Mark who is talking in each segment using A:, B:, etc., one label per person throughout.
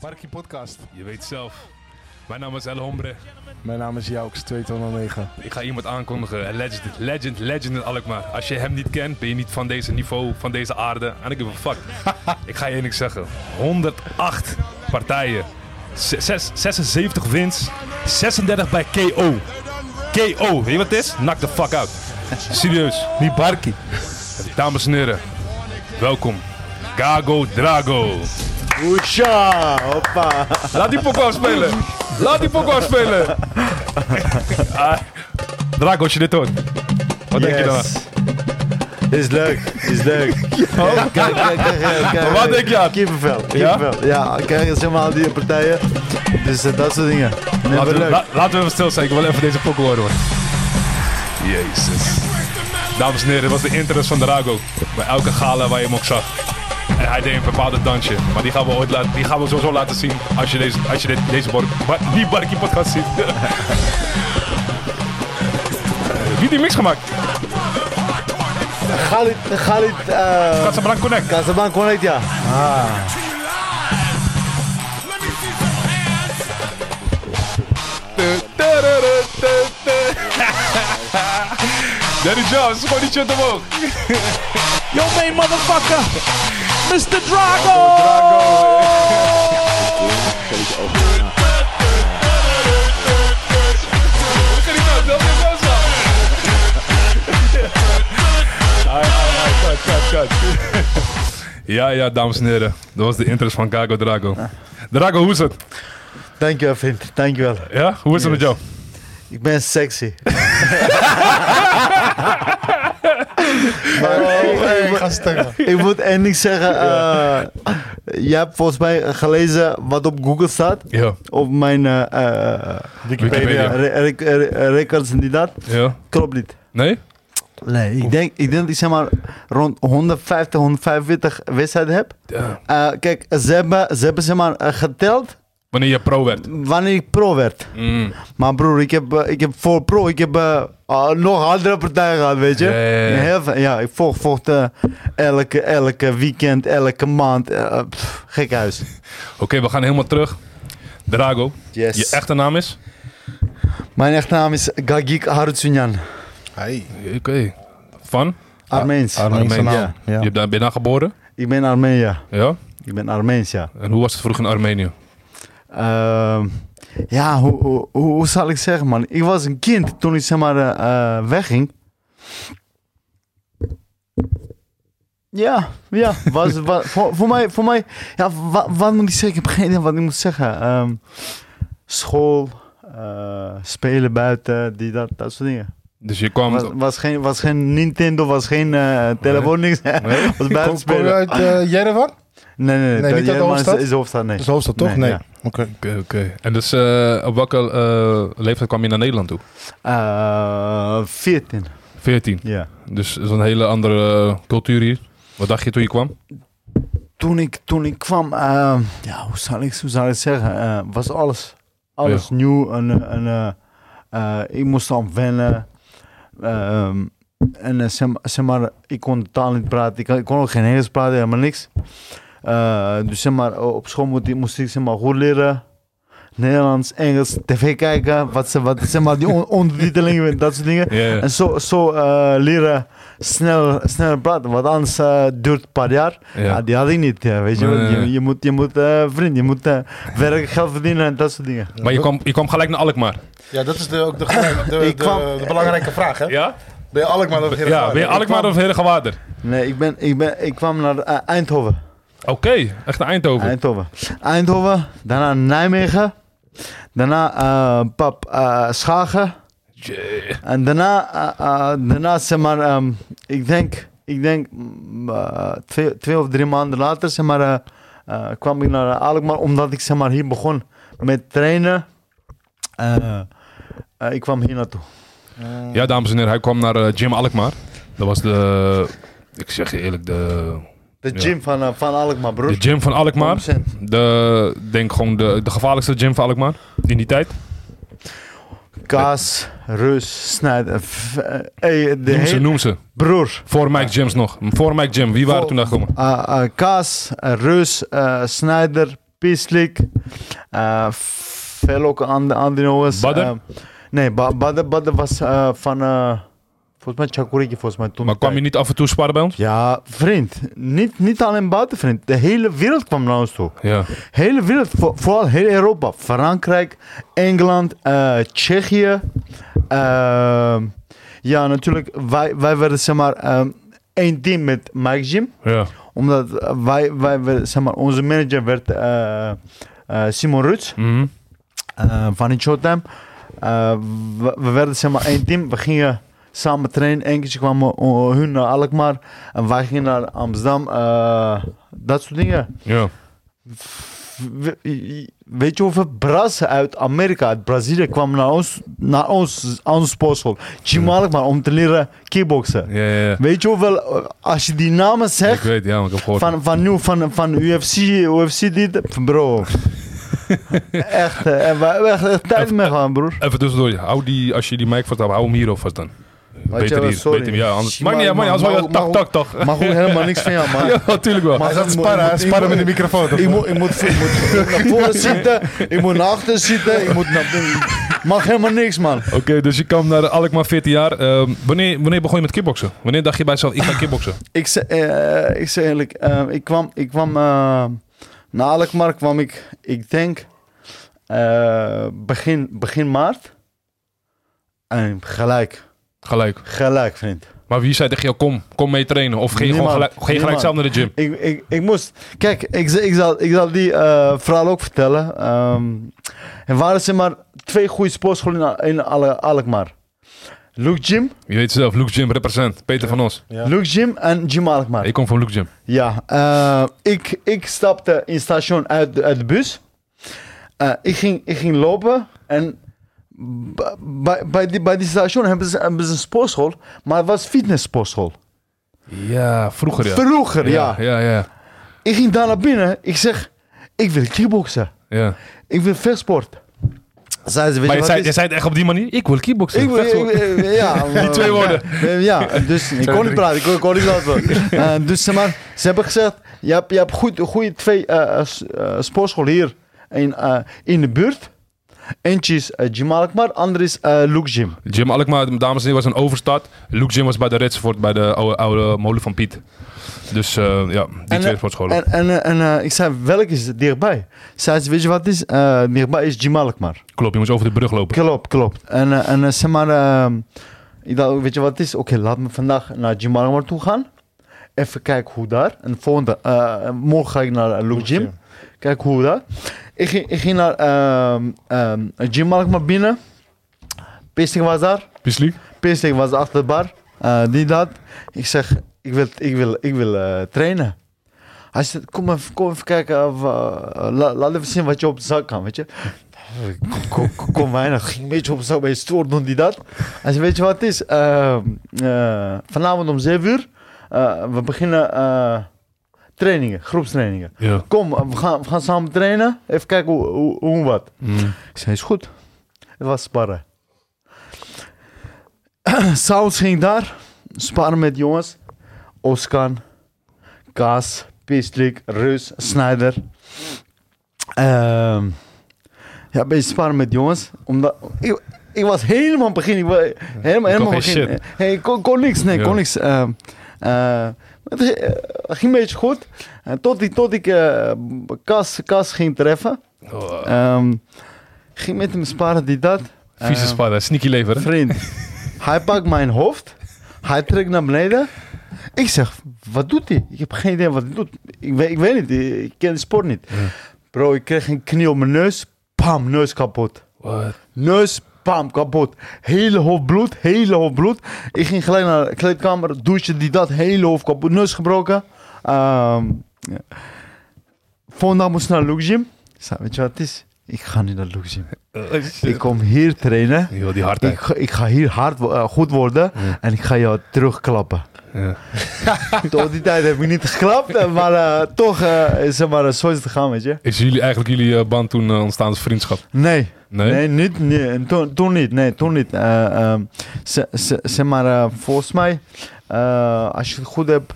A: Parkie Podcast.
B: Je weet zelf. Mijn naam is El Hombre.
A: Mijn naam is Jouks 209.
B: Ik ga iemand aankondigen. Een Legend, legend, legend in Alkmaar. Als je hem niet kent, ben je niet van deze niveau, van deze aarde. En ik give a fuck. ik ga je één ding zeggen. 108 partijen. Zes- zes- 76 wins. 36 bij KO. KO. Weet je wat het is? Knock the fuck out. Serieus.
A: Niet Barkie.
B: Dames en heren. Welkom. Gago Drago.
C: Hoesha! Hoppa!
B: Laat die Poco spelen. Laat die Poco spelen. Ah, Draco, als je dit hoort. Wat denk je dan?
C: Dit is leuk, dit is leuk. Oh, Kijk, kijk, kijk, kijk, kijk.
B: Wat denk je aan?
C: Kippenvel,
B: Ja?
C: kippenvel. Ja, kijk, dat zijn allemaal die partijen. Dus eh, dat soort dingen. Nee,
B: Laten
C: wat
B: we,
C: leuk.
B: la- laten we even stil zijn. Ik wil even deze Poco horen, hoor. Jezus. Dames en heren, dit was de interest van Drago. Bij elke gala waar je hem ook zag. En hij deed een bepaalde dansje. Maar die gaan we, ooit laten, die gaan we sowieso laten zien als je deze, als je dit, deze bar, bar- die Barkie podcast ziet. Wie heeft die mix gemaakt?
C: Galit, Galit, eh,
B: Casablanca Connect.
C: Casablanca Connect, ja.
B: Daddy Jones, gewoon die shit omhoog.
D: Yo, main motherfucker, Mr. Drago.
B: Look at him go, Daddy Jones al. Ai, ai, ai, cut, cut, cut. Ja, ja, dames en heren. Dat was de interest van Gago Drago. Drago, hoe is het?
C: Dankjewel, vriend. Dankjewel.
B: Ja, hoe is het met jou?
C: Ik ben sexy. maar eh,
A: Oh, Hey, ga stemmen.
C: ik moet één ding zeggen. eh, je hebt volgens mij gelezen wat op Google staat.
B: Ja.
C: Op mijn eh, eh,
B: Wikipedia.
C: re- re- re- records en die dat.
B: Ja.
C: Klopt niet.
B: Nee?
C: Nee, ik denk, ik denk dat ik zeg maar rond 150, 145 wedstrijden heb.
B: Ja.
C: Eh, kijk, ze hebben, ze hebben zeg maar eh, geteld
B: Wanneer je pro werd.
C: wanneer ik pro werd.
B: Mm.
C: Maar broer, ik heb, eh, ik heb voor pro, ik heb eh, ah, nog andere partijen gehad, weet je.
B: Ja, ja, ja.
C: Heel veel- ja, ik vocht, vocht eh, elke, elke weekend, elke maand. eh, pff, gek huis.
B: Oké, we gaan helemaal terug. Drago,
C: Yes.
B: je echte naam is?
C: Mijn echte naam is Gagik Harutsunyan,
A: Hey.
B: Oké. Van?
C: Armeens.
A: Armeense
B: Armeens.
A: naam.
B: Je
A: Ja.
B: hebt daar, ben je daar geboren?
C: ik ben Armenië.
B: Ja.
C: Ik ben Armeens, ja.
B: En hoe was het vroeger in Armenië?
C: Ehm, ja, hoe, hoe, hoe, hoe zal ik zeggen, man? Ik was een kind toen ik zeg maar eh, eh, wegging. Ja, ja. Was, wa- voor, voor mij, voor mij ja, wa- wat moet ik zeggen? Ik heb geen idee wat ik moet zeggen. Ehm, school, eh, spelen buiten, die, dat, dat soort dingen.
B: Dus je kwam...
C: Was, was, geen, was geen Nintendo, was geen eh, telefoon, niks.
B: Nee?
C: was
A: Kom,
C: buiten
A: kom je
C: spelen.
A: uit eh, Jerewan?
C: Nee, nee,
A: Nee,
C: nee.
A: niet uit de
C: Helemaal is-
A: hoofdstad?
C: Is de hoofdstad, nee.
A: Dat is de hoofdstad, toch?
C: Nee,
A: Nee.
C: ja.
A: Oké.
B: Oké, oké. En dus eh, op welke eh, leeftijd kwam je naar Nederland toe?
C: Eh, 14,
B: 14.
C: ja.
B: Dus dat is een hele andere eh, cultuur hier. Wat dacht je toen je kwam?
C: toen ik, toen ik kwam, eh, ja, hoe zal ik, hoe zal ik zeggen, eh, was alles, alles nieuw. En, eh, en, eh, eh, ik moest aan wennen. Ehm, en eh, zeg, maar- zeg maar, ik kon de taal niet praten. Ik, ik kon ook geen Engels praten, helemaal niks. Eh, dus zeg maar, op school moest ik, moest ik zeg maar, goed leren. Nederlands, Engels, tv kijken, wat, ze- wat zeg maar, die on- ondertitelingen, dat soort dingen.
B: Ja, ja.
C: En zo, zo eh, leren sneller, sneller praten, want anders eh, duurt het een paar jaar. Ja,
B: ja.
C: die had ik niet, ja, weet je. wel.
B: Nee.
C: Je, je moet, je moet eh, vriend, je moet eh, werken, geld verdienen en dat soort dingen.
B: Maar je kwam, je kwam gelijk naar Alkmaar.
A: Ja, dat is de, ook de, de, de,
C: Ik kwam-
A: de belangrijke vraag, hè?
B: Ja?
A: Ben je Alkmaar of Heerenveen?
B: Ja, ben je Alkmaar of Herengewaarder?
C: Nee, ik, ben, ik, ben, ik kwam naar eh, Eindhoven.
B: Oké, echt naar Eindhoven.
C: Eindhoven. Eindhoven, daarna Nijmegen. Daarna eh, pap eh, Schagen.
B: Yeah.
C: En daarna, eh, eh, daarna zeg maar, ehm, ik denk, ik denk mm, eh, twee, twee of drie maanden later zeg maar, eh, eh, kwam ik naar Alkmaar. Omdat ik zeg maar, hier begon met trainen. Eh, eh, ik kwam hier naartoe.
B: Ja, dames en heren, hij kwam naar eh, Gym Alkmaar. Dat was de... Ik zeg je eerlijk, de,
C: De
B: Ja.
C: gym van, eh, van Alkmaar, broer.
B: de gym van Alkmaar.
C: 100%.
B: De, denk gewoon de, de gevaarlijkste gym van Alkmaar in die tijd.
C: Kaas, Rus, Snijder. f- eh, hey, de
B: Noem ze,
C: hele-
B: noem ze.
C: broer.
B: Voor Mike Gyms nog. Voor Mike Gym. Wie waren
C: Voor-
B: toen daar gekomen?
C: eh, eh, Kaas, eh, Rus, eh, Snijder, Pislik, eh veel ook aan de andere jongens.
B: Badr?
C: Eh, nee, ba Badr, Badr was eh, van, eh, volgens mij Chakuriki, volgens mij toen.
B: Maar kwam je niet af en toe sparren bij ons?
C: Ja, vriend. Niet, niet alleen buiten, vriend. De hele wereld kwam naar ons toe.
B: Ja.
C: Hele wereld, vo- vooral heel Europa. Frankrijk, Engeland, eh, Tsjechië. Ehm, ja, natuurlijk, wij, wij werden zeg maar ehm, één team met Mike Jim.
B: Ja.
C: Omdat eh, wij, wij werden, zeg maar, onze manager werd eh, eh, Simon Ruts
B: Mhm.
C: eh, van het Showtime. Eh, we, we werden zeg maar één team. We gingen samen trainen. Eén keertje kwamen eh, hun naar Alkmaar. En wij gingen naar Amsterdam. eh, dat soort dingen.
B: ja.
C: We- Weet je hoeveel brassen uit Amerika, uit Brazilië kwamen naar ons, naar ons, aan ons sportschool? Jim Alkmaar om te leren kickboksen.
B: Ja, ja, ja.
C: Weet je hoeveel, eh, als je die namen
B: Ik
C: zegt,
B: weet, ja, maar ik heb gehoord.
C: van, van nu, van, van UFC, UFC dit, bro. echt, eh, en we we echt, echt tijd
B: eh,
C: mee gaan, broer.
B: Even tussendoor, hou die, als je die mic vast hebt, hou hem hierop vast dan.
C: Weet je
B: Beter
C: wel,
B: hier,
C: sorry.
B: beter hier. Ja, anders,
C: Shit,
B: maakt niet uit,
C: maar-
B: maakt niet uit,
C: maar-
B: als wel- tak, tak, tak.
C: Mag ook helemaal niks van jou, man.
B: Ja, natuurlijk wel.
A: Hij zat
C: ik moet-
A: sparren,
C: ik
A: hij
C: moet-
A: sparren
C: ik
A: met de microfoon. toch?
C: Ik moet, ik, moet, ik, moet, naar voren zitten, ik moet naar achter zitten, ik moet naar Mag helemaal niks, man.
B: Oké, dus je kwam naar Alkmaar 14 jaar. Ehm, wanneer, wanneer begon je met kickboksen? Wanneer dacht je bij jezelf, ik ga kickboksen?
C: Ik zeg, eh, ik zeg eerlijk, eh, ik kwam, ik kwam eh, naar Alkmaar kwam ik, ik denk, eh, begin, begin maart. En gelijk,
B: Gelijk.
C: gelijk vriend.
B: Maar wie zei tegen jou, kom, kom mee trainen? Of ging je gewoon
C: Niemand.
B: gelijk, ging je gelijk
C: Niemand.
B: zelf naar de gym?
C: Ik, ik, ik moest, kijk, ik, z- ik, zal, ik zal die eh, verhaal ook vertellen. Ehm, er waren zeg maar twee goede sportscholen in, Al- in Al- Alkmaar. Luke Jim,
B: Je weet zelf, Luke Gym represent. Peter van Os.
A: Ja.
C: Luke Jim en Jim Alkmaar.
B: Ik kom van Luke Gym.
C: Ja, eh, ik, ik stapte in het station uit de, uit de bus. Eh, ik, ging, ik ging lopen en b- bij, bij, die, bij die station hebben ze, hebben ze een sportschool, maar het was fitness sportschool.
B: Ja, vroeger ja.
C: Vroeger, ja.
B: Ja, ja, ja.
C: Ik ging daar naar binnen, ik zeg, ik wil kickboksen,
B: ja.
C: ik wil vechtsport. Zei ze, weet
B: Maar
C: je
B: je
C: wat
B: zei,
C: het
B: je
C: is?
B: zei het echt op die manier? Ik wil kickboksen.
C: Ik wil,
B: Vecht zo.
C: ik wil- ja,
B: Die twee woorden.
C: Eh, Ja, dus ik kon niet praten, ik kon, ik kon niet praten. Eh, dus zeg maar, ze hebben gezegd, je hebt, je hebt goed, goede twee eh, eh, s- eh, sportscholen hier in, eh, in de buurt. Eentje is eh, Jim Alkmaar, andere is eh Luke Jim.
B: Jim Alkmaar, dames en heren, was een overstart. Luke Jim was bij de Retsvoort, bij de oude, oude molen van Piet. Dus eh, ja, die
C: En,
B: twee
C: eh,
B: sportscholen.
C: En, en, eh, en eh, ik zei, welke is het dichtbij? Zei ze, weet je wat het is? Eh, dichtbij is Jim Alkmaar.
B: Klopt, je moest over de brug lopen.
C: Klopt, klopt. En, eh, en eh, zeg maar, ehm, ik dacht, weet je wat het is? Oké, laat me vandaag naar Jim Alkmaar toe gaan. Even kijken hoe daar. En volgende, eh, morgen ga ik naar eh, Luke Jim. Kijk hoe daar. Ik ging, ik ging naar ehm ehm Jim Alkmaar binnen. Pisting was daar.
B: Pislik?
C: Pisting was achter de bar. Eh, die dat. Ik zeg, ik wil, ik wil, ik wil eh, trainen. Hij zegt, kom even, kom even kijken. Of, eh, la- laat even zien wat je op de zak kan, weet je. Kom, kom, kom, kom weinig. Ging een beetje op de zak, bij je stoer doen die dat. Hij zegt, weet je wat het is? Eh, eh, vanavond om 7 uur. eh, we beginnen eh, trainingen, groepstrainingen.
B: Ja.
C: Kom, we gaan, we gaan samen trainen. Even kijken hoe, hoe, hoe en wat.
B: Mm.
C: Ik zei, is goed. Het was sparren. S'avonds ging ik daar. Sparren met jongens. Oskan, Kaas, Pislik, Reus, Snyder. Ehm, ja, ben je sparren met jongens. Omdat, ik, ik was helemaal aan het begin. Ik, wa- helemaal, helemaal
B: geen
C: begin.
B: shit.
C: Hey, ik kon, kon niks, nee,
B: Ja.
C: kon niks. Ehm, eh, het ging- eh, ging een beetje goed. En tot ik, tot ik eh, Kas, Kas ging treffen.
B: Oh,
C: Ehm, ging met hem sparen, die dat.
B: vieze
C: Ehm,
B: sparren, sneaky lever. hè?
C: Vriend, hij pakt mijn hoofd. Hij trekt naar beneden. Ik zeg, wat doet hij? Ik heb geen idee wat hij doet. Ik weet, ik weet niet, ik ik ken de sport niet. Bro, ik kreeg een knie op mijn neus. Pam, neus kapot.
B: Wat?
C: Neus, pam, kapot. Hele hoofd bloed, hele hoofd bloed. Ik ging gelijk naar de kleedkamer, douche, die dat, hele hoofd kapot. Neus gebroken. Ehm ja. Volgende dag moest ik naar Luke Gym. Ik zei, weet je wat het is? Ik ga niet naar Luke Gym.
B: Oh, shit.
C: Ik kom hier trainen.
B: Yo, die hardheid.
C: Ik, ga- ik ga hier hard, wo- eh, goed worden en ik ga jou terugklappen.
B: Ja.
C: Tot die tijd heb ik niet geklapt, eh, maar eh, toch eh, is het maar eh, zo is het gegaan, weet je.
B: Is jullie, eigenlijk jullie eh, band toen eh, ontstaan als vriendschap?
C: Nee,
B: Nee?
C: nee, niet, nee. En Toen, toen niet, nee, toen niet. Eh, ehm, ze- ze- zeg maar, eh, volgens mij, eh, als je het goed hebt,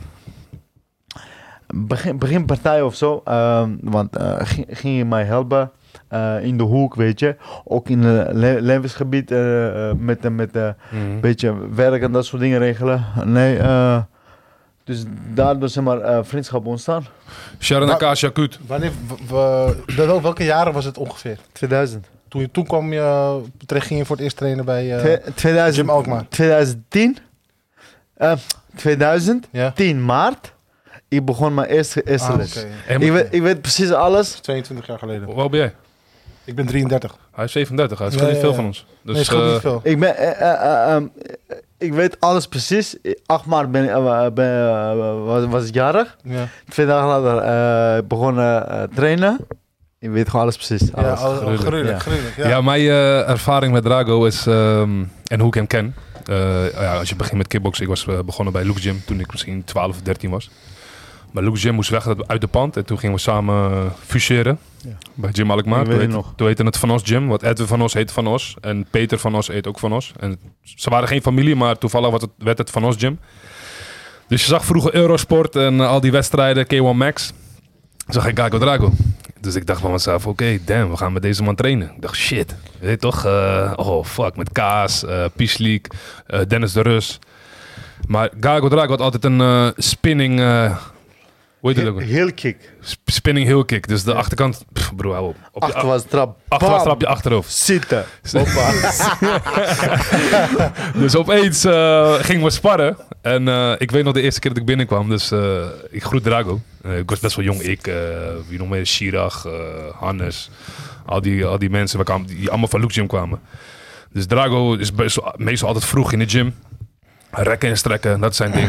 C: begin, beginpartij of zo. ehm, want eh, ging, ging je mij helpen eh, in de hoek, weet je. Ook in het le levensgebied eh, eh, met, eh, met eh,
B: Mhm.
C: beetje werk en dat soort dingen regelen. Nee, eh, dus daardoor zeg maar eh, vriendschap ontstaan.
B: Sharon
A: Maar-
B: Akash Yakut.
A: Wanneer, w- w- dat ook, welke jaren was het ongeveer?
C: 2000.
A: Toen, je- toen kwam je, terecht ging je voor het eerst trainen bij... eh,
C: Twe- 2000
A: Jim Alkmaar.
C: 2010. Eh, 2010
A: ja?
C: maart. Ik begon mijn eerste, eerste
A: Ah,
C: les.
A: oké.
B: Hey,
C: Ik,
B: maar-
C: weet, ik weet precies alles.
A: 22 jaar geleden.
B: Hoe oud ben jij?
A: Ik ben 33.
B: Hij is 37, hij scheelt
A: Ja,
B: niet
A: ja,
B: veel
A: ja.
B: van ons. Dus,
A: nee, het scheelt
B: eh,
A: niet veel.
C: Ik, ben, eh, eh, eh, ehm, eh, ik weet alles precies. 8 maart ben, eh, ben, eh, was, was ik jarig.
A: Ja,
C: Twee dagen later eh, begon eh, eh, trainen. Ik weet gewoon alles precies.
A: ja
C: Alles.
A: al- al-
B: gruwelijk.
A: gruwelijk,
C: Ja.
A: gruwelijk.
B: Ja,
A: Ja.
B: mijn eh, ervaring met Drago is, ehm, en hoe ik hem ken. Eh, ja, als je begint met kickboksen, ik was eh, begonnen bij Luke Gym toen ik misschien 12 of 13 was. Maar Luke Gym moest weg uit de pand en toen gingen we samen eh, fuseren.
C: Ja.
B: Bij Jim Alkmaar.
C: Ik weet
B: Toen
C: het
B: heette,
C: nog.
B: toen heette het Van Os Gym, want Edwin Van Os heet Van Os. En Peter Van Os heet ook Van Os. En ze waren geen familie, maar toevallig was het, werd het Van Os Gym. Dus je zag vroeger Eurosport en eh, al die wedstrijden, K1 Max. Zag ik Drago Drago. Dus ik dacht van mezelf, oké, damn, we gaan met deze man trainen. Ik dacht, shit, je weet toch? eh, oh, fuck, met Kaas, eh Piesliek, eh, Dennis de Rus. Maar Gago Drago had altijd een eh, spinning... eh hoe heet het ook?
C: Heel kick.
B: Sp- Spinning heel kick. Dus de achterkant... Pff, bro, hou op. op je
C: Achterwaarts trap.
B: a- achterwaarts
C: Bam.
B: trap je achterhoofd.
C: Zitten.
B: Dus opeens eh gingen we sparren. En eh, ik weet nog de eerste keer dat ik binnenkwam. Dus eh, ik groet Drago. Eh, ik was best wel jong. Ik, eh, wie nog meer? Chirag, eh, Hannes. Al die, al die mensen waar kwamen- die allemaal van Luke Gym kwamen. Dus Drago is best, meestal altijd vroeg in de gym. Rekken en strekken, dat is zijn ding.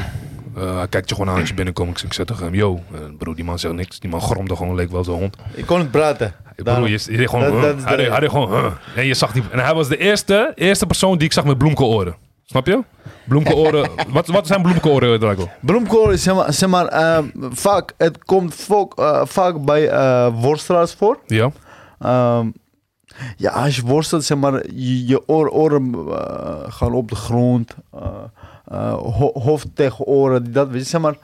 B: Eh, hij kijkt je gewoon aan als je binnenkomt. Ik zeg- Ik zeg tegen hem, yo. Eh, bro, die man zegt niks. Die man gromde gewoon, leek wel zo'n hond.
C: Ik kon niet praten.
B: Ik
C: Daarom.
B: bedoel, je, je deed gewoon...
C: Dat-
B: huh.
C: dat is de
B: hij, deed, hij deed gewoon... huh. En, je zag die, en hij was de eerste, eerste persoon die ik zag met bloemkeloren. Snap je? Bloemkeloren... wat, wat zijn bloemkeloren, Drago?
C: Bloemkool is zeg maar, zeg maar ehm, vaak, het komt vaak, eh, vaak bij eh worstelaars voor.
B: Ja.
C: Ehm, ja, als je worstelt, zeg maar, je, je oor- oren eh, gaan op de grond. eh, eh, ho- hoofd tegen oren, dat weet je, zeg maar.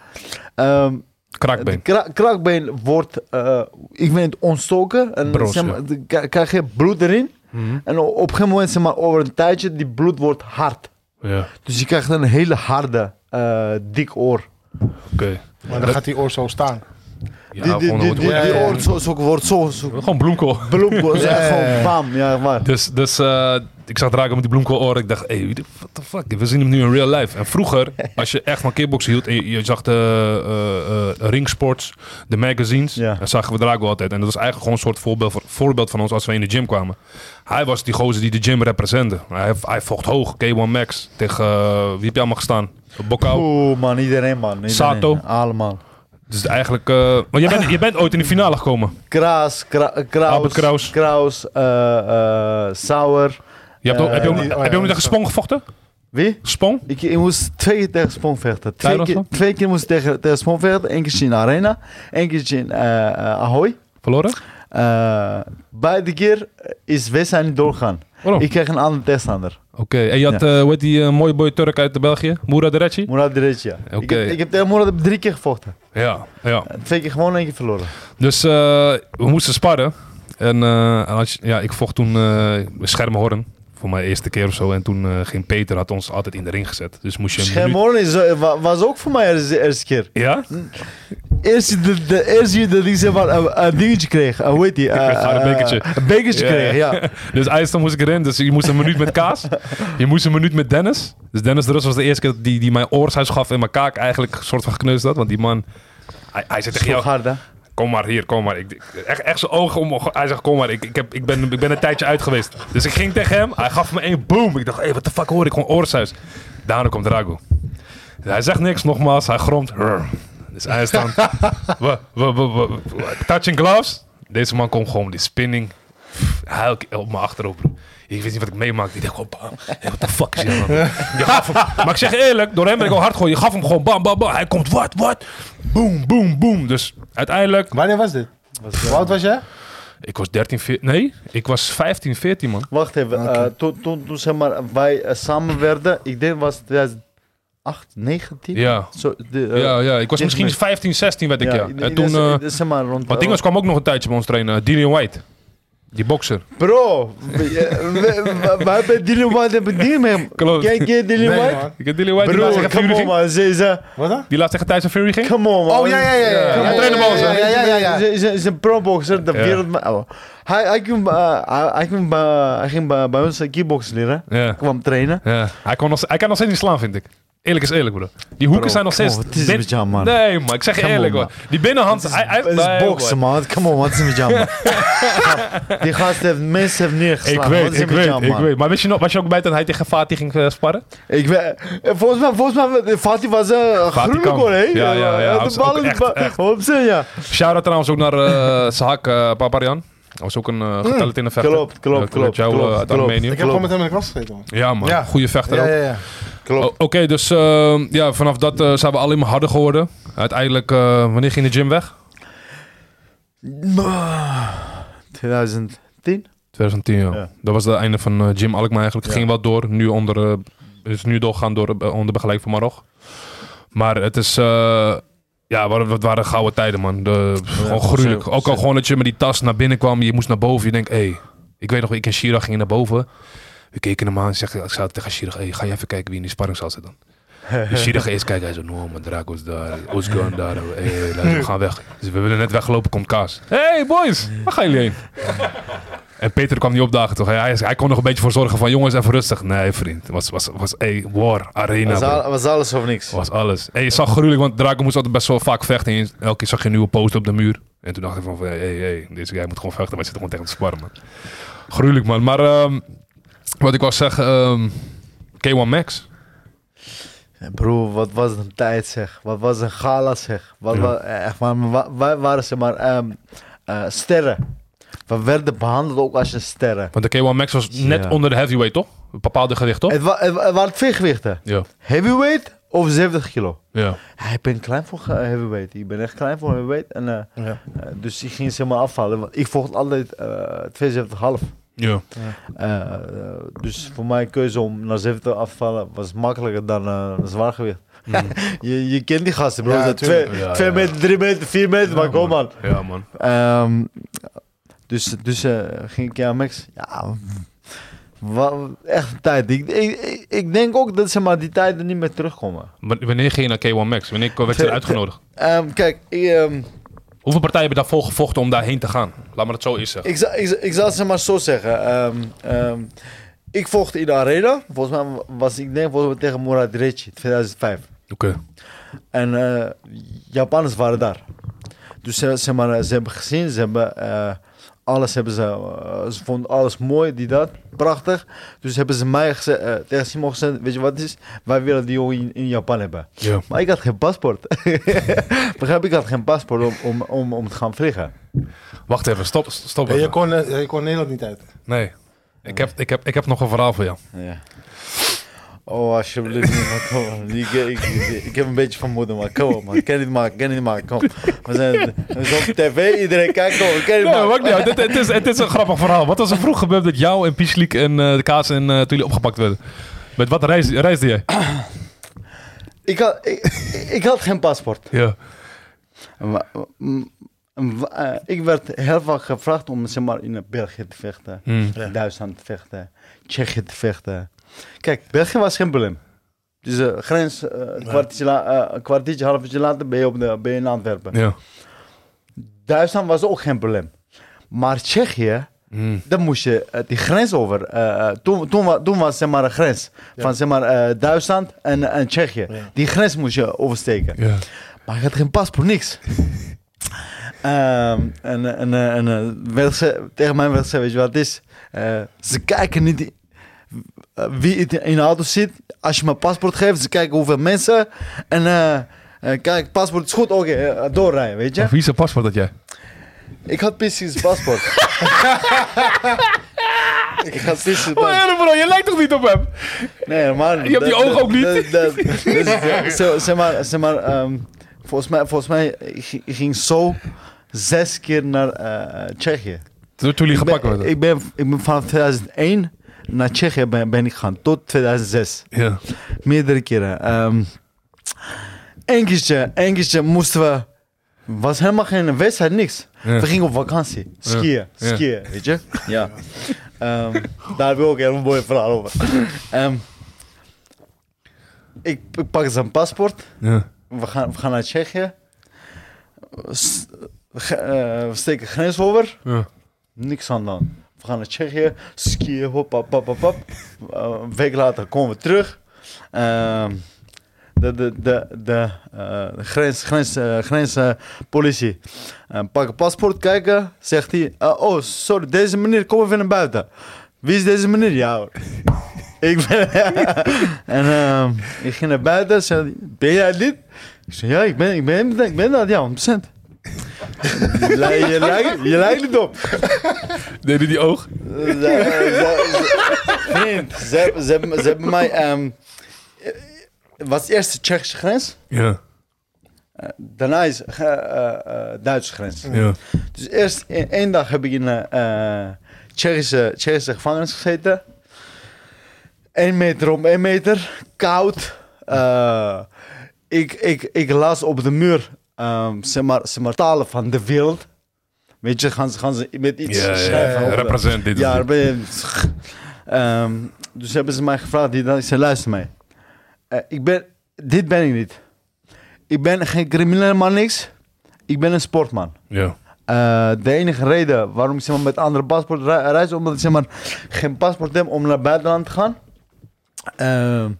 C: ehm,
B: Kraakbeen.
C: het kra- kraakbeen wordt, eh, ik weet het, ontstoken. En
B: Broos,
C: zeg
B: ja.
C: maar, de- k- krijg je bloed erin.
A: Mhm.
C: En o- op een gegeven moment, zeg maar, over een tijdje, die bloed wordt hard.
B: Ja, oké.
C: Dus je krijgt een hele harde, eh, dik oor.
A: Maar dan gaat die oor zo staan.
B: Ja,
C: die die,
B: gewoon-
C: die, die,
A: ja,
C: die
A: ja.
C: oor zo, zo wordt zo, zo
B: Gewoon bloemkool.
C: bloemkool. is echt
A: Ja, ja, ja.
C: gewoon bam, ja, waar.
B: Dus, dus eh, ik zag Drago met die bloemkooloren. Ik dacht, hey, wie de- what the fuck? We zien hem nu in real life. En vroeger, als je echt van kickboxen hield... en je, je zag de eh, eh, ringsports, de magazines...
C: Ja.
B: dan zagen we Drago altijd. En dat was eigenlijk gewoon een soort voorbeeld, van- voorbeeld van ons... als we in de gym kwamen. Hij was die gozer die de gym representeerde. Hij, hij vocht hoog, K1 Max. Tegen, eh, wie heb je allemaal gestaan? Bokau.
C: Oeh, man, iedereen, man. Iedereen.
B: Sato.
C: Allemaal.
B: Dus eigenlijk... eh maar je bent, je bent ooit in de finale gekomen.
C: Kraas, Kra- Kraus.
B: Albert Kraus.
C: Kraus, eh, eh, Sauer.
B: Je hebt, ook-
C: Eh,
B: heb je ook,
A: die- oh ja,
B: heb je ook niet
A: dat
B: tegen
A: is
B: Spong gevochten?
C: Wie?
B: Spong?
C: Ik, ik moest twee keer tegen Spon vechten. Twee
B: Tijdens
C: keer,
B: wat?
C: twee keer moest ik tegen, tegen Spon vechten. Eén keertje in de Arena. Eén keertje in eh, eh, Ahoy.
B: Verloren?
C: Eh, beide keer is Wessa niet doorgaan.
B: Waarom?
C: Ik kreeg een andere tegenstander.
B: Oké, en je had, eh, hoe heet die eh, mooie boy Turk uit eh, België? Moerad Reci?
C: Murad Derecia. Ik,
B: Oké.
C: heb- ik heb tegen Murad drie keer gevochten.
B: Ja, ja.
C: Twee keer gewoon, één keer verloren.
B: Dus eh, we moesten sparren. En eh, en als je- ja, ik vocht toen eh Schermhorn. Voor mijn eerste keer of zo. En toen eh, ging Peter, had ons altijd in de ring gezet. Dus moest je een minuut-
C: Schermhoorn is, eh, wa- was ook voor mij de eerste keer.
B: Ja?
C: Eerst de, de eerste keer dat ik zeg maar een, een dingetje kreeg. Eh, hoe heet die? Eh,
B: kreeg gewoon een
C: eh,
B: bekertje.
C: Een bekertje
B: Ja,
C: kreeg, ja.
B: Dus IJsland moest ik erin. Dus je moest een minuut met Kaas. Je moest een minuut met Dennis. Dus Dennis de Rus was de eerste keer die, die mijn oorshuis gaf. En mijn kaak eigenlijk een soort van gekneusd had. Want die man... Hij, hij zei tegen
C: Sloeg
B: jou,
C: hard, hè?
B: Kom maar hier, kom maar. Ik, ik- echt, echt zijn ogen omhoog. Hij zegt, kom maar, ik, ik, heb, ik, ben, ik ben een tijdje uit geweest. Dus ik ging tegen hem. Hij gaf me één boom. Ik dacht, hé, wat de fuck hoor ik? Gewoon oorsuis. Daarna komt Drago. Hij zegt niks, nogmaals. Hij gromt. Rrr. Dus hij is dan... we, we, we, we- we- touching gloves. Deze man komt gewoon met die spinning. Pff, Huil ik op mijn achterhoofd. broer. Ik wist niet wat ik meemaakte. Ik dacht gewoon bam. Hey, wat de fuck is hier aan de hand? Je gaf hem- Maar ik zeg je eerlijk, door hem ben ik al hard gegooid. Je gaf hem gewoon bam, bam, bam. Hij komt wat, wat. Boom, boom, boom. Dus uiteindelijk
A: Wanneer was dit? Hoe oud was jij?
B: ik was 13, 14. Nee, ik was 15, 14, man.
C: Wacht even, eh, toen, toen, toen zeg maar, wij eh, samen werden, ik denk was het 2018 8, 9, 10.
B: Ja.
C: Zo, de, eh,
B: Ja, ja, ik was
C: dit
B: misschien
C: met-
B: 15, 16 werd ik, ja.
C: in-
B: En
C: in-
B: toen, eh
C: in- zeg maar rond...
B: maar Dingens kwam ook nog een tijdje bij ons trainen. eh, Dillian White. Die bokser.
C: Bro, eh, wij hebben Dylan White hebben dingen mee.
B: Klopt.
C: Kijk je Dylan
A: Nee,
C: White?
A: man.
B: Ik heb Dillian White die laatst
C: Bro,
B: tegen Fury
C: come on
B: ging.
C: man, ze ze-
A: Wat dan?
B: Die laatst tegen Tyson Fury ging.
C: come on man.
A: Oh, ja, ja, ja, ja.
C: Come
A: Ja,
C: on.
B: trainen bij ons, hè?
C: Ja, ja, ja, ja.
A: Ja.
C: Ze ze- ze is een pro-boxer, de
B: Ja.
C: wereld... oh. Hij hij kwam, eh, hij- hij kwam bij- hij ging bij bij ons eh, kickboksen leren,
B: Ja.
C: kwam trainen.
B: Ja. Hij, kon nog, hij kan nog steeds niet slaan, vind ik. Eerlijk is eerlijk, broer. Die hoeken
C: Bro,
B: zijn nog
C: kom
B: steeds...
C: op, wat is
B: dit-
C: met jou, man?
B: Nee, man. Ik zeg je
C: Come on,
B: eerlijk, hoor.
C: man.
B: Die binnenhand... hij, hij,
C: Het is
B: nee,
C: boksen man, come on, wat is er met jou man? Die gast heeft mensen heeft
B: man. Ik
C: neergeslagen, wat
B: weet,
C: is er
B: ik
C: met
B: weet,
C: jou
B: ik
C: man?
B: weet. Maar wist je nog, was je ook bij dat hij tegen Fatih ging eh, sparren?
C: Ik weet, eh, volgens mij, volgens mij, eh, Fatih was eh groene
B: kan.
C: hoor, hè?
B: Ja, ja, ja,
C: Hij had
B: hij was
C: de bal
B: ook
C: in de
B: echt,
C: ba-
B: echt.
C: Op z'n, ja.
B: Shout-out trouwens ook naar eh Sahak eh, Paparian. Hij was ook een eh getallend in de vechter.
C: klopt, klopt,
B: Ja, ik weet
C: klopt,
B: jou,
C: klopt,
B: eh, uit
C: klopt.
B: Armenië.
A: Ik heb
C: Klopt.
A: gewoon met hem in de klas gezeten, man.
B: Ja man,
A: Ja.
B: goede vechter
A: Ja,
B: ook.
A: ja, ja.
B: O- Oké, dus eh, ja, vanaf dat eh, zijn we alleen maar harder geworden. Uiteindelijk, eh, wanneer ging de gym weg?
C: 2010?
B: 2010, ja.
C: Ja.
B: Dat was het einde van eh Jim Alkmaar eigenlijk. Het ging wel door. Nu onder, eh, is nu doorgaan door, eh, onder begeleiding van Marog. Maar het is... eh, ja, wa- wat waren gouden tijden, man. De, gewoon gruwelijk. Ook al gewoon dat je met die tas naar binnen kwam. Je moest naar boven. Je denkt, hé... Hey, ik weet nog, ik en Shira gingen naar boven. We keken hem aan. en Zeg, ik zei tegen Shira, hey, ga je even kijken wie in die sparring zal zitten. Dus Shira gaat eerst kijken. Hij zo, no man, Draco's daar. Osgun daar. Hey, hey, luister, we gaan weg. Dus we willen net weglopen, komt Kaas. Hey boys, waar gaan jullie heen? En Peter kwam niet opdagen toch? Hij, hij kon nog een beetje voor zorgen van jongens even rustig. Nee vriend, het was, was, was hey, war, arena.
C: Was,
B: Nou, bro.
C: al- was alles of niks?
B: was alles. Hey, je zag gruwelijk, want Draco moest altijd best wel vaak vechten. En elke keer zag je een nieuwe post op de muur. En toen dacht ik van, hey, hey, hey, deze guy moet gewoon vechten. Wij zitten gewoon tegen de sparren, man. Gruwelijk, man. Maar ehm, wat ik wou zeggen, ehm, K1 Max.
C: Bro, Eh, wat was een tijd zeg. Wat was een gala zeg. Wat
B: Ja.
C: wa- eh, echt waar, maar wa- wij waren ze maar ehm, eh, sterren. We werden behandeld ook als een sterren.
B: Want de K1 Max was net
C: Ja.
B: onder de heavyweight, toch? Een bepaalde gewicht, toch?
C: Het, wa- het, wa- het waren twee gewichten.
B: Ja.
C: Heavyweight of 70 kilo.
B: ja.
C: Ja, Ik ben klein voor ge- heavyweight. Ik ben echt klein voor heavyweight. En, eh,
A: Ja.
C: eh, dus ik ging ze maar afvallen. Want ik vocht altijd eh 72,5.
B: ja.
C: Eh, eh, dus voor mij keuze om naar 70 af te vallen was makkelijker dan eh, een zwaargewicht. je, je kent die gasten, bro.
A: Ja,
C: Ze zijn
A: tuurlijk.
C: twee,
B: Ja,
C: twee
B: ja.
C: meter, drie meter, vier meter, maar kom man.
B: Ja, man.
C: Ehm, dus dus eh, ging ik aan Max. Ja, wa- echt een tijd. Ik, ik, ik- ik denk ook dat ze maar die tijden niet meer terugkomen.
B: W- Wanneer ging je naar K1 Max? Wanneer werd je
C: Te-
B: uitgenodigd?
C: Ehm, kijk, ik, ehm,
B: Hoeveel partijen hebben daarvoor gevochten om daarheen te gaan? Laat maar het zo eens zeggen.
C: Ik, zal- ik, zal- ik zal het ze maar zo zeggen. Ehm, ehm, ik vocht in de arena. Volgens mij was ik denk volgens mij tegen Murat Reci 2005.
B: Oké.
C: En eh Japanners waren daar. Dus ze, zeg maar, eh, ze hebben gezien, ze hebben eh, alles hebben ze, eh, ze vonden alles mooi, die dat, prachtig. Dus hebben ze mij geze- eh, tegen Simon gezegd, weet je wat het is? Wij willen die jongen in, in Japan hebben.
B: Ja.
C: Maar ik had geen paspoort. Begrijp, ik had geen paspoort om, om, om, om te gaan vliegen.
B: Wacht even, stop. stop
A: Ja,
B: even.
A: Je kon, eh, je kon Nederland niet uit.
B: Nee. Ik heb, ik, heb, ik heb nog een verhaal voor jou.
C: Ja. Oh, alsjeblieft. niet, man, kom op. ik, ik, ik, ik heb een beetje van moeder, maar kom op, man. Ken dit maken, ken dit maken, kom. We zijn, we zijn op tv, iedereen kijkt, kom, ken dit
B: Nee,
C: maken.
B: maakt niet uit. Het, het is, het is een grappig verhaal. Wat was er vroeg gebeurd dat jou en Piesliek en eh, de kaas en eh, toen jullie opgepakt werden? Met wat reis, reisde jij?
C: Ah. Ik had, ik, ik had geen paspoort.
B: Ja.
C: eh, Ik werd heel vaak gevraagd om zeg maar, in België te vechten,
B: Hmm.
C: in Duitsland te vechten, Tsjechië te vechten. Kijk, België was geen probleem. Dus eh, grens, eh, een, kwartiertje la- eh, een kwartiertje, half uurtje later ben je, op de, ben je in Antwerpen.
B: Ja.
C: Duitsland was ook geen probleem. Maar Tsjechië,
B: Hmm.
C: dan moest je eh, die grens over. Eh, eh, toen, toen, wa- toen was zeg maar een grens van zeg maar, eh, Duitsland en, en Tsjechië. Die grens moest je oversteken.
B: Ja.
C: Maar ik had geen paspoort, niks. Ehm, en eh, en, eh, en eh, werd ze, tegen mij werd gezegd, weet je wat het is? Eh, ze kijken niet i- eh, wie het in de auto zit. Als je mijn paspoort geeft, ze kijken hoeveel mensen. En eh, eh, kijk, paspoort is goed, oké, eh, doorrijden, weet je?
B: Of wie is een paspoort dat jij?
C: Ik had precies paspoort. ik had precies paspoort.
B: Oh, bro, je lijkt toch niet op hem?
C: Nee, man.
B: Je hebt die ogen ook niet.
C: Dat, dat, dus, eh, zo, zeg maar, zeg maar ehm, volgens mij, volgens mij ik ging- ik ging zo zes keer naar eh, Tsjechië.
B: Toen, toen jullie
C: Ik
B: gepakt
C: ben,
B: werden.
C: ik, ben, ik ben van 2001 naar Tsjechië ben, ben ik gegaan, tot 2006.
B: Ja.
C: Meerdere keren. Ehm Eén keertje, één keertje moesten we... Was helemaal geen wedstrijd, niks.
B: Ja.
C: We gingen op vakantie. Skiën,
B: Ja.
C: skiën, weet je? Ja. Ehm, daar heb ik ook een heel mooi verhaal over. Ehm, ik, ik pak zijn paspoort.
B: Ja.
C: We gaan, we gaan naar Tsjechië. S- ge- eh, we steken grens over.
B: Ja.
C: Niks aan dan. We gaan naar Tsjechië, skiën, hop, hop, hop, hop, hop. Eh, een week later komen we terug. Ehm, de de, de, de, eh, de grens, grens, eh, grens eh, politie. Eh, pakken paspoort, kijken. Zegt hij, eh, oh, sorry, deze meneer, kom even naar buiten. Wie is deze meneer? Ja hoor. ik ben... en ehm, ik ging naar buiten, zei hij, ben jij dit? Ik zei, ja, ik ben, ik ben, ik ben dat, ja, 100%. je, lijkt- je, lijkt- je lijkt niet op.
B: Deed hij die oog?
C: Ze- ze- Vriend, ze, ze, hebben- ze hebben mij. ehm het was eerst de Tsjechische grens,
B: Ja.
C: daarna is eh, eh, eh, Duitse grens.
B: Ja.
C: Dus eerst e- één dag heb ik in een eh, Tsjechische, Tsjechische gevangenis gezeten. Eén meter om één meter, koud. Eh, ik, ik, ik las op de muur ehm, zeg maar, zeg maar, talen van de wereld. Weet je, gaan ze, gaan ze met iets
B: Ja,
C: schrijven.
B: ja.
C: op de-
B: Represent dit.
C: ja,
B: Ja.
C: daar ben je... Ehm, dus hebben ze mij gevraagd, die, dan- ik zei, luister mij. Eh, ik ben, dit ben ik niet. Ik ben geen crimineel man, niks. Ik ben een sportman.
B: Ja.
C: Eh, de enige reden waarom ik zeg maar, met andere paspoort re- reis, omdat ik zeg maar, geen paspoort heb om naar het buitenland te gaan. Ehm,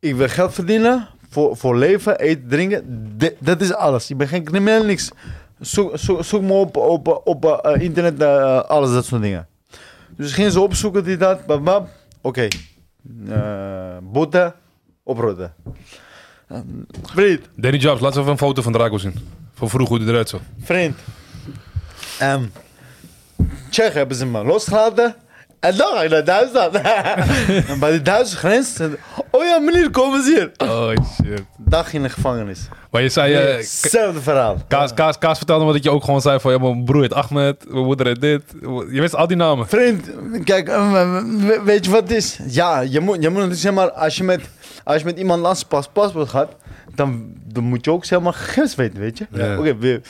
C: ik wil geld verdienen voor, voor leven, eten, drinken. De- dat is alles. Ik ben geen crimineel, niks. Zoek, zoek, zoek me op op, op eh, internet, eh, alles dat soort dingen. Dus gingen ze opzoeken, die dat, bam, bam. Oké. Eh boete, oprotten. Eh, Vriend,
B: Danny Jobs, laat eens even een foto van Draco zien. Van vroeger hoe hij eruit zag.
C: Vriend. Ehm Tsjech hebben ze me losgelaten. En dan ga ik naar Duitsland. en bij de Duitse grens. zeiden- Oh ja, meneer, komen ze hier.
B: Oh shit.
C: Dag in de gevangenis.
B: Maar je zei... eh, Ka-
C: Hetzelfde verhaal.
B: Kaas, Kaas, Kaas vertelde me dat je ook gewoon zei van... Ja, mijn broer heet Ahmed, mijn moeder heet dit. Je wist al die namen.
C: Vriend, kijk, eh, we- weet je wat het is? Ja, je moet, je moet natuurlijk zeg maar, als je met, als je met iemand een ander pas, paspoort gaat, dan, dan moet je ook zeg maar gegevens weten, weet je?
B: Ja.
C: Oké, we-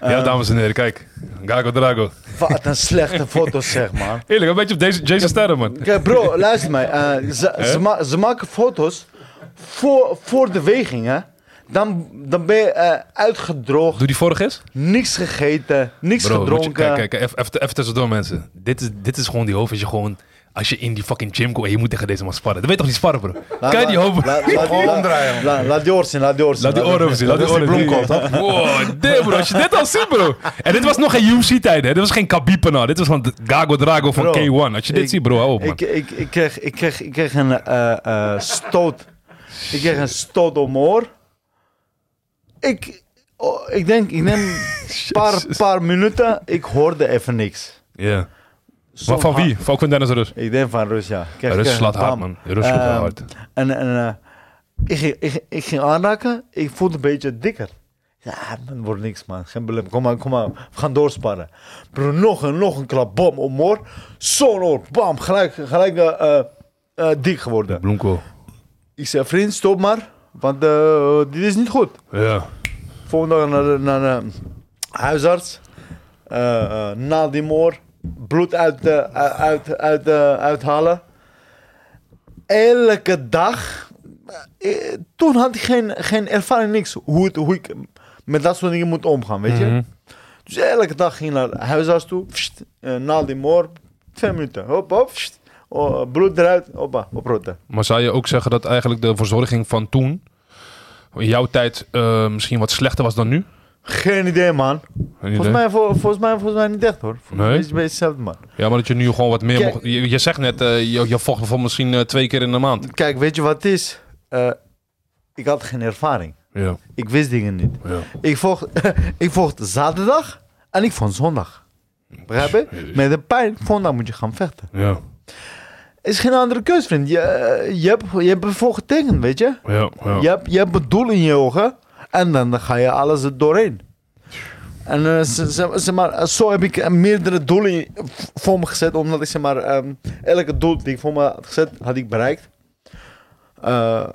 B: Ja,
C: eh,
B: dames en heren, kijk. Gago Drago.
C: wat een slechte foto zeg maar.
B: Eerlijk, een beetje op deze, Jason Sterren, man.
C: Kijk bro, luister mij. Eh, ze, ze ma- ze maken foto's voor, voor de weging, hè. Dan, dan ben je eh, uitgedroogd,
B: Doe die vorige eens.
C: niks gegeten, niks
B: Bro, moet je-
C: gedronken.
B: kijk, kijk, even, even, even tussendoor mensen. Dit is, dit is gewoon die hoofd als je gewoon... Als je in die fucking gym komt en je moet tegen deze man sparren. Dat weet toch niet sparren, bro?
C: Laat-
B: Kijk die
C: laat-
B: hoofd.
C: laat- laat-
E: Gewoon
C: laat-
E: omdraaien, man.
C: laat- Laat die oor zien, laat die oor zien.
B: Laat die oren even zien. Laat die oren zien. Wow, damn bro. Als je dit al ziet, bro. En dit was nog geen UFC-tijd, hè. Dit was geen Khabib en al. Dit was gewoon de Gago Drago van
C: Bro,
B: K1. Als je dit
C: ik-
B: ziet, bro, hou op, man.
C: Ik, ik, ik, kreeg, ik, kreeg, ik kreeg een eh, eh, stoot. Ik kreeg een stoot om mijn oor. Ik, oh, ik denk, ik neem een paar, paar minuten. Ik hoorde even niks.
B: Ja. Maar
C: Soms
B: van
C: ha-
B: wie? Van Quintennis Rus.
C: Ik denk van Rus, ja. Kijk,
B: Rus
C: kijk,
B: slaat hard,
C: bam.
B: man. Rus slaat
C: Ehm,
B: hard.
C: En, en eh, ik, ging, ik, ging- ik ging aanraken, ik voelde een beetje dikker. Ja, man, wordt niks, man. Geen probleem. Kom maar, kom maar. We gaan doorspannen. Bro, nog een, nog een klap. Bam, omhoor. Zo'n oor. Bam, gelijk, gelijk eh, eh, eh, dik geworden.
B: Bloemkool.
C: Ik zei, vriend, stop maar. Want eh, dit is niet goed.
B: Ja.
C: Volgende dag naar de, naar de huisarts. Eh, eh, na die moor. Bloed uit, de- uit, uit, uit, eh, uithalen. Elke dag. eh, toen had ik geen, geen ervaring, niks. Hoe, het, hoe ik met dat soort dingen moet omgaan, weet je.
B: Mhm.
C: Dus elke dag ging ik naar de huisarts toe. Pst, eh, na die moor. Twee minuten. Hop, hop. pst. Oh, bloed eruit. Hoppa, oprotten.
B: Maar zou je ook zeggen dat eigenlijk de verzorging van toen... in jouw tijd eh, misschien wat slechter was dan nu?
C: Geen idee, man.
B: Geen idee.
C: Volgens mij, vol- volgens mij, volgens mij niet echt, hoor. Volgens mij
B: Nee?
C: is het een beetje hetzelfde, man.
B: Ja, maar dat je nu gewoon wat meer
C: Kijk-
B: mocht... Je, je zegt net, eh, je, je vocht bijvoorbeeld misschien eh, twee keer in de maand.
C: Kijk, weet je wat het is? Eh, ik had geen ervaring.
B: Ja,
C: Ik wist dingen niet.
B: ja.
C: Ik vocht, ik vocht zaterdag en ik vond zondag. Begrijp je? Met de pijn, zondag moet je gaan vechten.
B: Ja,
C: is geen andere keus, vriend. Je, eh, je, hebt, je hebt ervoor getekend, weet je?
B: ja,
C: Je hebt, je hebt een doel in je ogen en dan ga je alles er doorheen. En eh, ze- ze- zeg maar, eh, zo heb ik eh, meerdere doelen v- voor me gezet. Omdat ik zeg maar, ehm, elke doel die ik voor me had gezet, had ik bereikt. Eh,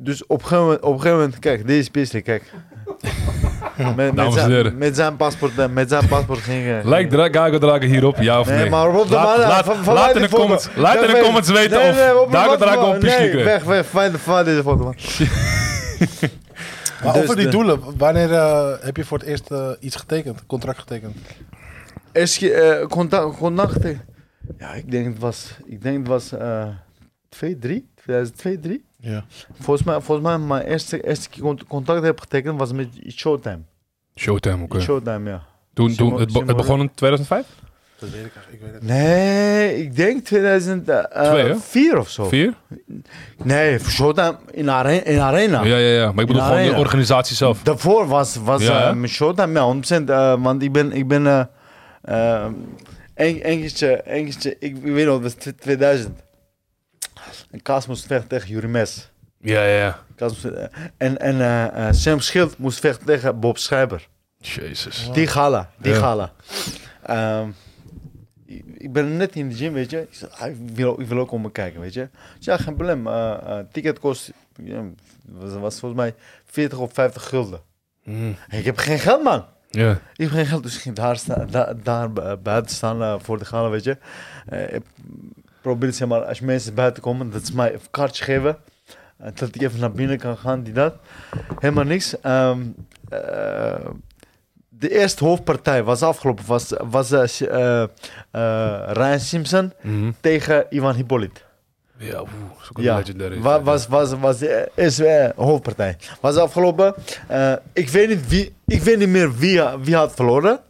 C: dus op een, gegeven moment, op een gegeven moment, kijk, deze piste, kijk. Met, met,
B: Dames en
C: zijn,
B: heren.
C: met zijn paspoort, eh, met zijn paspoort ging eh,
B: Lijkt Dra- Gago Drago hierop, ja of nee?
C: Nee, maar Rob de
B: laat,
C: Maandag,
B: laat,
C: van- van
B: laat
C: mij
B: in
C: die
B: de
C: foto.
B: comments, laat in
C: Weg,
B: de
C: weg.
B: comments weten
C: Nee,
B: of
C: nee, op-
B: Drago
C: wacht,
B: Drago
C: wacht,
B: een pies
C: Nee,
B: kreeg.
C: weg, weg, van, van deze foto, man.
A: Maar
C: Dus
A: over die
C: de-
A: doelen, wanneer eh, heb je voor het eerst eh, iets getekend, contract getekend?
C: Is eh, je contact, Ja, ik denk het was, ik denk het was eh 2, 3, 2002, 3.
A: Ja.
C: Volgens mij, volgens mij mijn eerste, eerste keer cont- contact heb getekend was met Showtime.
B: Showtime, oké.
C: Showtime, ja.
B: Toen, toen,
C: Simon-
B: het, be- het
C: Simon-
B: begon in 2005?
A: Dat weet ik eigenlijk, ik weet het
C: Nee, ik denk
B: Twee, hè?
C: 2004 of zo.
B: Vier?
C: Nee, Showtime in, are- in Arena.
B: Ja, ja, ja. Maar ik bedoel
C: Ja,
B: gewoon
C: ja.
B: de organisatie zelf.
C: Daarvoor was, was
B: Ja,
C: eh,
B: hè?
C: mijn Showtime, ja, 100%. eh, want ik ben, ik ben eh ehm, een, een keertje, een keertje, ik weet nog, het was tw- 2000. En Kaas moest vechten tegen Jurie Mes.
B: Ja, ja, ja.
C: Kaas moest- eh, en en eh, eh, Sam Schild moest vechten tegen Bob Schrijber.
B: Jezus.
C: Die gala, die
B: Ja.
C: gala. Ehm, ik- ik ben net in de gym, weet je. Ik, zei, ah, ik wil, ik wil ook komen kijken, weet je. Dus ja, geen probleem. Eh, eh, ticket kost, ja, was, was volgens mij 40 of 50 gulden.
B: Mm.
C: Ik heb geen geld, man.
B: Ja.
C: Ik heb geen geld, dus ik ging daar, sta, da- daar bu- buiten staan eh, voor de gala, weet je. Eh, ik probeer, zeg maar, als mensen buiten komen, dat ze mij een kaartje geven. eh, dat ik even naar binnen kan gaan, die dat. Helemaal niks. Ehm, eh, de eerste hoofdpartij was afgelopen, was, was eh, eh, eh, Ryan Simpson
B: Mhm.
C: tegen Ivan Hippolyt.
B: Ja, oeh. dat is ook een
C: Ja,
B: legendary.
C: wa- was, was, was de eerste eh, hoofdpartij. Was afgelopen. Eh, ik, weet niet wie, ik weet niet meer wie, wie had verloren.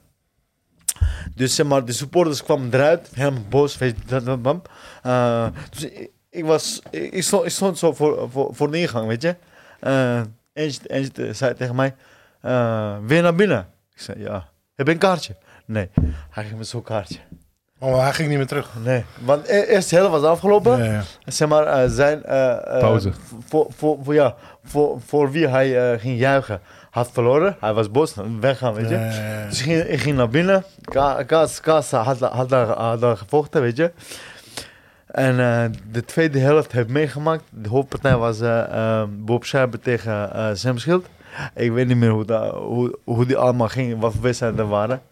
C: Dus zeg maar, de supporters kwamen eruit. Helemaal boos. Weet je, dat, dat, bam. Eh, dus ik, ik was, ik, ik stond, ik stond zo voor, voor, voor de ingang, weet je. Eh eentje, eentje zei tegen mij, eh weer naar binnen. Ik zei, ja. Heb je een kaartje? Nee. Hij geeft me zo'n kaartje.
A: Oh, maar hij ging niet meer terug.
C: Nee. Want e- eerst de helft was afgelopen
A: Ja, ja.
C: zeg maar, eh, zijn... eh, eh,
B: Pauze.
C: Voor, voor, voor, ja, voor, voor wie hij eh, ging juichen. Had verloren, hij was boos, weggaan, weet je.
A: Ja, ja, ja.
C: Dus ik ging, ik ging naar binnen. Ka- Kaas, Kaas had, had, daar, had daar gevochten, weet je. En eh, de tweede helft heb ik meegemaakt. De hoofdpartij was eh, eh, Bob Schijber tegen eh Sam Schild. Ik weet niet meer hoe, dat, hoe, hoe die allemaal ging, wat voor wedstrijden er waren.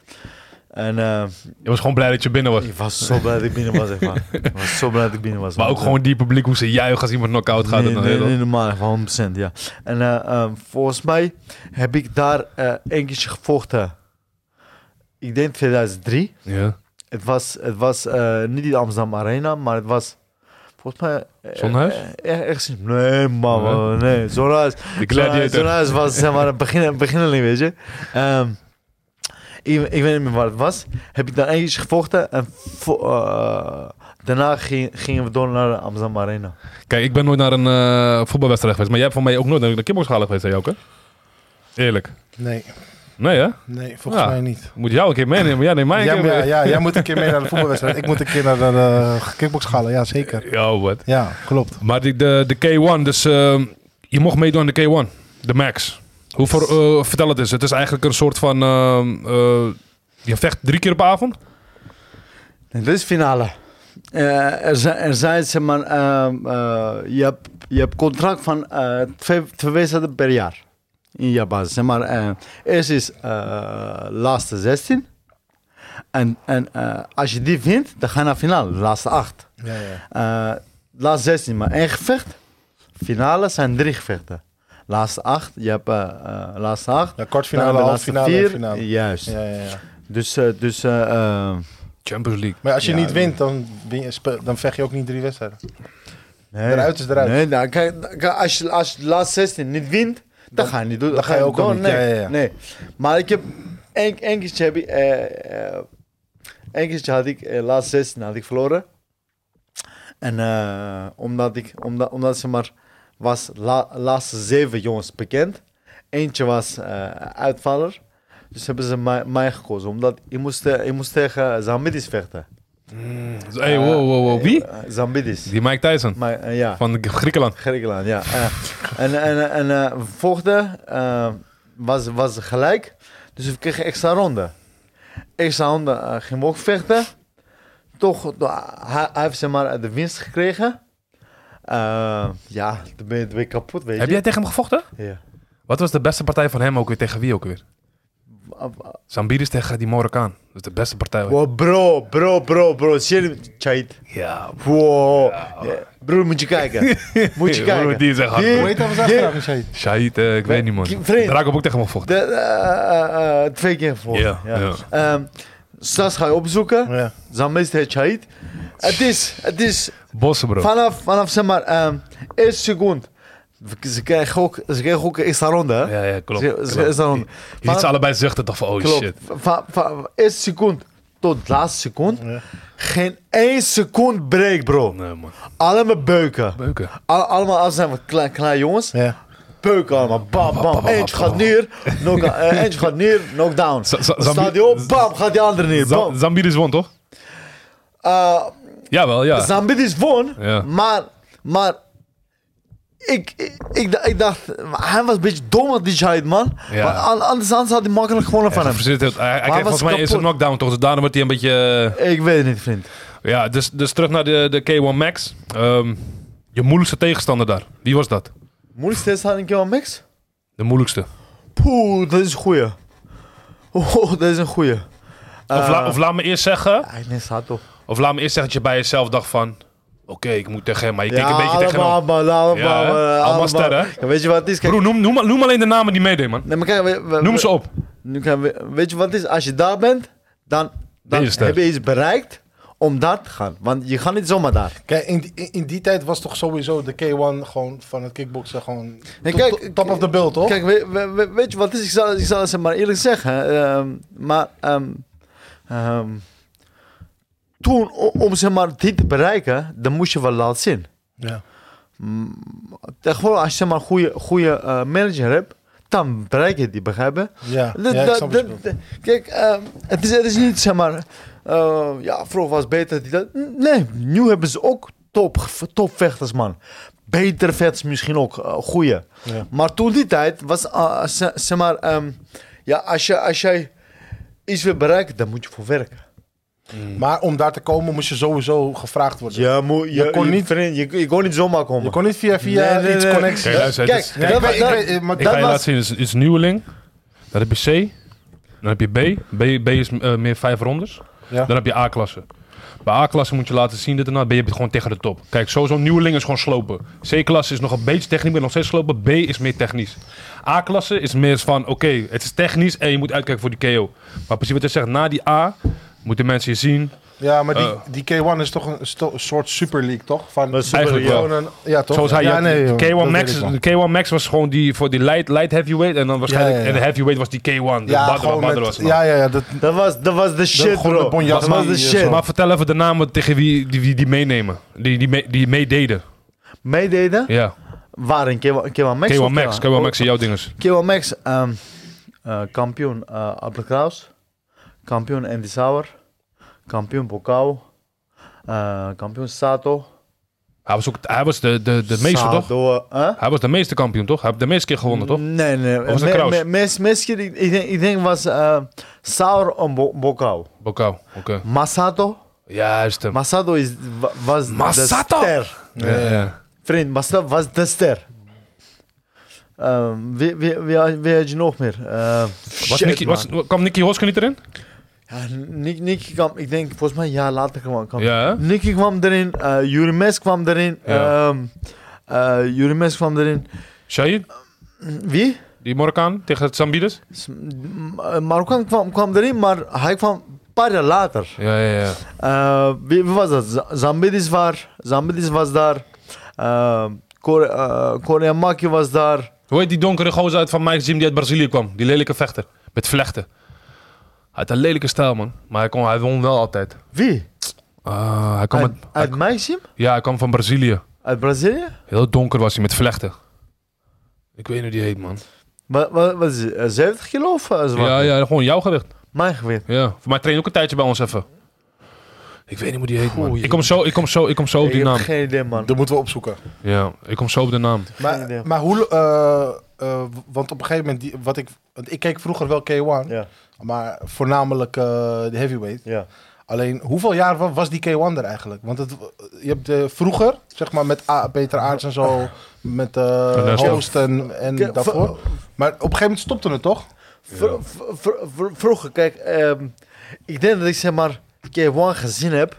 C: En eh,
B: Je was gewoon blij dat je binnen was.
C: ik was zo blij dat ik binnen was, echt waar. Ik was zo blij dat ik binnen was.
B: Maar ook
C: want, eh,
B: gewoon die publiek hoe ze juichen als iemand knock-out gaat. nou en
C: nee,
B: dan,
C: nee,
B: heel-
C: nee, normaal, gewoon 100%. Ja. En eh, ehm, volgens mij heb ik daar eh een keertje gevochten. Ik denk 2003.
B: Ja.
C: Het was, het was eh, niet in de Amsterdam Arena, maar het was volgens mij. eh,
B: Zonhuis?
C: eh, eh, ergens in- nee, man, man, nee. Zonhuis.
B: De gladiator.
C: Zonhuis was zeg maar een begin, beginneling, weet je. Ehm, ik, ik weet niet meer waar het was. Heb ik daar een keertje gevochten en vo- eh, daarna ging- gingen we door naar de Amsterdam Arena.
B: Kijk, ik ben nooit naar een eh, voetbalwedstrijd geweest. Maar jij hebt voor mij ook nooit naar een kickboxgala geweest, hè, Joke? Eerlijk.
A: Nee,
B: Nee, hè?
A: nee, volgens
B: Ja.
A: mij niet.
B: Moet jou een keer meenemen. Ja, nee, mij een
A: Ja,
B: keer
A: maar ja,
B: mee.
A: ja, jij moet een keer mee naar de voetbalwedstrijd. Ik moet een keer naar de eh, kickboxschalen, ja zeker.
B: Ja, wat.
A: Ja, klopt.
B: Maar die- de, de K1, dus ehm, je mocht meedoen aan de K1. De Max. Hoe voor, eh, vertel het eens. Het is eigenlijk een soort van... ehm, eh, je vecht drie keer op avond?
C: En dit is finale. Eh, er, zijn, er zijn, zeg maar, ehm, eh, je, hebt, je hebt contract van eh, twee, twee wedstrijden per jaar. In je basis. Zeg maar, eh, eerst is eh laatste 16. En, en eh, als je die wint, dan ga je naar finale. De laatste 8.
A: Ja, ja.
C: Eh laatste 16, maar één gevecht. Finale zijn drie gevechten. Laatste 8. Je hebt eh, eh, laatste 8.
A: Ja, kwartfinale, halffinale, en finale.
C: Juist.
A: Ja, ja, ja.
C: Dus, eh, dus eh, eh,
B: Champions League.
A: Maar als je
C: Ja,
A: niet wint, dan, win je spe- dan vecht je ook niet drie wedstrijden.
C: Nee.
A: Eruit is eruit.
C: Nee, nou, kijk, nou, kijk, als, je, als je de laatste 16 niet wint, dan, ga je niet doen. Dan,
A: ga je ook al
C: door,
A: niet.
C: Nee,
A: Ja, ja, ja.
C: nee. Maar ik heb één één keertje heb ik, eh, eh, één keertje had ik eh, laatste 16 had ik verloren. En eh, omdat ik, omdat, omdat ze maar was la, laatste zeven jongens bekend. Eentje was eh, uitvaller. Dus hebben ze mij, mij gekozen. Omdat ik moest, eh, ik moest tegen Zambidis vechten.
B: hey, wow, wow, wow. Wie?
C: Eh, Zambidis.
B: Die Mike Tyson.
C: Maar, eh, ja.
B: Van Griekenland.
C: Griekenland, ja. Eh, en en, en eh, volgde eh, was, was gelijk. Dus we kregen extra ronde. Extra ronde eh, gingen we ook vechten. Toch, eh, hij, hij heeft zeg maar de winst gekregen. Eh, ja, dan ben, je, dan ben je kapot, weet
B: Heb
C: je.
B: jij tegen hem gevochten?
C: Ja.
B: Wat was de beste partij van hem ook weer? Tegen wie ook weer? Zambiris tegen die Morocaan. Dat is de beste partij. ooit.
C: Wow, bro, bro, bro, bro. Serieus, Chait.
B: Ja,
C: Wow. Broer, moet je kijken. Moet je
B: Broer,
C: kijken.
B: die is echt hard,
C: Die-
A: Hoe heet dat? Wat is
C: die-
A: dat? Shade.
B: Shahid, eh, ik weet niet man.
C: Vreemd.
B: Draak heb ook tegen hem gevochten.
C: de, eh, eh, eh, twee keer voor.
B: Ja, ja.
C: Ehm, straks ga je opzoeken.
A: Ja.
C: Zamist het Chait. Het is, het is
B: Bossen bro.
C: vanaf, vanaf zeg maar, ehm eerste seconde. Ze krijgen ook, ze krijgen ook een extra ronde. hè?
B: Ja, ja, klopt.
C: Ze-
B: klopt.
C: ze- extra ronde.
B: Je ziet ze
C: Vanaf-
B: allebei zuchten toch van oh
C: Klopt.
B: shit.
C: Van, van eerste seconde tot laatste seconde. Geen één seconde break, bro.
B: Nee man.
C: Allemaal beuken.
B: Beuken.
C: Al- allemaal als zijn we klein, klein jongens.
A: Ja.
C: Beuken allemaal. Bam,
B: bam,
C: bam.
B: bam,
C: Eentje
B: bam.
C: gaat neer. knock- eh, Eentje gaat neer. Knockdown.
B: Za- za-
C: Staat
B: Zambi-
C: hij op. Bam. Gaat die andere neer.
B: Za-
C: Bam.
B: Zambiris won toch?
C: Eh,
B: Jawel, ja.
C: Zambidis won.
B: Ja.
C: Maar, maar ik, ik, ik, da- ik dacht, hij was een beetje dom wat die Jaid, man.
B: Ja.
C: Maar an- anders, anders had hij makkelijk gewonnen van
B: Hij
C: hem.
B: verzint het- hij- hij kreeg
C: was
B: volgens mij eerst een
C: kapot.
B: knockdown toch, dus daarna wordt hij een beetje... eh,
C: Ik weet het niet, vriend.
B: ja, dus, dus terug naar de, de K1 Max. Ehm, je moeilijkste tegenstander daar, wie was dat?
C: Moeilijkste is aan een keer Max?
B: De moeilijkste.
C: Poeh, dat is een goeie. Oh, dat is een goeie. Eh,
B: Of, la- of laat me eerst zeggen,
C: Eigenlijk staat toch.
B: Of laat me eerst zeggen dat je bij jezelf dacht van... Oké, ik moet tegen hem, maar je keek een beetje tegen
C: allemaal,
B: hem.
C: allemaal, allemaal,
B: Ja, hè?
C: allemaal,
B: Allemaal sterren, hè?
C: Ja, weet je wat het is? Kijk,
B: Broer, noem, noem, noem alleen de namen die meedeed, man.
C: nee, maar kijk, we- we-
B: Noem
C: we-
B: ze op.
C: Nu kan we, weet je wat het is? Als je daar bent, dan, dan
B: Deze ster.
C: heb je iets bereikt om daar te gaan. Want je gaat niet zomaar daar.
A: Kijk, in, die- in, in die tijd was toch sowieso de K1 gewoon van het kickboksen gewoon
C: Nee,
A: to-
C: kijk,
A: to- top of the bill, toch?
C: Kijk, we- we- we- weet je wat het is? Ik zal, ik zal het maar eerlijk zeggen. ehm, maar ehm, ehm, toen, o- om zeg maar, dit te bereiken, dan moest je wel laten zien.
A: ja.
C: Tegenwoordig, als je zeg maar, een goede, goede eh, manager hebt, dan bereik je die, begrijpen?
A: Ja,
C: Dat-
A: ja, ik
C: dat-
A: snap wat je
C: dat-
A: bedoelt.
C: dat- kijk, ehm, het, is, het is niet zeg maar. eh, ja, vroeger was beter. Die, dat, nee, nu hebben ze ook top, topvechters, man. Betere vechters misschien ook, eh, goeie.
A: Ja.
C: Maar toen die tijd was, eh, ze- zeg maar, ehm, ja, als, je, als jij iets wil bereiken, dan moet je voor werken.
A: Maar om daar te komen moest je sowieso gevraagd worden.
C: Ja, moet, je,
A: kon
C: je-
A: niet-
C: vriend, je, je kon niet zomaar
A: Je
C: komen.
A: kon niet via, via
C: Nee, nee,
A: iets
C: nee.
A: connecties.
B: Kijk, luister, het
C: Kijk,
B: is-
A: Ja, dus-
C: dat,
A: ik
C: was-
A: weet- ik
C: dat-
A: weet- maar
B: Ik
A: dat
B: ga je
A: was-
B: laten zien, het is, het is nieuweling. Dan heb je C. Dan heb je B. B, B is eh, meer vijf rondes.
A: Ja.
B: Dan heb je A-klasse. Bij A-klasse moet je laten zien dat en dat. B heb je gewoon tegen de top. Kijk, sowieso nieuweling is gewoon slopen. C-klasse is nog een beetje technisch, maar nog steeds slopen. B is meer technisch. A-klasse is meer van, oké, het is technisch en je moet uitkijken voor die KO. Maar precies wat je zegt, na die A moeten mensen je zien.
A: Ja, maar die,
B: Eh.
A: die K1 is toch een sto- soort Super League, toch? Van
B: Eigenlijk wel.
A: gewoon een, ja, toch?
B: Zoals hij,
A: ja,
B: de
A: joh, dat
B: K1 Max,
A: weet ik
B: is-
A: wel.
B: de K1 Max was gewoon die voor die light, light heavyweight en dan waarschijnlijk
A: Ja, ja, ja.
B: en de heavyweight was die K1. De
A: Ja,
B: Badr-
A: gewoon
B: Badr
A: met-
B: was het nog.
A: ja, ja, ja. Dat,
C: dat was, dat was de shit,
A: gewoon
C: bro.
A: de Bonjasma
C: Dat was de
A: hier,
C: shit.
A: zo.
B: Maar vertel even de namen tegen wie die, die, die meenemen. Die, die, mee- die meededen.
C: Meededen?
B: Ja.
C: Waar in K1 K1 Max?
B: K1
C: of
B: Max. K1 Max zijn jouw dinges.
C: Kiwa Max, ehm, eh, kampioen eh Abel Kraus, kampioen Andy Sauer, kampioen Bokau, eh, kampioen Sato.
B: Hij was, ook, hij was de, de, de meester, toch?
C: Sato, eh?
B: Hij was de meeste kampioen, toch? Hij heeft de meeste keer
C: Mm.
B: gewonnen, toch?
C: Nee, nee.
B: was het
C: Me-
B: Kraus?
C: me- meest- meest keer, ik, ik, denk, ik denk was eh Sauer en Bo Bokau.
B: Bokau. Oké.
C: Masato.
B: Ja, juist hem.
C: Masato is, wa- was
B: Masato!
C: de ster.
B: Ja, ja.
C: Vriend, Masato was de ster. Ehm, wie, wie, wie, had- wie had je nog meer? Eh,
B: Was
C: shit,
B: Nicky,
C: man.
B: was, kwam Nicky Hoske niet erin?
C: Ja, Nick, Nicky kwam, ik denk volgens mij een jaar later kwam. kwam.
B: Ja, hè?
C: Nicky kwam erin, eh Yuri Mes kwam erin,
B: Ja.
C: ehm eh, Yuri Mes kwam erin.
B: Shahid?
C: Wie?
B: Die Morocaan tegen het Zambides?
C: S- M- eh, Marokkaan kwam, kwam erin, maar hij kwam een paar jaar later.
B: Ja, ja, ja.
C: Eh, wie, wie was dat? Z- Zambidis, waar, Zambidis was daar, uh, Kore, eh, Koreamaki was daar.
B: Hoe heet die donkere gozer uit van Mike's Gym die uit Brazilië kwam? Die lelijke vechter. Met vlechten. Hij had een lelijke stijl, man. Maar hij, kon, hij won wel altijd.
C: Wie?
B: Ah, hij kwam
C: uit
B: uit,
C: uit Maxim?
B: ja, hij kwam van Brazilië.
C: Uit Brazilië?
B: Heel donker was hij, met vlechten. Ik weet niet hoe die heet, man.
C: Wat, wat, wat is het, eh, 70 kilo of eh, zwaar?
B: Ja, ja, gewoon jouw gewicht.
C: Mijn gewicht.
B: Ja. Voor mij train ook een tijdje bij ons even. Ik weet niet hoe die heet, man.
C: Goeie.
B: Ik kom zo, ik kom zo, ik kom zo op
C: Ik
B: die
C: heb
B: naam.
C: geen idee, man.
A: dat moeten we opzoeken.
B: Ja, ik kom zo op de naam.
A: Maar,
C: idee.
A: maar hoe, eh, eh, want op een gegeven moment, die, wat ik, want ik keek vroeger wel K1,
F: Ja,
A: maar voornamelijk eh, de heavyweight.
F: ja.
A: Alleen, hoeveel jaar wa- was die K1 er eigenlijk? Want het, je hebt eh, vroeger, zeg maar met A- Peter Aarts en zo, met eh
B: Ernesto.
A: Host en, en
F: Ke-
A: daarvoor. Maar op een gegeven moment stopte het toch?
B: Ja.
C: Vro- vro- vro- vro- vroeger, kijk, ehm, ik denk dat ik zeg maar keer one gezien heb.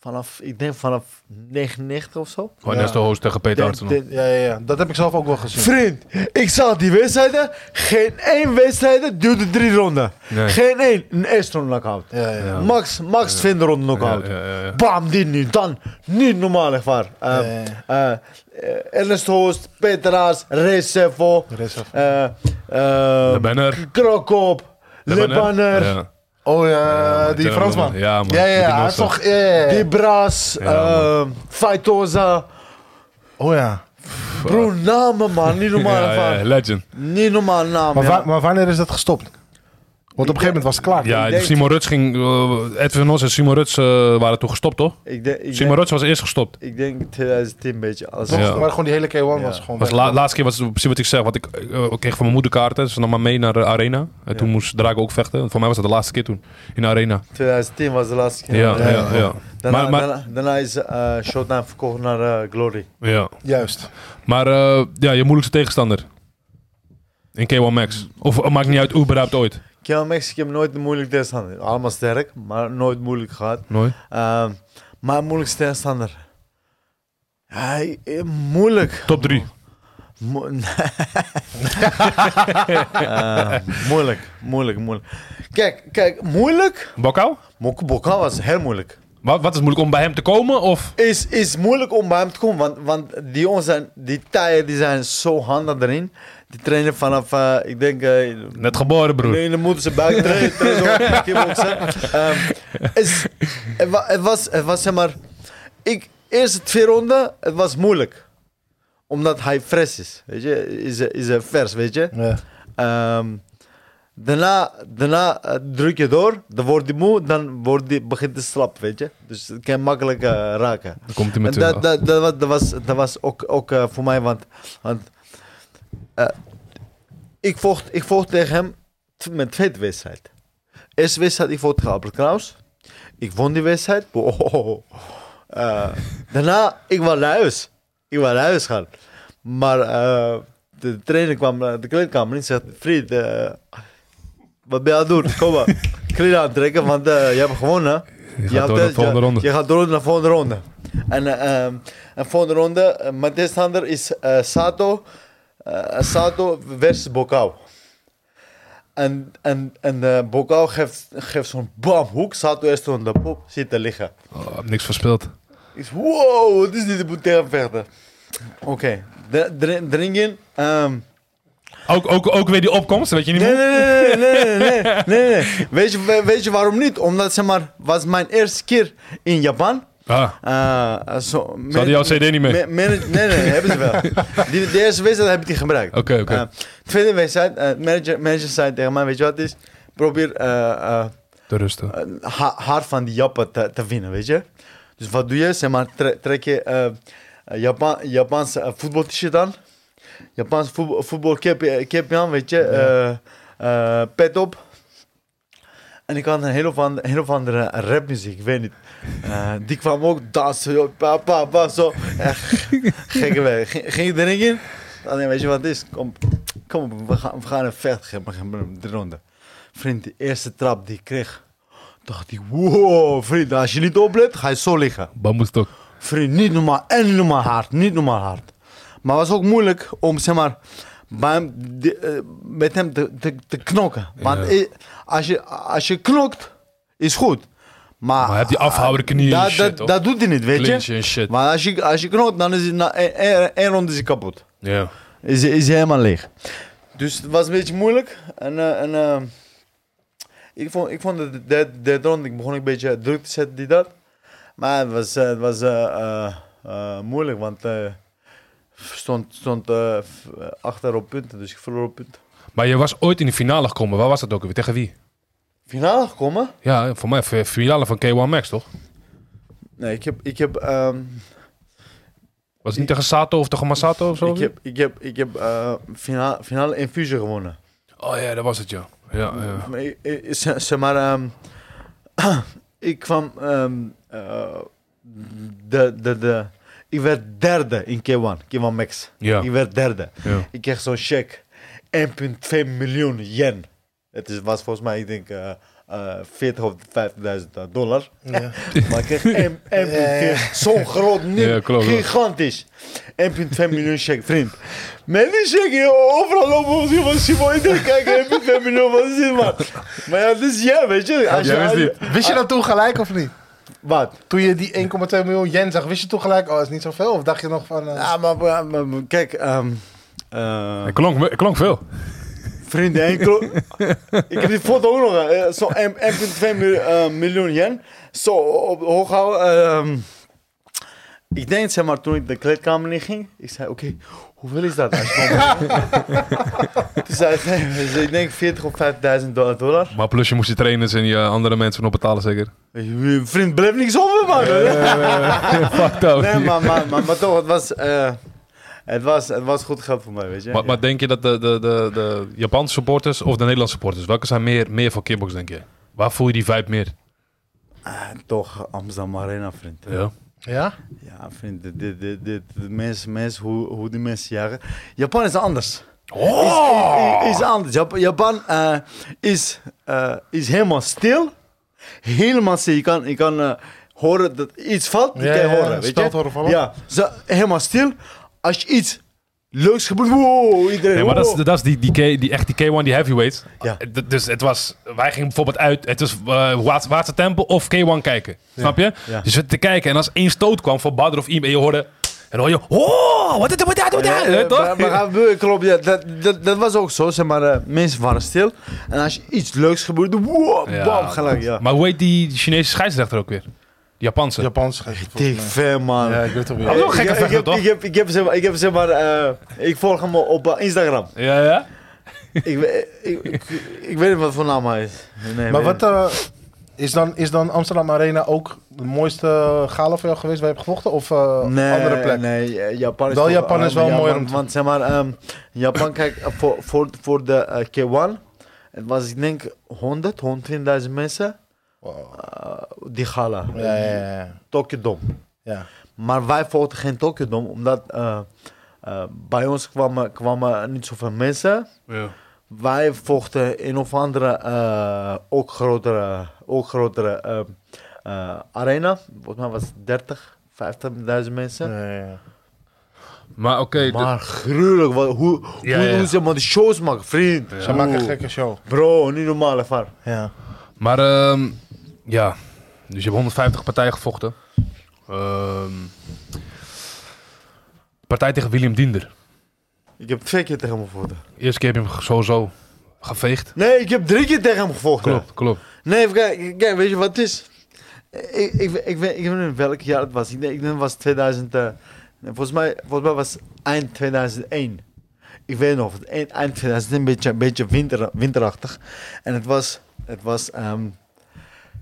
C: Vanaf, ik denk vanaf 99 of zo.
B: Gewoon Ernesto Hoos tegen Peter
C: Denk-
B: Artsen.
C: denk-
A: Ja, ja, ja, dat heb ik zelf ook wel gezien.
C: Vriend, ik zag die wedstrijden. Geen één wedstrijd duurde drie ronden.
B: Nee.
C: Geen één. Een eerste ronde knockout.
A: ja, ja.
B: Ja.
C: Max, max tweede ronde knockout.
B: Ja, ja, ja, ja.
C: Bam, dit nu, dan. Niet normaal, echt waar. Eh,
A: Ja, ja.
C: eh, eh, Ernest Hoost, Peter Haas, Recevo,
A: Recevo.
C: eh, eh,
B: De banner.
C: Krokop,
B: De
C: Le Banner,
B: Ja.
A: Oh ja,
B: met
A: die
B: die
A: Fransman.
B: Nederlander. Ja, man.
A: Ja,
B: Met die
A: ja, hij is
B: Nederlander.
A: toch. Ja, ja, ja.
C: Die Bras,
B: Ja, man.
C: eh, Faitoza.
A: Oh ja.
C: Bro, namen man, niet normaal,
B: Ja,
C: echt
B: ja,
C: waar.
B: ja, legend.
C: Niet normaal namen.
A: Maar,
C: ja.
A: wa- maar wanneer is dat gestopt? Want op een gegeven moment was het klaar.
B: Ja,
C: denk-
B: Simon Ruts ging... eh, Edwin Nos en Simon Ruts eh, waren toen gestopt, toch?
C: Ik denk, ik
B: Simon
C: denk,
B: Ruts was eerst gestopt.
C: ik denk 2010 een beetje. Alles
A: Toch?
B: Ja.
A: Maar gewoon die hele K1 was gewoon.
B: Was
A: weg.
B: la- laatste keer was het precies wat ik zeg. Want ik eh, ik kreeg van mijn moeder kaarten. Ze nam me mee naar de arena. En toen moest Drago ook vechten. Voor mij was dat de laatste keer toen. In de arena.
C: 2010 was de laatste keer.
B: Ja, ja,
A: ja,
B: ja.
C: Daarna,
B: Maar, maar,
C: daarna, daarna is eh Showtime verkocht naar eh, Glory.
B: ja.
A: Juist.
B: maar eh, ja, je moeilijkste tegenstander. In K1 Max. Of eh, maakt niet uit, überhaupt ooit.
C: Kiel Mexico, ik heb nooit een moeilijk tegenstander. Allemaal sterk, maar nooit moeilijk gehad.
B: Nooit.
C: Ehm, maar moeilijk tegenstander. Ja, eh, moeilijk.
B: Top 3.
C: Mo- Eh, moeilijk, moeilijk, moeilijk. Kijk, kijk, moeilijk.
B: Bokau?
C: Mokko Bokka was heel moeilijk.
B: Wat, wat is moeilijk om bij hem te komen? Of?
C: Is, is moeilijk om bij hem te komen, want, want die jongens zijn, die taaien, die zijn zo handig erin. Die trainen vanaf, eh, ik denk, eh,
B: Net geboren, broer.
C: Nee, dan moeten ze buik trainen. trainen ze ook met kickboksen. Ehm, is- het, wa- het was, het was zeg maar... Ik, eerste twee ronden, het was moeilijk. Omdat hij fris is, weet je. Is, is eh, vers, weet je.
A: Ja.
C: Ehm, daarna daarna eh, druk je door, dan wordt hij moe, dan wordt die, begint hij slap, weet je. Dus het kan makkelijk eh, raken.
B: Dan komt hij met eh,
C: En dat, dat, dat, was- dat was, dat was ook, ook eh, voor mij, want, want eh, ik, vocht, ik vocht tegen hem t- mijn tweede wedstrijd. Eerste wedstrijd, ik vocht tegen Albert Kraus. Ik won die wedstrijd. Wow. Eh, daarna, ik was naar huis. Ik was naar huis gaan. Maar eh, de trainer kwam naar de kleedkamer en zegt, Fried, eh, wat ben je aan het doen? Kom maar. Kleren aantrekken, want eh, je hebt gewonnen.
B: Je gaat door naar de volgende ronde.
C: Je gaat door naar de volgende ronde. En de volgende ronde, eh, mijn tegenstander is eh, Sato, eh, Sato versus Bokau. En, en, en eh, Bokau geeft, geeft zo'n bam hoek, Sato eerst op de pop zit te liggen.
B: Oh, niks verspeeld.
C: Ik zeg, wow, wat is dit? Ik moet tegen hem vechten. Oké, dr- dr- dring in. ehm,
B: Ook, ook, ook weer die opkomst, weet je niet
C: Nee,
B: meer?
C: nee, nee, nee, nee, nee, nee, nee. Weet je, we- weet je waarom niet? Omdat, zeg maar, was mijn eerste keer in Japan.
B: Ah,
C: Eh, eh, zo,
B: ze hadden jouw CD niet mee.
C: Ma- manage- nee, nee, hebben ze wel. Die, de eerste wedstrijd heb ik die gebruikt.
B: Oké, oké.
C: Eh, tweede wedstrijd, eh, manager, manager zei tegen mij, weet je wat het is? Probeer eh, eh,
B: De rusten.
C: een ha- haar van die Japan te, te winnen, weet je? Dus wat doe je? Zeg maar, tre- trek je eh Japan, Japanse eh, voetbalt-shirt aan. Japanse voetbal, voetbalcap eh, capje aan, weet je? eh, eh, pet op. En ik had een heel of andere, heel of andere rapmuziek, ik weet niet. Eh, die kwam ook dansen, joh, pa, pa, pa, zo. Echt gekke weg. Ging, ging ik erin in? Alleen, weet je wat het is? Kom, kom op, we gaan, we gaan een vecht geven, de ronde. Vriend, de eerste trap die ik kreeg, dacht ik, wow, vriend, als je niet oplet, ga je zo liggen.
B: Bamboestok.
C: Vriend, niet normaal, en normaal hard, niet normaal hard. Maar het was ook moeilijk om, zeg maar, bij hem, de- eh, met hem te, te, te knokken. Want
B: Ja.
C: eh, als, je, als je knokt, is goed. Maar,
B: Maar heb die afhouden knieën en
C: dat,
B: shit,
C: dat,
B: toch?
C: dat doet hij niet, weet
B: Clinch en
C: je.
B: shit.
C: Maar als je, als je knokt, dan is hij na één- één één ronde is hij kapot
B: Ja.
C: is, is hij helemaal leeg. Dus het was een beetje moeilijk. En, eh, en eh, ik, vond, ik vond de derde, derde ronde, ik begon een beetje druk te zetten, die dat. Maar het was, eh, het was eh, eh, eh, moeilijk, want eh, stond, stond eh, f- eh, achter op punten, dus ik verloor op punten.
B: Maar je was ooit in de finale gekomen. Waar was dat ook weer? Tegen wie?
C: Finale gekomen?
B: Ja, voor mij fi- finale van K1 Max, toch?
C: Nee, ik heb, ik heb ehm,
B: Was het niet tegen Sato of tegen Masato of zo?
C: Ik heb, ik heb, ik heb eh, fina- finale infusie gewonnen.
B: Oh ja, dat was het, ja. Ja, ja.
C: Maar, ik- ik- ze- zeg maar, ehm, ik kwam, ehm, eh, de, de, de, ik werd derde in K1, K1 Max.
B: Ja.
C: Ik werd derde.
B: Ja.
C: Ik kreeg zo'n check, 1,2 miljoen yen. Het is, was volgens mij, ik denk, eh eh 40 of 50.000 dollar.
A: Ja.
C: Maar ik kreeg een- een- zo'n groot nieuw,
B: Ja, klopt, klopt.
C: gigantisch. 1,2 miljoen check, vriend. Met die check, joh, overal lopen we zien van Simon. Ik denk, kijk, 1,2 miljoen, wat is dit, man? Maar ja, dit is ja, weet je. Als
B: Jij
C: je, als
B: wist
C: je
B: niet.
A: Wist je dat toen gelijk of niet?
C: wat?
A: Toen je die 1,2 miljoen yen zag, wist je toen gelijk, oh, is niet zoveel? Of dacht je nog van... eh,
C: Ja, maar, maar- maar- maar kijk, ehm eh,
B: Het klonk, het klonk veel.
C: vrienden, ik, ik heb die foto ook nog, eh, zo'n 1,2 mil- eh, miljoen yen. Zo op hoog houden. ehm, ik denk, zeg maar, toen ik de kleedkamer in ging, ik zei, oké, hoeveel is dat? Toen zei hij, dus ik denk 40 of 5000 dollar. dollar.
B: Maar plus je moest je trainers en je andere mensen nog betalen zeker.
C: Je Vriend, blijf niks over, man.
B: Fuck dat.
C: Nee, maar, maar, maar, maar toch, het was, eh, het, was, het was goed geld voor mij, weet je.
B: Maar, maar denk je dat de, de, de, de Japanse supporters of de Nederlandse supporters, welke zijn meer, meer voor kickbox denk je? Waar voel je die vibe meer?
C: Toch, Amsterdam Arena, vriend.
B: Ja.
A: ja?
C: Ja, vriend, dit, dit, dit, dit- de mensen, mensen hoe, hoe die mensen jagen. Japan is anders. Is, is, is anders. Jap- Japan eh, is, eh, is helemaal stil. Helemaal stil. Je kan, je kan eh, horen dat iets valt. die
A: Ja,
C: kan je
A: ja,
C: horen.
A: ja.
C: weet
A: Stelt
C: je?
A: horen vallen.
C: Ja, zo, helemaal stil. Als je iets leuks gebeurt, wow, iedereen.
B: Nee, maar dat is,
C: wow.
B: dat is die, die, K- die, echt die K1, die heavyweights.
C: Ja.
B: D- Dus het was, wij gingen bijvoorbeeld uit, het was eh Waatse, Waatse Tempel of K1 kijken. Snap je?
C: Ja.
B: Je zit te kijken en als één stoot kwam van Badr of iemand en je hoorde, en dan hoor je, oh, wat is dat, wat is dat, wat is dat?"
C: Ja,
B: Hè,
C: ja,
B: toch?
C: Maar, maar gaan we- klopt, ja, dat, dat, dat was ook zo. Zeg maar, eh, mensen waren stil. En als je iets leuks gebeurde, wow,
B: Ja,
C: bam, gelijk. Ja.
B: Maar hoe heet die Chinese scheidsrechter ook weer? Die Japanse.
A: Japans geeft
C: Dik ver, man.
A: Ja, ik weet
B: Dat
A: het weer.
B: is wel een gekke
C: ik, ik,
B: vechter,
C: heb,
B: toch?
C: ik heb, ik heb, zeg maar, ik heb zeg maar, eh, ik volg hem op eh, Instagram.
B: Ja, ja.
C: ik, we- ik, ik, ik weet niet wat voor naam hij is. Nee,
A: Maar
C: weet
A: wat... eh, is dan, is dan Amsterdam Arena ook de mooiste gala voor jou geweest waar je hebt gevochten? Of eh,
C: niet. nee,
A: andere plek?
C: Nee, eh, Japan is
A: Wel,
C: toch-
A: Japan is
C: eh,
A: wel
C: ja,
A: mooier om
C: Want,
A: te-
C: want zeg maar, ehm, Japan, kijk, eh, voor, voor, voor de eh, K1, het was ik denk 100, 120.000 mensen
A: Wow.
C: eh, die gala.
A: Ja, ja, ja, ja.
C: Tokyo Dome.
A: ja.
C: Maar wij volgden geen Tokyo Dome, omdat eh, eh, bij ons kwamen, kwamen niet zoveel mensen.
B: Ja.
C: Wij vochten een of andere, eh, ook grotere, ook grotere eh, eh, arena. Volgens mij was het 30, 50.000 mensen.
A: Ja, ja, ja.
B: Maar oké, de-
C: Maar gruwelijk, wat, hoe,
B: Ja,
C: hoe
B: ja.
C: doen ze maar de shows maken, vriend?
A: Ze maken een
C: Oeh,
A: gekke show.
C: Bro, niet normaal, ervan.
A: Ja.
B: Maar ehm, ja, dus je hebt 150 partijen gevochten. Ehm, partij tegen William Diender.
C: Ik heb twee keer tegen hem gevochten.
B: Eerste keer heb je hem sowieso geveegd.
C: Nee, ik heb drie keer tegen hem gevochten.
B: Klopt, klopt.
C: Nee, even kijken, kijk, weet je wat het is? Ik, ik, ik, weet, ik weet niet welk jaar het was. Ik denk, ik denk het was 2000. eh, volgens, mij, volgens mij was het eind 2001. Ik weet nog, het eind, eind 2001, een beetje, een beetje winter, winterachtig. En het was, het was ehm,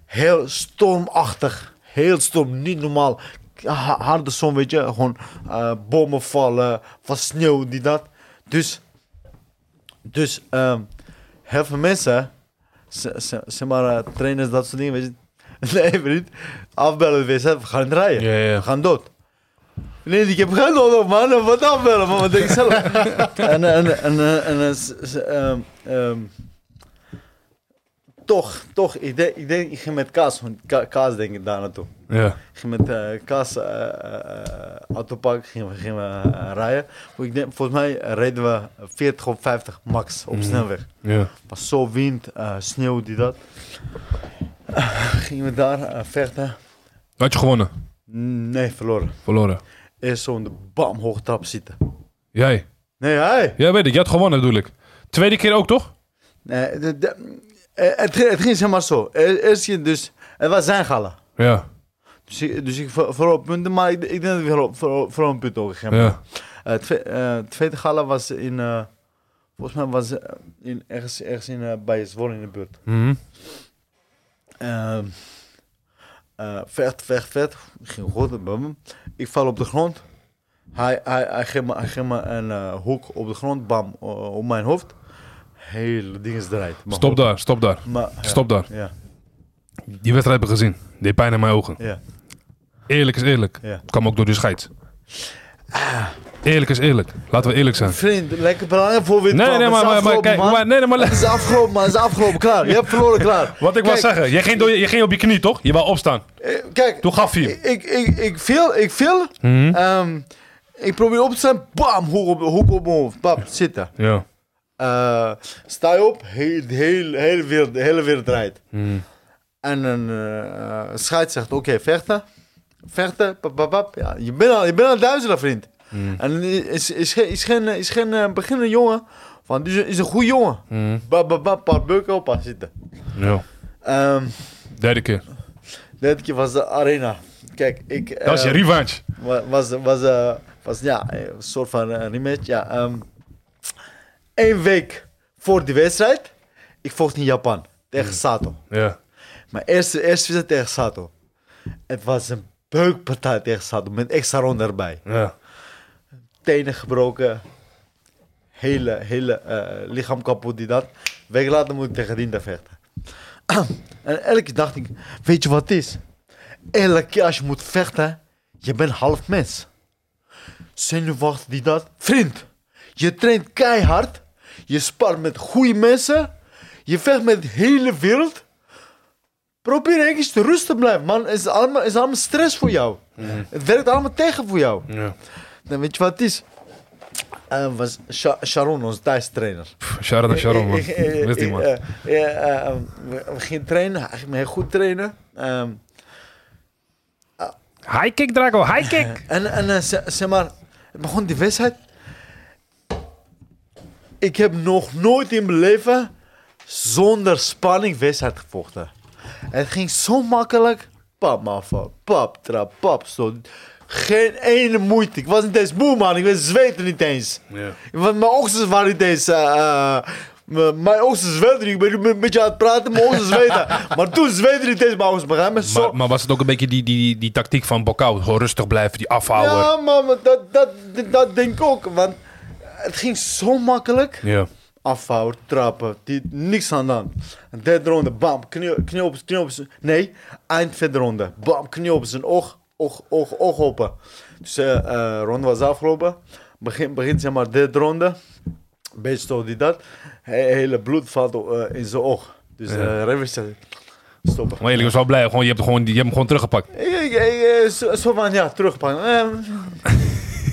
C: heel stormachtig. Heel storm, niet normaal. Ha- Harde zon, weet je. Gewoon eh, bomen vallen, van sneeuw, die dat. Dus, dus ehm, heel veel mensen Z- z- zeg maar, eh, trainers, dat soort dingen, weet je. Nee, vriend. Afbellen, we zijn- we gaan rijden.
B: Ja, ja.
C: We gaan dood. Nee, ik heb geen nodig, man. Wat afbellen, man. Wat denk ik zelf? en, en, en, eh, en, eh, s- s- ehm, ehm, toch, toch. Ik denk, ik denk, ik ging met Kaas. want Ka- Kaas denk ik daar naartoe.
B: Ja.
C: Ik ging met eh Kaas eh eh, autopark gingen we, gingen we eh, rijden. Ik denk, volgens mij reden we 40 of 50 max op snelweg
B: ja.
C: was zo wind, eh, sneeuw, die dat. gingen we daar eh, vechten?
B: Had je gewonnen?
C: Nee, verloren.
B: Verloren.
C: Eerst zo in de bam hoge trap zitten.
B: Jij?
C: Nee, hij.
B: Ja, weet ik. Je had gewonnen bedoel ik. Tweede keer ook, toch?
C: Nee, de- de- eh, het, ging- het ging zeg maar zo. E- Eerst ging dus, het was zijn gala.
B: Ja.
C: Dus ik, dus ik ver- verloor punten, maar ik, ik denk dat ik verloor, verloor, verloor een punt ook gegeven.
B: Ja.
C: Eh, twe- eh, tweede gala was in, eh, volgens mij was eh, in, ergens, ergens in, eh, bij Zwolle in de buurt.
B: Mhm.
C: Ehm eh, vecht, vecht, vecht. Ging goed. bam, bam. Ik val op de grond. Hij, hij, hij, geeft me, hij geeft me een eh, hoek op de grond, bam, o- op mijn hoofd. Hele ding is eruit. Maar
B: Stop
C: goed.
B: daar, stop daar.
C: Maar, ja,
B: Stop daar.
C: Ja,
B: Die wedstrijd heb ik gezien. Deed pijn in mijn ogen.
C: ja.
B: Eerlijk is eerlijk.
C: Ja.
B: Kwam ook door de scheids. Ah. Eerlijk is eerlijk. Laten we eerlijk zijn.
C: Vriend, lekker belangrijk voor weer.
B: Nee, nee, maar, maar, maar kijk, maar, nee, nee, maar
C: Het is afgelopen, man. Het is afgelopen, klaar. Je hebt verloren, klaar.
B: Wat ik wil
C: Kijk,
B: zeggen, je ging, door, je je ging op je knie toch? Je wou opstaan.
C: eh, Kijk,
B: Toen gaf hij hem.
C: ik, ik, ik viel, ik viel.
B: Mhm.
C: Ehm, ik probeer op te staan, bam, hoek op, hoek op mijn hoofd. Bam, zitten.
B: Ja.
C: Eh, sta je op, heel, heel, heel weer, de hele wereld draait.
B: Mm.
C: En een eh, scheids zegt, oké, vechten. Vechten, pap, pap, pap. Ja, je bent al, je bent al duizenden, vriend.
B: Mhm.
C: En is, is, geen- is geen, is geen eh, beginnende jongen. Van, dus is een goede jongen.
B: Mhm.
C: Bap, bap, bap, paar beuken op, paar zitten.
B: ja.
C: Ehm
B: Derde keer.
C: dit keer was de arena. Kijk, ik...
B: Dat is je
C: eh,
B: revanche.
C: wa- was, was, eh, was ja, een soort van eh, rematch. Ja, ehm Eén week voor die wedstrijd, ik vocht in Japan tegen Sato.
B: Ja.
C: Mijn eerste, eerste wedstrijd tegen Sato. Het was een beukpartij tegen Sato met extra ronde erbij.
B: ja.
C: Tenen gebroken, hele, hele eh, lichaam kapot die dat. Een week later moet ik tegen Dinda vechten. en elke keer dacht ik, weet je wat het is? Elke keer als je moet vechten, je bent half mens. Zenuwachtig die dat. Vriend, je traint keihard. Je spart met goede mensen. Je vecht met de hele wereld. Probeer eens te rustig te blijven, man. Het is allemaal, het is allemaal stress voor jou. Het werkt allemaal tegen voor jou.
B: Ja.
C: Dan weet je wat het is? Eh, was Sha- Sharon, onze Thaise trainer.
B: Pff, Shout-out aan Sharon, man.
C: Ik- ik- ik-
B: Wist die,
C: ik,
B: man.
C: eh, ja, eh, we, we gingen trainen, hij ging me heel goed trainen. Ehm,
B: High kick, Draco. High kick.
C: en en eh, ze- zeg maar, het begon die wedstrijd. Ik heb nog nooit in mijn leven zonder spanning wedstrijd gevochten. Het ging zo makkelijk. Pap, maffa, pap, trap, pap, stoot. Geen ene moeite. Ik was niet eens moe, man. Ik was zweten niet eens.
B: Ja.
C: Want mijn oksels waren niet eens. eh, eh, m- mijn oksels zweten. Ik ben een beetje aan het praten, mijn oksels zweten. maar toen zweten niet eens mijn oksels. Begrijp je? Zo-
B: Maar, maar was het ook een beetje die, die, die tactiek van Bokau? Gewoon rustig blijven, die afhouden.
C: ja, man, maar dat, dat, dat, dat denk ik ook. Want het ging zo makkelijk.
B: Ja.
C: Afhouden, trappen, die, niks aan de hand. En derde ronde, bam, knie, knie op knie op zijn... Nee, eind vierde ronde. Bam, knie op zijn oog, oog, oog, oog open. Dus eh eh, ronde was afgelopen. Begin, begint zeg maar derde ronde. Beetje stoot die dat. He, hele bloed valt eh, in zijn oog. Dus eh reverse zegt, stoppen.
B: Maar eerlijk, ik was wel blij. Gewoon, je, hebt gewoon, die- je hebt hem gewoon teruggepakt.
C: Ik, ik, ik, eh, zo, zo van, ja, terugpakken. Ehm,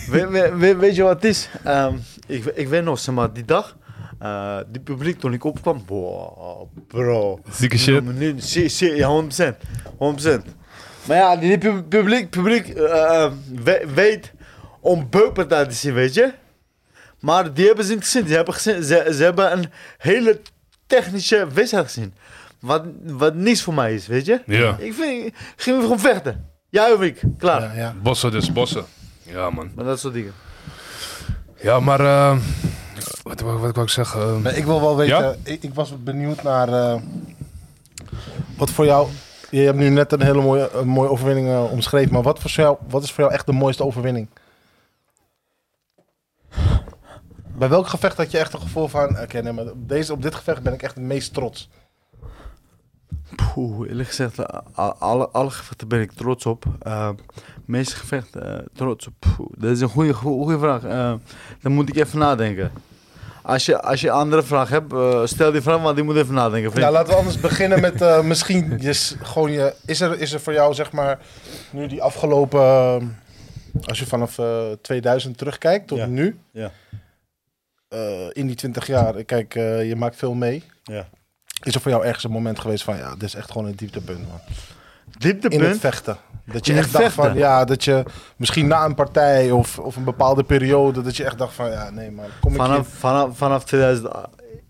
C: we, we- we- weet je wat het is? Ehm, ik, ik weet nog, zeg maar, die dag, eh die publiek toen ik opkwam, wow, bro.
B: Zieke shit.
C: Nu- nu- zie- zie- Ja, 100%. 100%. Maar ja, die pub- publiek, publiek eh, eh, we- weet om beukpartij te zien, weet je? Maar die hebben ze niet gezien. Ze hebben, gezien, ze, ze hebben een hele technische wedstrijd gezien. Wat, wat niks voor mij is, weet je?
B: Ja.
C: Ik vind, gingen we gewoon vechten. Jij of ik, klaar.
A: Ja, ja.
B: Bossen dus, bossen. Ja, man.
C: Maar dat soort dingen.
B: Ja, maar... eh, wat, wat, wat wou ik zeggen? Eh,
A: Maar ik wil wel weten,
B: Ja?
A: ik, ik was benieuwd naar eh, wat voor jou. Je hebt nu net een hele mooie, een mooie overwinning eh, omschreven, maar wat, voor jou, wat is voor jou echt de mooiste overwinning? Bij welk gevecht had je echt een gevoel van, oké, nee, maar op, deze, op dit gevecht ben ik echt het meest trots?
C: Poeh, eerlijk gezegd, eh, a- alle, alle gevechten ben ik trots op. Eh, meeste gevechten, eh, trots op. Poeh, dat is een goede, goede vraag. Eh, dan moet ik even nadenken. Als je, als je andere vraag hebt, eh, stel die vraag, want ik moet even nadenken. Vriend.
A: Nou, laten we anders beginnen met eh, misschien je s- gewoon je... Is er, is er voor jou, zeg maar, nu die afgelopen... eh, als je vanaf eh, 2000 terugkijkt tot
C: Ja.
A: nu...
C: Ja.
A: eh, in die 20 jaar, kijk, eh, je maakt veel mee.
C: Ja.
A: Is er voor jou ergens een moment geweest van, ja, dit is echt gewoon een dieptepunt, man. In het
C: Dieptepunt.
A: vechten. Dat je
C: In het
A: echt dacht van,
C: vechten?
A: ja, dat je misschien na een partij of, of een bepaalde periode, dat je echt dacht van, ja, nee, man, kom
C: Vanaf, vanaf, vanaf 2000,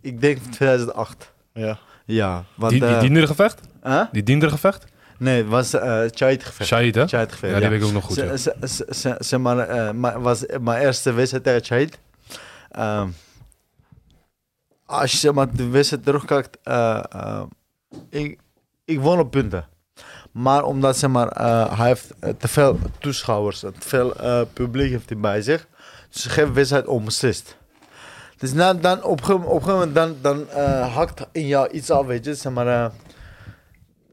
C: ik denk 2008.
A: ik hier. Ja.
C: Ja, want...
B: die, die
C: eh,
B: diendergevecht?
C: hè?
B: Die diendergevecht?
C: Nee, het was eh Chait gevecht.
B: Shahid, hè?
C: Chait gevecht,
B: Ja, die weet ik ook nog goed, ja.
C: Ze- ze- ze- ze- Zeg maar, eh, maar was mijn eerste wedstrijd tegen Chait. Ehm, als je zeg maar, de wedstrijd terugkijkt, eh, eh, ik, ik won op punten. Maar omdat zeg maar, eh, hij heeft eh, te veel toeschouwers, eh, te veel eh, publiek heeft hij bij zich. Dus ze geven wedstrijd onbeslist. Dus na, dan op een gegeven op een gegeven moment dan, dan, eh, hakt in jou iets af, weet je. Zeg maar, eh,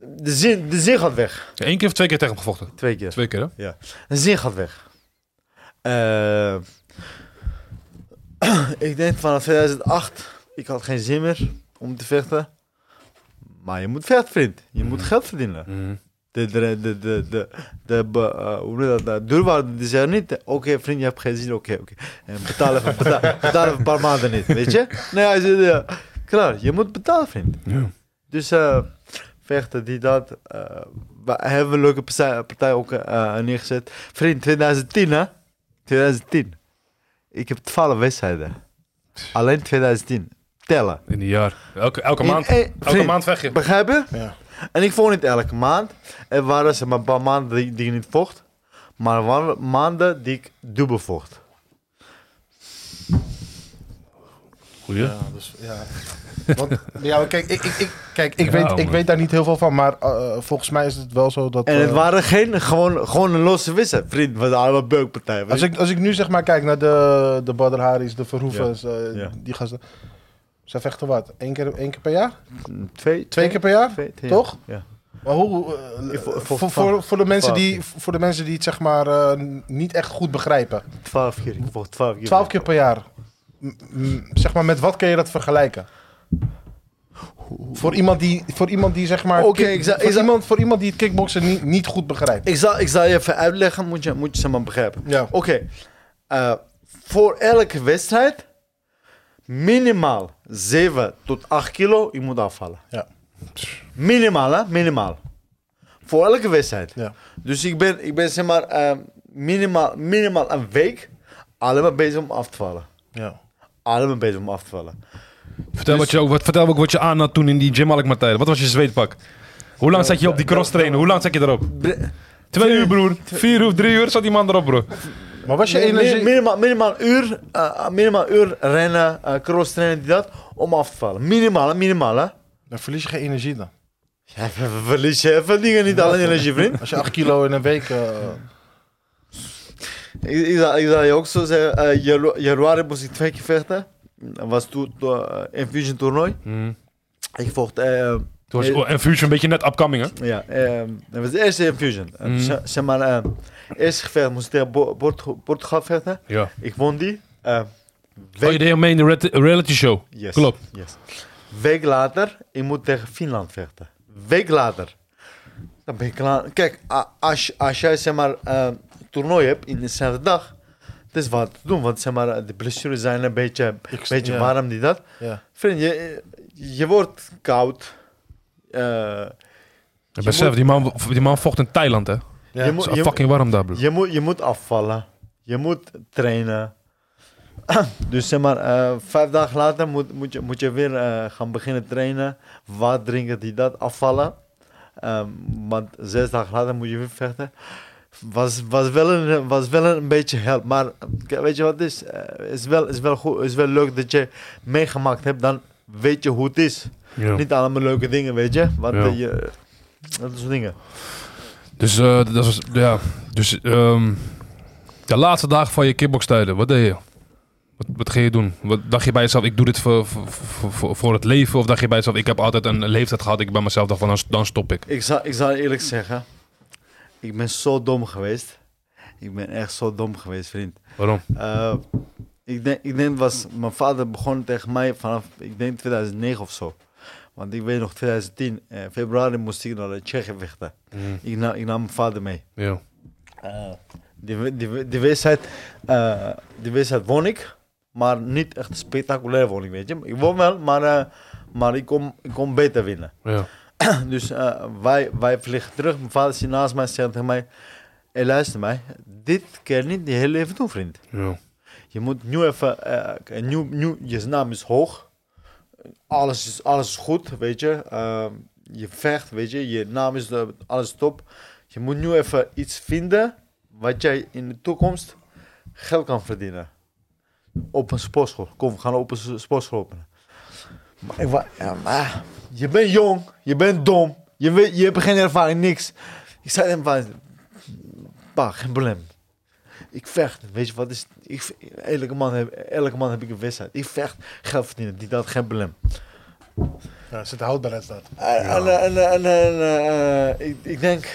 C: de, zin, de zin gaat weg.
B: Eén keer of twee keer tegen hem gevochten?
C: Twee keer.
B: Twee keer, hè?
C: De zin gaat weg. Eh, ik denk vanaf 2008, ik had geen zin meer om te vechten. Maar je moet vechten, vriend. Je moet geld verdienen. De, de, de, de, de, de, be- eh, hoe noem je dat, de deurwaarder die zei niet, oké vriend, je hebt geen zin, oké, oké. En betaal even, betaal, betaal even een paar maanden niet, weet je? Nee, hij zei, ja, klaar, je moet betalen, vriend.
B: Ja.
C: Dus eh, vechten, die dat. eh, we hebben een leuke partij, partij ook eh, neergezet. Vriend, 2010 hè? 2010. Ik heb 12 wedstrijden. Alleen 2010. Tellen.
B: In een jaar. Elke, elke
C: In
B: maand.
C: één-
B: elke
C: vriend,
B: maand vecht je.
C: Begrijp je?
A: Ja.
C: En ik vocht niet elke maand. Er waren zeg maar, een paar maanden die, die ik niet vocht. Maar er waren maanden die ik dubbel vocht.
B: Goeie.
A: Ja, dus, ja. Want, ja, kijk, ik, ik, ik, kijk, ik,
B: Ja,
A: weet, ik
B: man.
A: weet daar niet heel veel van, maar eh, volgens mij is het wel zo dat...
C: En het
A: eh,
C: waren geen, gewoon, gewoon een losse wedstrijd. Vriend, we waren allemaal beukpartijen.
A: als, ik, als ik nu zeg maar kijk naar de, de Badr Haris, de Verhoevens, eh,
C: Ja.
A: die gasten. Zij vechten wat? Eén keer, één keer per jaar?
C: Twee,
A: Twee keer per jaar?
C: twee- twee-
A: Toch?
C: Ja.
A: Maar hoe, eh,
C: Ik vo- ik
A: voor,
C: vond
A: voor,
C: het van-
A: voor, de mensen
C: twaalf
A: die, voor de mensen die het zeg maar eh, niet echt goed begrijpen.
C: 12 keer. Ik vocht 12 keer.
A: Twaalf keer per jaar. M- m- zeg maar, met wat kun je dat vergelijken? Voor iemand die, voor iemand die zeg maar.
C: Oké,
A: kick-
C: ik zou- ik
A: voor,
C: zou-
A: iemand, voor iemand die het kickboksen niet, niet goed begrijpt.
C: Ik zal, ik zal je even uitleggen, moet je, moet je ze maar begrijpen.
A: Ja.
C: Oké, eh, voor elke wedstrijd minimaal 7 tot 8 kilo je moet afvallen.
A: Ja.
C: Minimaal, hè? Minimaal. Voor elke wedstrijd.
A: Ja.
C: Dus ik ben, ik ben zeg maar eh, minimaal, minimaal een week alleen maar bezig om af te vallen.
A: Ja.
C: Alleen maar bezig om af te vallen.
B: Vertel, wat je, ook- wat, vertel ook wat je aan had toen in die Jim Alkmaar tijd. Wat was je zweetpak? Hoe lang zat je op die cross trainen? Hoe lang zat je erop?
C: Bre-
B: Twee uur, broer. Vier uur, drie uur zat die man erop, broer.
A: Maar was je
C: Mi- mi-
A: energie.
C: minimaal, minimaal een uur, eh, eh, minimaal een uur rennen, eh, cross trainen, die dat, om af te vallen. Minimaal, hè? minimaal hè?
A: Dan verlies je geen energie dan.
C: Ja, ver- ver- verlies je even dingen niet alleen energie, vriend.
A: Als je 8 kilo in een week. eh,
C: Ik, ik, zou, ik zou je ook zo zeggen, eh, janu- januari moest ik twee keer vechten. Dat was toen to, eh, Infusion toernooi.
B: Hmm.
C: Ik vocht, eh,
B: Toen was je, oh, en Fusion een beetje net upcoming, hè?
C: ja, eh, dat was de eerste Infusion. Eh,
B: Mm.
C: z- Zeg maar, eh eerste gevecht moest ik tegen Bo- Port- Portugal vechten.
B: Ja.
C: Ik won die. eh,
B: Oh, je deed mee in de red- reality show.
C: Yes.
B: Klopt.
C: Yes. Week later, ik moet tegen Finland vechten. Week later. Dan ben ik klaar. Kijk, a- als, als jij zeg maar eh, toernooi hebt in dezelfde dag, dat is wat te doen. Want zeg maar, de blessures zijn een beetje,
A: Ik-
C: beetje
A: ja.
C: warm, die dat.
A: ja.
C: Vriend, je, je wordt koud. Eh,
B: Ik besef, die man, die man vocht in Thailand, hè?
A: Ja.
C: je,
B: Het
C: moet,
B: is
C: je,
B: fucking warm daar, broer.
C: je, moet, je moet afvallen. Je moet trainen. Dus zeg maar, eh, vijf dagen later moet, moet, je, moet je weer eh, gaan beginnen trainen. Wat drinken die dat afvallen. Ehm, want zes dagen later moet je weer vechten. Was, was, wel een, was wel een beetje help. Maar eh, weet je wat het is? Eh, is, wel, is, wel goed, is wel leuk dat je meegemaakt hebt. Dan weet je hoe het is.
B: Ja.
C: Niet allemaal leuke dingen, weet je. Want
B: Ja.
C: eh, je, dat soort dingen.
B: Dus, eh, dat was, ja. Dus, ehm, de laatste dagen van je kickbokstijden, wat deed je? Wat, wat ging je doen? Wat, dacht je bij jezelf, ik doe dit voor, voor, voor- voor, voor het leven? Of dacht je bij jezelf, ik heb altijd een leeftijd gehad, ik bij mezelf dacht van, dan, dan stop ik.
C: Ik zal, ik zal eerlijk zeggen, ik ben zo dom geweest. Ik ben echt zo dom geweest, vriend.
B: Waarom?
C: Eh, ik denk, ik denk het was, mijn vader begon tegen mij vanaf, ik denk 2009 of zo. Want ik weet nog, 2010, eh, februari moest ik naar de Tsjechië vechten. Ik, na, ik nam mijn vader mee.
B: Ja.
C: Eh, die, die, die, wedstrijd, eh, die wedstrijd won ik, maar niet echt spectaculair won ik, weet je. Ik won wel, maar, eh, maar ik, kon, ik kon beter winnen.
B: ja.
C: Dus eh, wij, wij vliegen terug. Mijn vader zit naast mij en zegt tegen mij... Hey, luister mij, dit kan je niet je hele leven doen, vriend.
B: ja.
C: Je moet nu even... eh nu, nu, je naam is hoog. Alles is, alles is goed, weet je. Eh, je vecht, weet je. Je naam is eh, alles top. Je moet nu even iets vinden... wat jij in de toekomst geld kan verdienen. Op een sportschool. Kom, we gaan op een s- sportschool openen. Maar ik wa- ja, maar je bent jong, je bent dom, Je, weet, je hebt geen ervaring, niks. Ik zei hem van, pa, geen probleem. Ik vecht, weet je wat is, ik, elke, man heb, elke man heb ik een wedstrijd. Ik vecht, geld verdienen, die dat, geen probleem.
A: Ja, er zit houdbaarheid dat.
C: En, en, en, en, en, eh, eh, ik, ik denk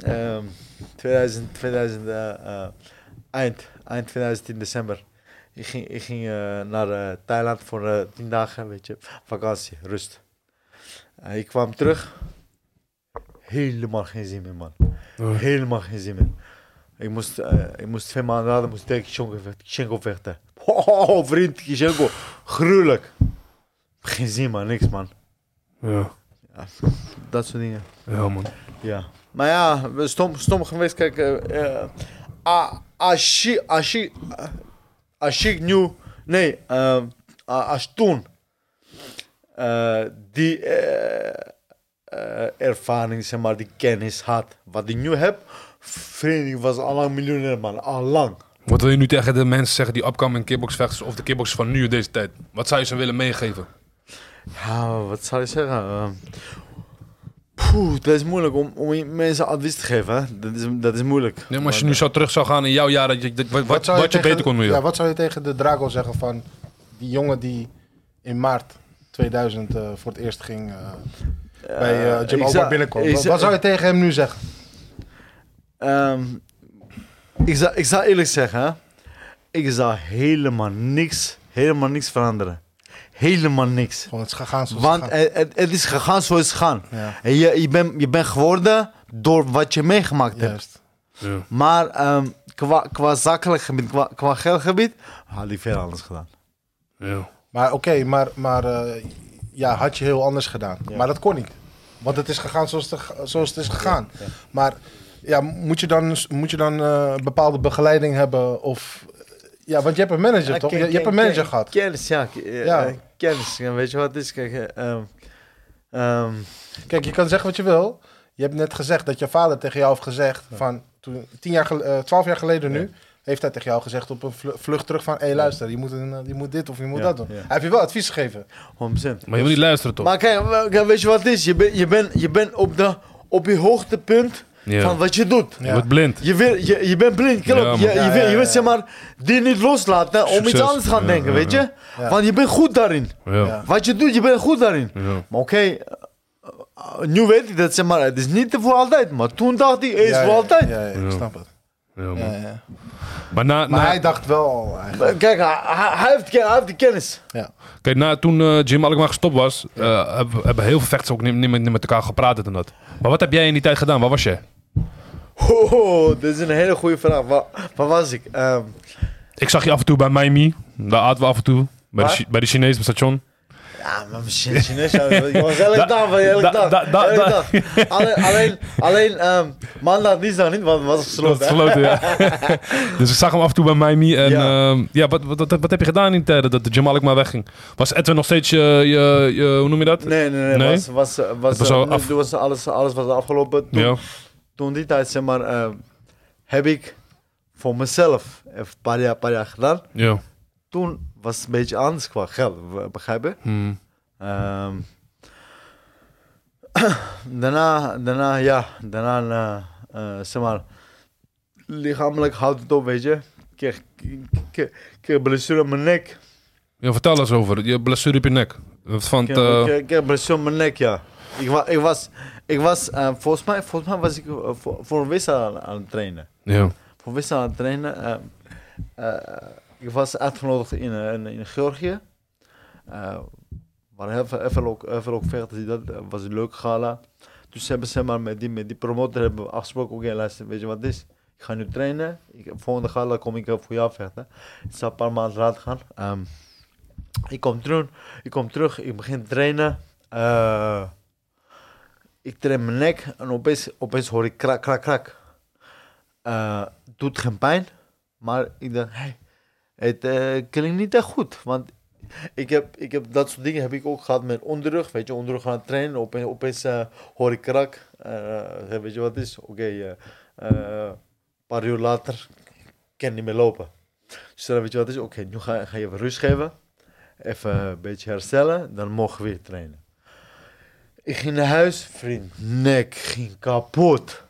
C: ehm 2000, 2000 eh, eh, eind, eind 2010 december. Ik ging, ik ging eh, naar eh, Thailand voor eh, 10 dagen, weet je, vakantie, rust. En ik kwam terug, helemaal geen zin meer, man. Helemaal geen zin meer. Ik moest, eh, ik moest twee maanden later moest ik tegen Kishenko vechten- Kishenko vechten. Oh, vriend, Kishenko, gruwelijk. Geen zin, man, niks, man.
B: Ja.
C: Dat soort dingen.
B: Ja, man.
C: Ja. Maar ja, we- stom, stom geweest. Kijk, eh, eh, a- als je- als je- eh, als ik nu... Nee, eh, a- als toen... eh, die eh, eh, ervaring, zeg maar, die kennis had, wat ik nu heb... Vriend, ik was al lang miljonair, man. Al lang.
B: Wat wil je nu tegen de mensen zeggen die upcoming kickboxvechters of de kickboxers van nu deze tijd? Wat zou je ze willen meegeven?
C: Ja, wat zou je zeggen? Ehm, Poeh, het is moeilijk om, om je mensen advies te geven. Hè? Dat, is, dat is moeilijk.
B: Nee, maar als je nu zo terug zou gaan in jouw jaar, dat je, dat- wat, wat,
A: zou
B: wat je
A: tegen-
B: beter kon doen.
A: Ja,
B: Ja.
A: wat zou je tegen de Drago zeggen van die jongen die in maart 2000 eh, voor het eerst ging eh, bij eh
C: ik
A: Jim Alba
C: zou-
A: binnenkomen?
C: ik
A: Wat,
C: zou-
A: wat zou je tegen hem nu zeggen?
C: Ehm, ik, zou, ik zou eerlijk zeggen, hè. ik zou helemaal niks, helemaal niks veranderen. Helemaal niks.
A: Gewoon het gaan zoals
C: Want
A: het gaat.
C: het, het, het is gegaan zoals het is gegaan.
A: Ja.
C: En Je, je bent je bent geworden door wat je meegemaakt hebt.
A: Juist.
C: Maar ehm, qua, qua zakelijk gebied, qua, qua geldgebied, had ik veel anders gedaan.
B: Ja.
A: Maar oké, maar, maar eh, ja, had je heel anders gedaan. Maar dat kon niet. Want het is gegaan zoals het, zoals het is gegaan. Maar ja, moet je dan, moet je dan eh, bepaalde begeleiding hebben? Of, ja, want je hebt een manager, toch? Je, je hebt een manager gehad.
C: Kennis, ja. k- eh,
A: Ja.
C: eh, Kennis. En Weet je wat het is? Kijk, eh, ehm, ehm,
A: Kijk, je kan zeggen wat je wil. Je hebt net gezegd dat je vader tegen jou heeft gezegd van toen, tien jaar gel- eh, twaalf jaar geleden nu. Heeft hij tegen jou gezegd op een vlu- vlucht terug van... hé, hey, luister, je moet, een, eh, je moet dit of je moet
C: Ja,
A: dat doen.
C: ja.
A: Hij heeft je wel advies gegeven.
C: 100%.
B: Maar je wil niet luisteren toch?
C: Maar kijk, we- kijk, weet je wat het is? Je bent je bent je bent op, de, op je hoogtepunt
B: Ja.
C: van wat je doet.
B: Je wordt blind.
C: Je, wil, je, je bent blind, klopt.
B: Ja, man.
C: je, je,
A: Ja,
C: wil,
A: ja,
C: je
A: ja,
C: wilt
A: ja.
C: zeg maar die niet loslaten om
B: Succes.
C: iets anders te gaan
B: Ja,
C: denken,
B: ja,
C: weet
B: ja.
C: je? Want je bent goed daarin.
B: Ja.
C: Wat je doet, je bent goed daarin.
B: Ja.
C: Maar oké, eh, eh, nu weet ik dat zeg maar, het is niet voor altijd. Maar toen dacht ik, het is
A: Ja,
C: voor
A: ja,
C: altijd.
A: Ja, ja, ik
B: Ja.
A: snap het.
B: Ja, man.
A: Ja, ja.
B: Maar, na,
A: Maar
B: na,
A: hij dacht wel al eigenlijk.
C: Eh, Kijk, hij, hij- hij heeft, hij heeft die kennis.
B: kijk, na, toen eh, Jim Alkmaar gestopt was, eh, hebben, hebben heel veel vechters ook niet, niet, meer- niet met elkaar gepraat dit en dat. Maar wat heb jij in die tijd gedaan? Waar was je?
C: Oh, dit is een hele goede vraag. Waar, waar was ik? Ehm,
B: Ik zag je af en toe bij Miami. Daar aten we af en toe. Bij, de,
C: Waar?
B: Chi- bij de Chinese station.
C: Ja, maar misschien Chinees. ja, Jongens, elke
B: Da-
C: dag, man, elke
B: da-
C: dag.
B: da- da-
C: elke
B: da-
C: dag. Alleen, alleen, alleen ehm maandag, dinsdag niet, want het was
B: Dat
C: gesloten.
B: is
C: hè.
B: gesloten, ja. dus ik zag hem af en toe bij Miami. En
C: Ja.
B: ja, ja wat, wat, wat, wat heb je gedaan in de tijd dat de Jamal maar wegging? Was Edwin nog steeds eh, je, je, je- hoe noem je dat?
C: Nee, nee, nee.
B: Nee?
C: Was, was, was,
B: Het was
C: eh,
B: al
C: nu-
B: af-
C: toen was alles, alles was afgelopen. Toen,
B: Ja.
C: toen die tijd, zeg maar, ehm, heb ik voor mezelf even een paar jaar, paar jaar gedaan.
B: Ja.
C: Toen was het een beetje anders qua geld, we- begrijp je?
B: Hmm.
C: Ehm, daarna, daarna, ja, daarna, eh, eh, zeg maar, lichamelijk houdt het op, weet je. Ik kreeg- Ik kreeg- ik kreeg blessure op mijn nek.
B: ja. Vertel eens over je blessure op je nek. Van
C: Ik
B: het,
C: kreeg- ik
B: eh,
C: kreeg- ik kreeg blessure op mijn nek, ja. Ik, wa, ik was, ik was eh, volgens, mij, volgens mij was ik eh, voor, voor een wissel aan, aan het trainen.
B: ja.
C: Voor een wissel aan het trainen. eh, eh, ik was uitgenodigd in, eh, in, in Georgië. Eh maar heel veel, heel veel ook, heel veel ook vechters die dat eh, was een leuk gala. Dus ze hebben ze maar met die, met die promotor hebben we afgesproken. Oké, luister, weet je wat het is? Ik ga nu trainen. Ik, volgende gala kom ik eh, voor jou vechten. Het zal een paar maanden later gaan. Ehm, ik, kom terug, ik kom terug, ik begin te trainen. Eh, ik train mijn nek en opeens, opeens hoor ik krak, krak, krak. Eh, doet geen pijn, maar ik dacht, hey, het eh, klinkt niet echt goed. Want ik heb, ik heb dat soort dingen heb ik ook gehad met onderrug. Weet je, onderrug gaan trainen. Opeens, opeens eh, hoor ik krak. Eh, weet je wat het is? Oké, eh, eh, een paar uur later kan ik niet meer lopen. Dus dan weet je wat het is? Oké, nu ga, ga je even rust geven. Even een beetje herstellen. Dan mogen we weer trainen. Ik ging naar huis, vriend. Nek ging kapot.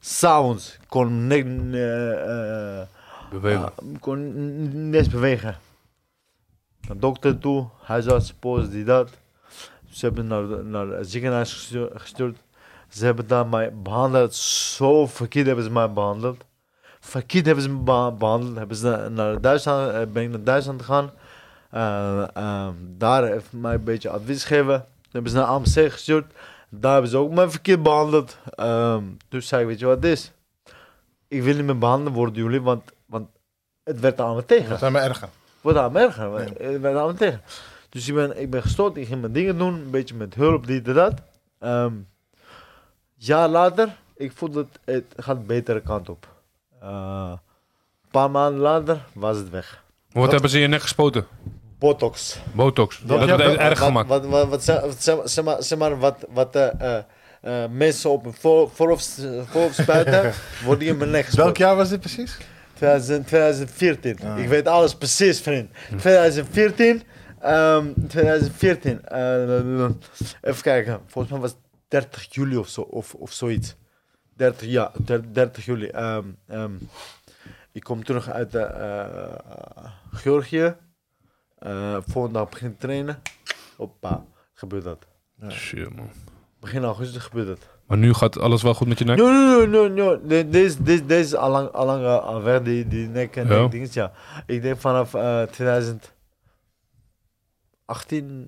C: Sounds. Kon nek... eh, eh,
B: Bewegen.
C: ik kon n- niet eens bewegen. Naar dokter toe, huisarts, post, die dat. Ze hebben naar, naar het ziekenhuis gestu- gestuurd. Ze hebben daar mij behandeld. Zo verkeerd hebben ze mij behandeld. Verkeerd hebben ze me beha- behandeld. Hebben ze naar, naar Duitsland, eh, ben ik naar Duitsland gegaan. Eh, eh, daar heeft mij een beetje advies gegeven. Toen hebben ze naar AMC gestuurd. Daar hebben ze ook mij verkeerd behandeld. Ehm toen zei ik, weet je wat het is? Ik wil niet meer behandeld worden door jullie, want, want het werd aan me tegen.
A: Dat zijn maar erger.
C: Wordt aan me erger. want Het werd aan me tegen. Dus ik ben, ik ben gestoord. Ik ging mijn dingen doen. Een beetje met hulp, dit en dat. Ehm jaar later, ik voel dat het gaat betere kant op. Eh, Een paar maanden later was het weg.
B: Wat hebben ze in je nek gespoten?
C: Botox.
B: Botox. Dat
A: heb
B: heeft
A: je-
B: het erg
C: wat,
B: gemaakt.
C: Wat, wat, wat, zeg, wat- zeg, maar- zeg maar, zeg maar wat, wat eh, eh, eh, mensen op hun voor- voorhoofd voorhoofd spuiten, wordt die in mijn nek gespoten.
A: Welk jaar was dit precies?
C: 2000 2014. Ik weet alles precies, vriend. 2014. ehm, 2014. eh, even kijken. Volgens mij was het 30 juli of, zo, of, of zoiets. 30, ja, der- 30 juli. Ehm, ehm, ik kom terug uit eh, eh, Georgië. Eh volgende dag begin trainen. Hoppa, gebeurt dat.
B: Shit, man.
C: Begin augustus gebeurt dat.
B: Maar nu gaat alles wel goed met je nek?
C: Nee, nee, nee, nee, nee. Deze, deze, deze is allang, allang eh, al weg, die, die nek en
B: Ja.
C: nek dinges, ja. Ik denk vanaf eh 2018,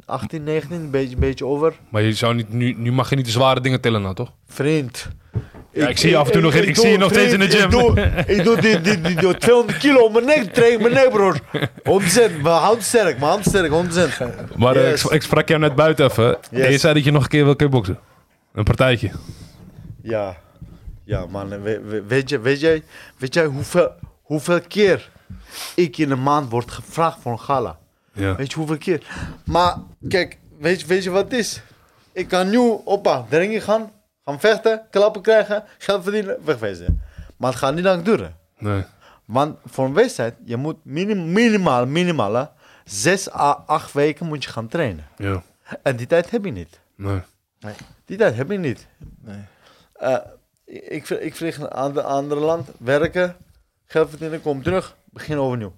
C: 18, 19, een beetje, een beetje over.
B: Maar je zou niet, nu, nu mag je niet de zware dingen tillen, nou toch?
C: Vriend.
B: ik zie je af en toe nog in- ik zie je nog steeds in de
C: vriend,
B: gym.
C: Ik doe, ik doe die, die, die, die 200 kilo om mijn nek trek, mijn nek, broer. 100%, mijn hand sterk, mijn hand sterk, 100%.
B: Maar eh,
C: Yes.
B: ik, ik sprak jou net buiten even. En je
C: Yes.
B: zei dat je nog een keer wil kickboksen. Een partijtje.
C: Ja, ja man, we- we- weet, je, weet, jij, weet jij hoeveel, hoeveel keer ik in een maand word gevraagd voor een gala?
B: Ja.
C: Weet je hoeveel keer? Maar kijk, weet, je- weet je wat het is? Ik kan nu, oppa, de ring in gaan, gaan vechten, klappen krijgen, geld verdienen, wegwezen. Maar het gaat niet lang duren.
B: Nee.
C: Want voor een wedstrijd, je moet minim, minimaal, minimaal, hè, zes à acht weken moet je gaan trainen.
B: Ja.
C: En die tijd heb je niet.
B: Nee.
C: Die tijd heb je niet.
A: Nee.
C: Eh, ik, ik vlieg naar een ander, ander land, werken, geld verdienen, kom terug, begin overnieuw.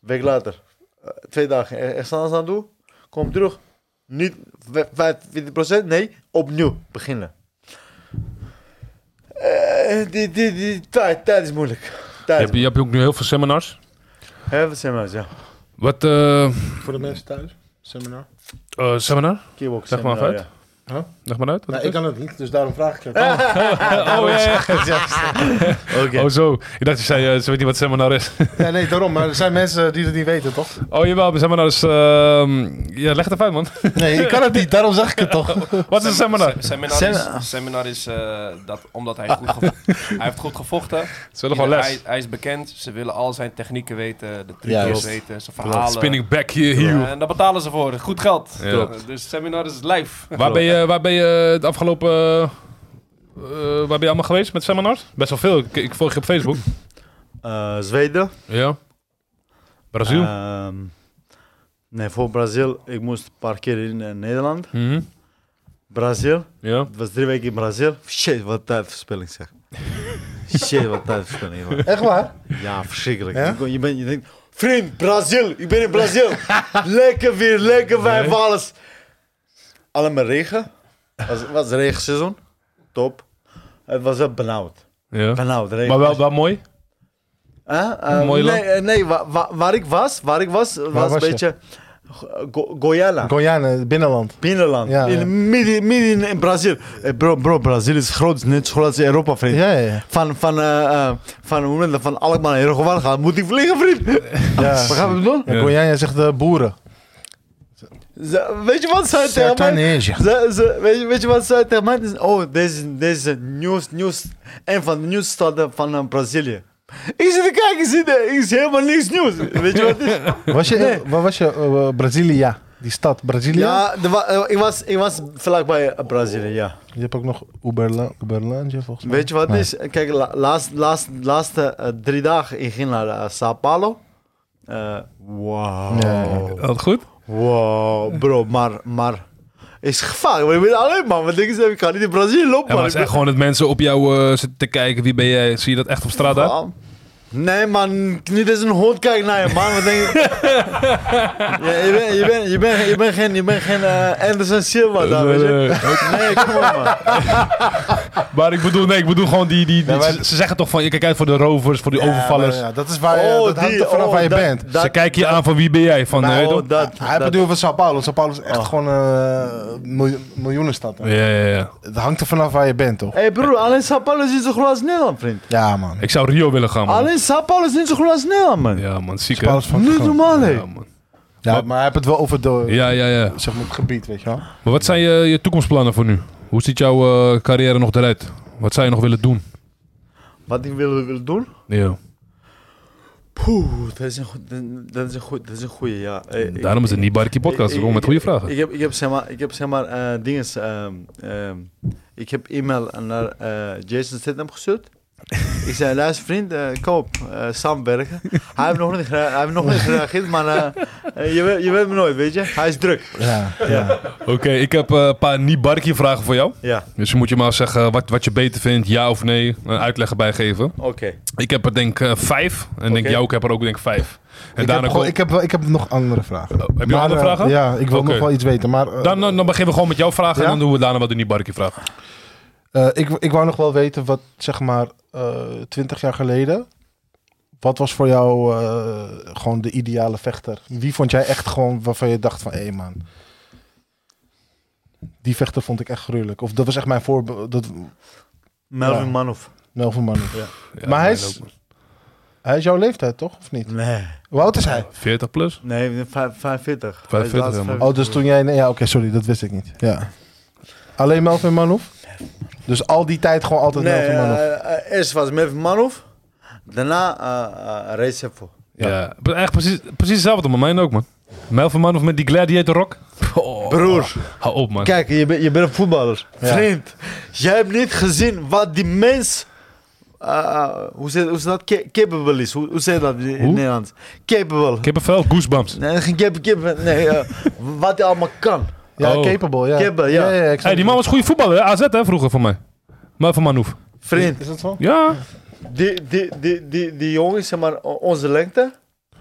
C: Week later, eh, twee dagen er- ergens anders aan doen, kom terug, niet we- 45%, nee, opnieuw beginnen. Eh, die, die, die tijd, tijd is moeilijk. Tijd.
B: Heb je, heb je ook nu heel veel seminars?
C: Hè, wat zijn we nou, ja.
B: Wat, eh
A: Voor de mensen thuis? Seminar?
B: eh, seminar?
C: Kickbox
B: Zeg maar
C: seminar,
B: uit. Leg maar uit. wat
A: Nou,
B: het
A: ik kan het niet, dus daarom vraag ik je.
B: is. oh, ja, ja,
C: ja. Oké.
B: ja. oh, zo. Ik dacht, je zei, eh, ze weet niet wat seminar is.
A: Oh. Ja, nee, daarom. Maar er zijn mensen die het niet weten, toch?
B: Oh, jawel, maar seminar is... ehm, ja, leg het even uit, man.
A: Nee, ik kan het niet. Daarom zeg ik het toch.
B: Wat is een seminar?
G: Se- Seminar
A: ah.
G: is, seminar is eh, dat, omdat hij goed, gevo- hij heeft goed gevochten.
B: Ze willen gewoon
G: Hij,
B: les.
G: hij is bekend. Ze willen al zijn technieken weten, de
A: Ja,
G: trucjes
A: klopt.
G: weten, zijn verhalen.
B: Spinning back here,
G: Ja,
B: heel.
G: en daar betalen ze voor. Goed geld.
B: Ja.
G: Klopt. Dus seminar is live.
B: Waar ben je, waar ben je het afgelopen... eh, eh, waar ben je allemaal geweest met seminars? Best wel veel. Ik, ik volg je op Facebook.
C: Eh, Zweden.
B: Ja. Eh, Brazil.
C: Ehm, nee, voor Brazil, ik moest een paar keer in eh, Nederland.
B: Mhm.
C: Brazil.
B: Ja.
C: Het was drie weken in Brazil. Shit, wat tijdverspilling zeg. Shit, wat tijdverspilling. man.
A: Echt waar?
C: Ja, verschrikkelijk.
A: Ja?
C: Je, kon- je, bent- je denkt, vriend, Brazil, ik ben in Brazil. lekker weer, lekker wijf, alles. Allemaal regen. Het was, was regenseizoen. Top. Het was wel benauwd.
B: ja.
C: Benauwd, regen.
B: Maar wel, wel mooi.
C: Hè? Eh,
B: Mooi
C: nee,
B: land.
C: eh, nee wa- wa- waar ik was, waar ik was, was,
A: was
C: een
A: je?
C: beetje Go- Go- Goiânia.
A: Goyane, Ah. eh, binnenland.
C: Binnenland,
A: Ja, ja.
C: in, midden, midden in Brazil. Eh, Bro, bro, Brazil is groot, is net zo groot als Europa, vriend.
A: Ja, ja, ja.
C: Van, van, eh, eh, van, hoe noem je dat? van Alkmaar naar Heerhugowaard gaan, moet ik vliegen, vriend.
A: ja.
C: Wat gaan we doen?
A: Ja, Goyane zegt de boeren.
C: Ze- weet je wat zij tegen mij...
A: Sertanejo.
C: Ze, ze, weet, je, weet je wat zij tegen mij... is? Oh, deze, deze nieuws, nieuws, een van de nieuwssteden van eh, Brazilië. Ik zit te kijken, ik zie de- ik zie helemaal niks nieuws. Weet je wat het is?
A: Was je, waar was je? eh, eh, Brazilia. Die stad, Brazilia?
C: Ja, er wa- eh, ik was, ik was vlakbij eh, Brazilië, ja.
A: Je hebt ook nog Uberla- Uberlândia, volgens mij.
C: Weet je wat het is? Kijk, la, laatst, laatst, laatste eh, drie dagen, ik ging naar eh, Sao Paulo. Eh, wow.
A: Ja.
B: Dat goed?
C: Wow, bro, maar, maar is gevaar. Maar ik ben alleen man, wat denken ze? Ik ga niet in Brazilië lopen.
B: En
C: man.
B: was
C: Ik
B: echt gewoon dat mensen op jou eh, zitten te kijken. Wie ben jij? Zie je dat echt op straat
C: ben-
B: daar?
C: Nee man, niet eens een hond kijkt naar je man. Wat denk je? Ja, je bent je bent- je bent- je bent geen, je bent geen eh, Anderson Silva daar, weet je.
B: Eh,
C: Nee, kom
A: Ah,
C: op man.
B: Maar ik bedoel, nee, ik bedoel gewoon die... die, die-
A: Ja, maar-
B: ze, ze zeggen toch van, je kijkt uit voor de rovers, voor die overvallers.
A: Ja, maar ja, dat is waar je, dat hangt er vanaf
C: oh,
A: waar je
C: dat-
A: bent.
C: dat-
B: ze kijken je aan van wie ben jij? Van,
C: Maar-
B: eh,
C: oh,
B: toch?
C: dat,
A: Hij
C: dat-
A: bedoelt van Sao Paulo. Sao Paulo is echt gewoon eh miljo miljoenenstad. hè.
B: Oh. ja, ja, ja.
A: Het hangt er vanaf waar je bent, toch?
C: Hé hey broer, alleen Sao Paulo is niet zo groot als Nederland, vriend.
A: Ja, man.
B: Ik zou Rio willen gaan, man.
C: Alleen Sao Paulo is niet zo groot als Nederland, man.
B: Ja, man, ziek,
A: Sao Paulo
B: hè?
A: is van
C: Niet normaal, hé.
B: Ja, man.
A: Ja, maar hij heeft het wel over de,
B: Ja, ja, ja.
A: zeg maar, het gebied, weet je wel.
B: Maar wat zijn je, je toekomstplannen voor nu? Hoe ziet jouw eh, carrière nog eruit? Wat zou je nog willen doen?
C: Wat ik wil, wil doen?
B: Ja.
C: Poeh, dat is een, goed- dat is een, goed, dat is een goeie, ja. Eh, ik-
B: Daarom is het niet Barkie
C: ik-
B: Podcast.
C: ik-
B: Gewoon met
C: ik-
B: goede vragen.
C: Ik heb, ik heb zeg maar, ik heb, zeg maar eh, dinges, ehm, ehm, ik heb e-mail naar eh, Jason Statham gestuurd. ik zei, luister vriend, eh, kom op, eh, samenwerken. hij heeft nog niet, gera- hij heeft nog niet gereageerd, maar eh, eh, je, weet, je weet me nooit, weet je. Hij is druk.
A: Ja.
B: Oké, ik heb eh, een paar niet Barkie vragen voor jou.
C: Ja,
B: Dus je moet je maar zeggen wat, wat je beter vindt, ja of nee. Een uitleg bij geven.
C: oké.
B: Ik heb er denk ik eh, vijf. En denk
C: Oké.
B: jij ook heb er ook denk ik vijf. En
A: Ik, heb
B: daarna
A: gewoon,
B: kom-
A: ik, heb, wel- ik heb nog andere vragen.
B: Oh, heb je nog
A: Maar,
B: andere
A: eh,
B: vragen?
A: Ja, ik wil
B: Oké.
A: nog wel iets weten. Maar eh,
B: Dan, dan dan beginnen we gewoon met jouw vragen
A: Ja?
B: en dan doen we daarna wat de niet Barkie vragen.
A: eh, ik, ik wou nog wel weten wat, zeg maar, eh, twintig jaar geleden... Wat was voor jou eh, gewoon de ideale vechter? Wie vond jij echt gewoon waarvan je dacht van... Hé man, die vechter vond ik echt gruwelijk. Of dat was echt mijn voorbeeld. Dat,
C: Melvin
A: Ja.
C: Manhoef.
A: Melvin Manu.
B: Ja,
A: Maar hij
B: mijn
A: is-
B: ook, man.
A: Hij is jouw leeftijd, toch? Of niet?
C: Nee.
A: Hoe oud is hij?
B: 40 plus?
C: Nee, vijf- 45.
B: 45,
C: Hij is laatst
B: ja, man.
A: Oh, dus toen jij... nee, ja, oké, sorry, dat wist ik niet. Ja. Alleen Melvin Manhoef? Dus al die tijd gewoon altijd
C: Nee,
A: Melvin Manhoef?
C: eh, eh, eerst was Melvin Manhoef. Daarna eh eh Ray Seppo.
B: Ja. Echt precies, precies hetzelfde, maar mijn ook, man. Melvin Man of met die Gladiator Rock?
C: Broer,
B: Hou op, man.
C: kijk, je, bent- je bent een voetballer. Vriend, jij hebt niet gezien wat die mens... eh, eh, hoe zeg hoe zeg dat? Ca- Capable is. Hoe, hoe zeg je dat in
B: Hoe?
C: het Nederlands? Capable.
B: Kippenvel, goosebumps.
C: nee, geen cap, cap, nee, eh, wat hij allemaal kan.
A: Ja,
B: Oh.
A: capable, ja.
C: Capable, ja.
A: ja, ik snap
B: Hey, die man was goede voetballer, hè? AZ hè, vroeger voor mij. Melvin Manhoef.
A: het.
C: Vriend,
A: Is dat zo?
B: Ja.
C: die, die, die, die, die jongen is zeg maar o- onze lengte.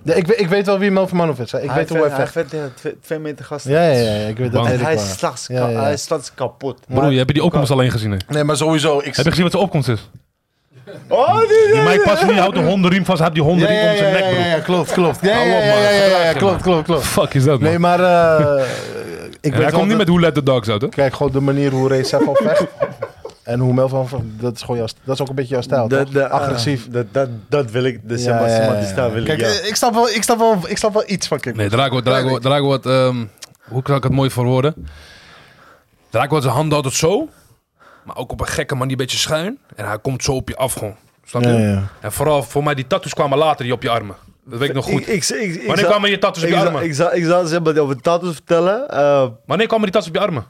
A: Ja, ik, weet- ik weet wel wie Melvin Manhoef is. hè. Ik
C: Hij
A: weet hoe hij
C: vecht-
A: vecht.
C: Hij vecht tegen twee, twee meter gasten.
A: Ja, ja, ja, ja, ik weet dat
B: Bang.
A: weet ik
C: Hij
A: wel.
C: slaat ze
A: Ja,
C: ka-
A: ja, ja.
C: hij slaat ze kapot.
B: Broer, je hebt die opkomst alleen gezien, hè?
A: Nee, maar sowieso. Ik...
B: Heb je gezien wat zijn opkomst is?
C: Oh, die, die,
B: Die Mike Pasli houdt de hondenriem vast, hij heeft die
A: Ja,
B: hondenriem
A: ja,
B: om
A: ja,
B: zijn
A: ja,
B: nek,
A: ja,
B: broer.
A: ja, klopt, klopt. Ja, ja,
B: Hou
A: ja,
B: op,
A: ja,
B: man.
A: ja, ja,
B: Gedraag je,
A: klopt,
B: man.
A: klopt, klopt.
B: Fuck is dat, man.
A: Nee, maar... eh, ik
B: hij
A: weet wel
B: komt niet
A: dat-
B: met Who Let The Dogs Out, hè?
A: Kijk, gewoon de manier hoe Ray Seffel vecht. En hoe Melvin vecht, dat is gewoon jouw... Dat is ook een beetje jouw stijl,
C: Dat-
A: toch?
C: dat-
A: Agressief.
C: Dat, dat, dat wil ik, dus
A: Ja,
C: ja,
A: ja,
C: maar
A: ja,
C: die
A: ja.
C: staan wil
A: Kijk,
C: ik. ja.
A: eh, ik, snap wel, ik, snap wel, ik snap wel iets van kickboxing.
B: Nee, Drago, Drago, Drago had... ehm, hoe kan ik het mooi verwoorden? Drago had zijn handen altijd zo. Maar ook op een gekke manier, een beetje schuin. En hij komt zo op je af, gewoon. Snap je?
A: Ja, ja.
B: En vooral, voor mij, die tattoos kwamen later die op je armen. Dat weet ik nog goed.
C: Ik, ik, ik, ik,
B: Wanneer
C: zou-
B: kwamen je tattoos op
C: ik
B: je
C: zou,
B: armen?
C: ik, zou, ik zou ze hebben over tattoos vertellen. eh,
B: Wanneer kwamen die tattoos op je armen?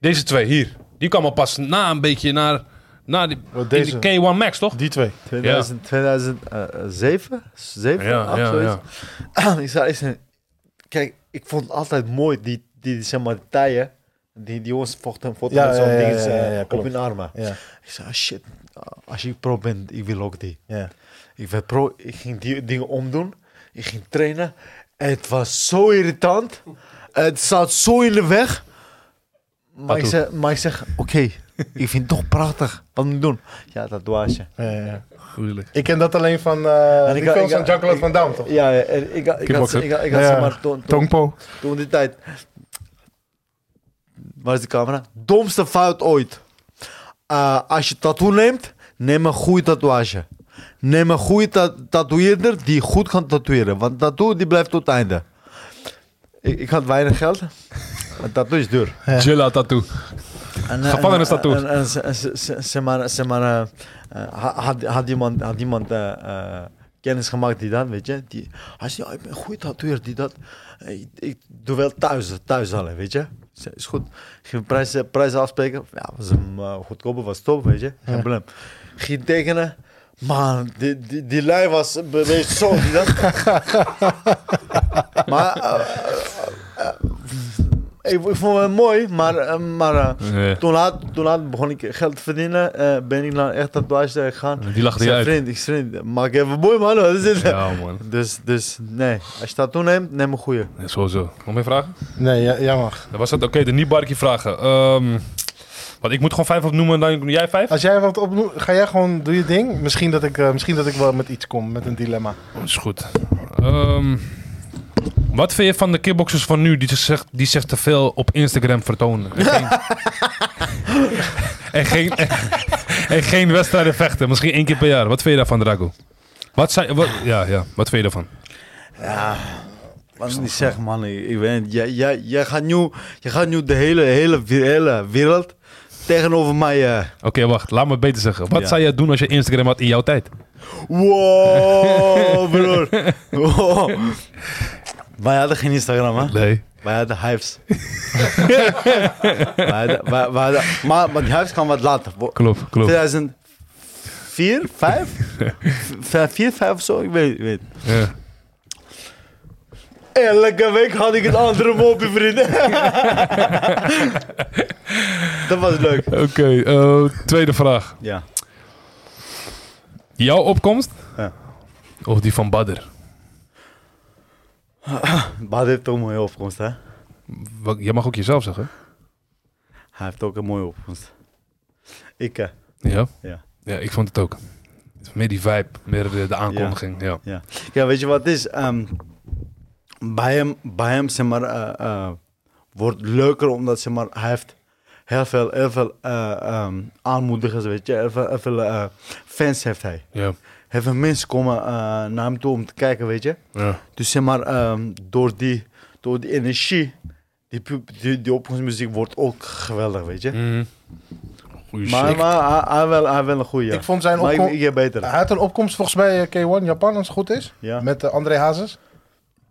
B: Deze twee, hier. Die kwamen pas na een beetje naar... Na die,
A: Wat, deze?
B: in de K1 Max, toch?
A: Die twee.
C: 2000, eh, 2007? 7?
B: Ja, ja,
C: ik zou ik zei, kijk, ik vond het altijd mooi die, die, die, zeg maar, die taaien. Die, die jongens vochten, vochten
A: Ja,
C: met
A: ja,
C: zo'n
A: ja,
C: ding
A: ja, ja,
C: eh,
A: ja,
C: op
A: klopt.
C: hun armen.
A: Ja,
C: Ik zei, ah, shit, als ik pro ben, ik wil ook die.
A: ja.
C: Ik werd pro, ik ging die dingen omdoen. Ik ging trainen. Het was zo irritant. Het zat zo in de weg. Maar, ik
B: Tattoo.
C: zeg, maar ik zeg, oké, ik vind het toch prachtig. Wat moet ik doen? Ja, tatoeage.
A: ja, ja.
B: Gruwelijk.
A: Ik ken dat alleen van eh
C: En
A: die
C: ik-
A: films
C: ik-
A: van Jean-Claude Van Damme, toch?
C: Ja, ja, en ik, had- ik, had,
B: Kickboxer.
C: ik, had- ik had, zeg
A: Ja.
C: maar, toen, toen,
A: Tongpo.
C: toen die tijd... Waar is de camera? Domste fout ooit. Eh, als je tattoo neemt, neem een goede tatoeage. Neem een goede ta- tatoeëerder die goed kan tatoeëren. Want tattoo die blijft tot het einde. Ik, ik had weinig geld. Een tattoo is duur.
B: Jilla tattoo.
C: En,
B: Gevangenistattoo.
C: En, en, en, ze- en ze- ze- zeg maar, zeg maar eh, eh, ha- had, had iemand, had iemand eh, eh, kennis gemaakt die dat, weet je. Die, hij zei, ja, ik ben een goede tatoeëer die dat. eh, Ik, ik doe wel thuis, thuis alleen, weet je. Ik zei, is goed. Geen prijzen, prijzen afspreken. Ja, was hem eh, goedkoper, was top, weet je. Geen probleem. Ging tekenen. Man, die, die, die lijn was een beetje zo, die dat. maar eh, eh, eh, ik, ik vond het mooi, maar, eh, maar eh,
B: Nee.
C: toen, laat, toen laat begon ik geld te verdienen. eh, ben ik naar echt tatoeage gegaan.
B: Die lachte
C: Ik
B: je
C: zei,
B: uit.
C: vriend, ik vriend, maak even mooi man, wat is dit?
B: Ja, man.
C: Dus, dus nee, als je tattoo neemt, neem een goede.
B: Ja, sowieso. Nog meer vragen?
A: Nee, ja, ja, mag.
B: Dan was dat oké, de niet-barkie vragen. Ehm want ik moet gewoon vijf opnoemen, dan jij vijf?
A: Als jij wat opnoemt, ga jij gewoon, doe je ding. Misschien dat, ik, eh, misschien dat ik wel met iets kom, met een dilemma.
B: Dat is goed. Ehm, wat vind je van de kickboxers van nu die zich, die zich te veel op Instagram vertonen? En geen, en geen, en geen wedstrijden vechten, misschien één keer per jaar. Wat vind je daarvan, Drago? Wat zijn, wat, ja, ja, wat vind je daarvan?
C: Ja, wat ik niet zeg man, ik, ik weet niet. Jij, jij, jij, gaat nu, jij gaat nu de hele, hele, hele wereld tegenover mij. eh,
B: Oké, wacht, laat me het beter zeggen. Wat
C: Ja.
B: zou jij doen als je Instagram had in jouw tijd?
C: Wow, broer. Wow. Wij hadden geen Instagram, hè?
B: Nee.
C: Wij hadden hypes. wij hadden, wij, wij hadden, maar, maar die hypes kwam wat later. Wo-
B: Klopt, klopt.
C: 2004, 5? 4, 5 of zo, ik weet ik weet het.
B: Ja.
C: Elke week had ik een andere mopje, vrienden. Dat was leuk.
B: Oké, eh, tweede vraag.
C: Ja.
B: Jouw opkomst?
C: Ja.
B: Of die van Badder?
C: Bad heeft ook een mooie opkomst, hè?
B: Wat- Jij mag ook jezelf zeggen.
C: Hij heeft ook een mooie opkomst. Ik, eh,
B: Ja?
C: Ja.
B: Ja, ik vond het ook. Meer die vibe, meer de, de aankondiging. Ja.
C: Ja. ja, weet je wat het is? Ehm, bij hem, bij hem zeg maar, eh, eh, wordt leuker omdat zeg maar, hij heeft heel veel, heel veel eh, ehm, aanmoedigers, weet je, heel veel, heel veel, eh, fans heeft hij.
B: Ja.
C: Heel veel mensen komen eh, naar hem toe om te kijken, weet je.
B: ja.
C: Dus zeg maar, ehm, door, die, door die energie, die, pub- die, die opkomstmuziek wordt ook geweldig, weet
B: Mm,
C: je.
B: Mhm. Goeie
C: Maar,
B: shit.
C: maar hij, hij, wel, hij wel een goeie.
A: Ik vond zijn
C: maar ik,
A: opkomst...
C: ik heb beter.
A: Hij had een opkomst volgens mij eh, K1 Japan, als het goed is.
C: Ja. Eh,
A: Met eh, André Hazes.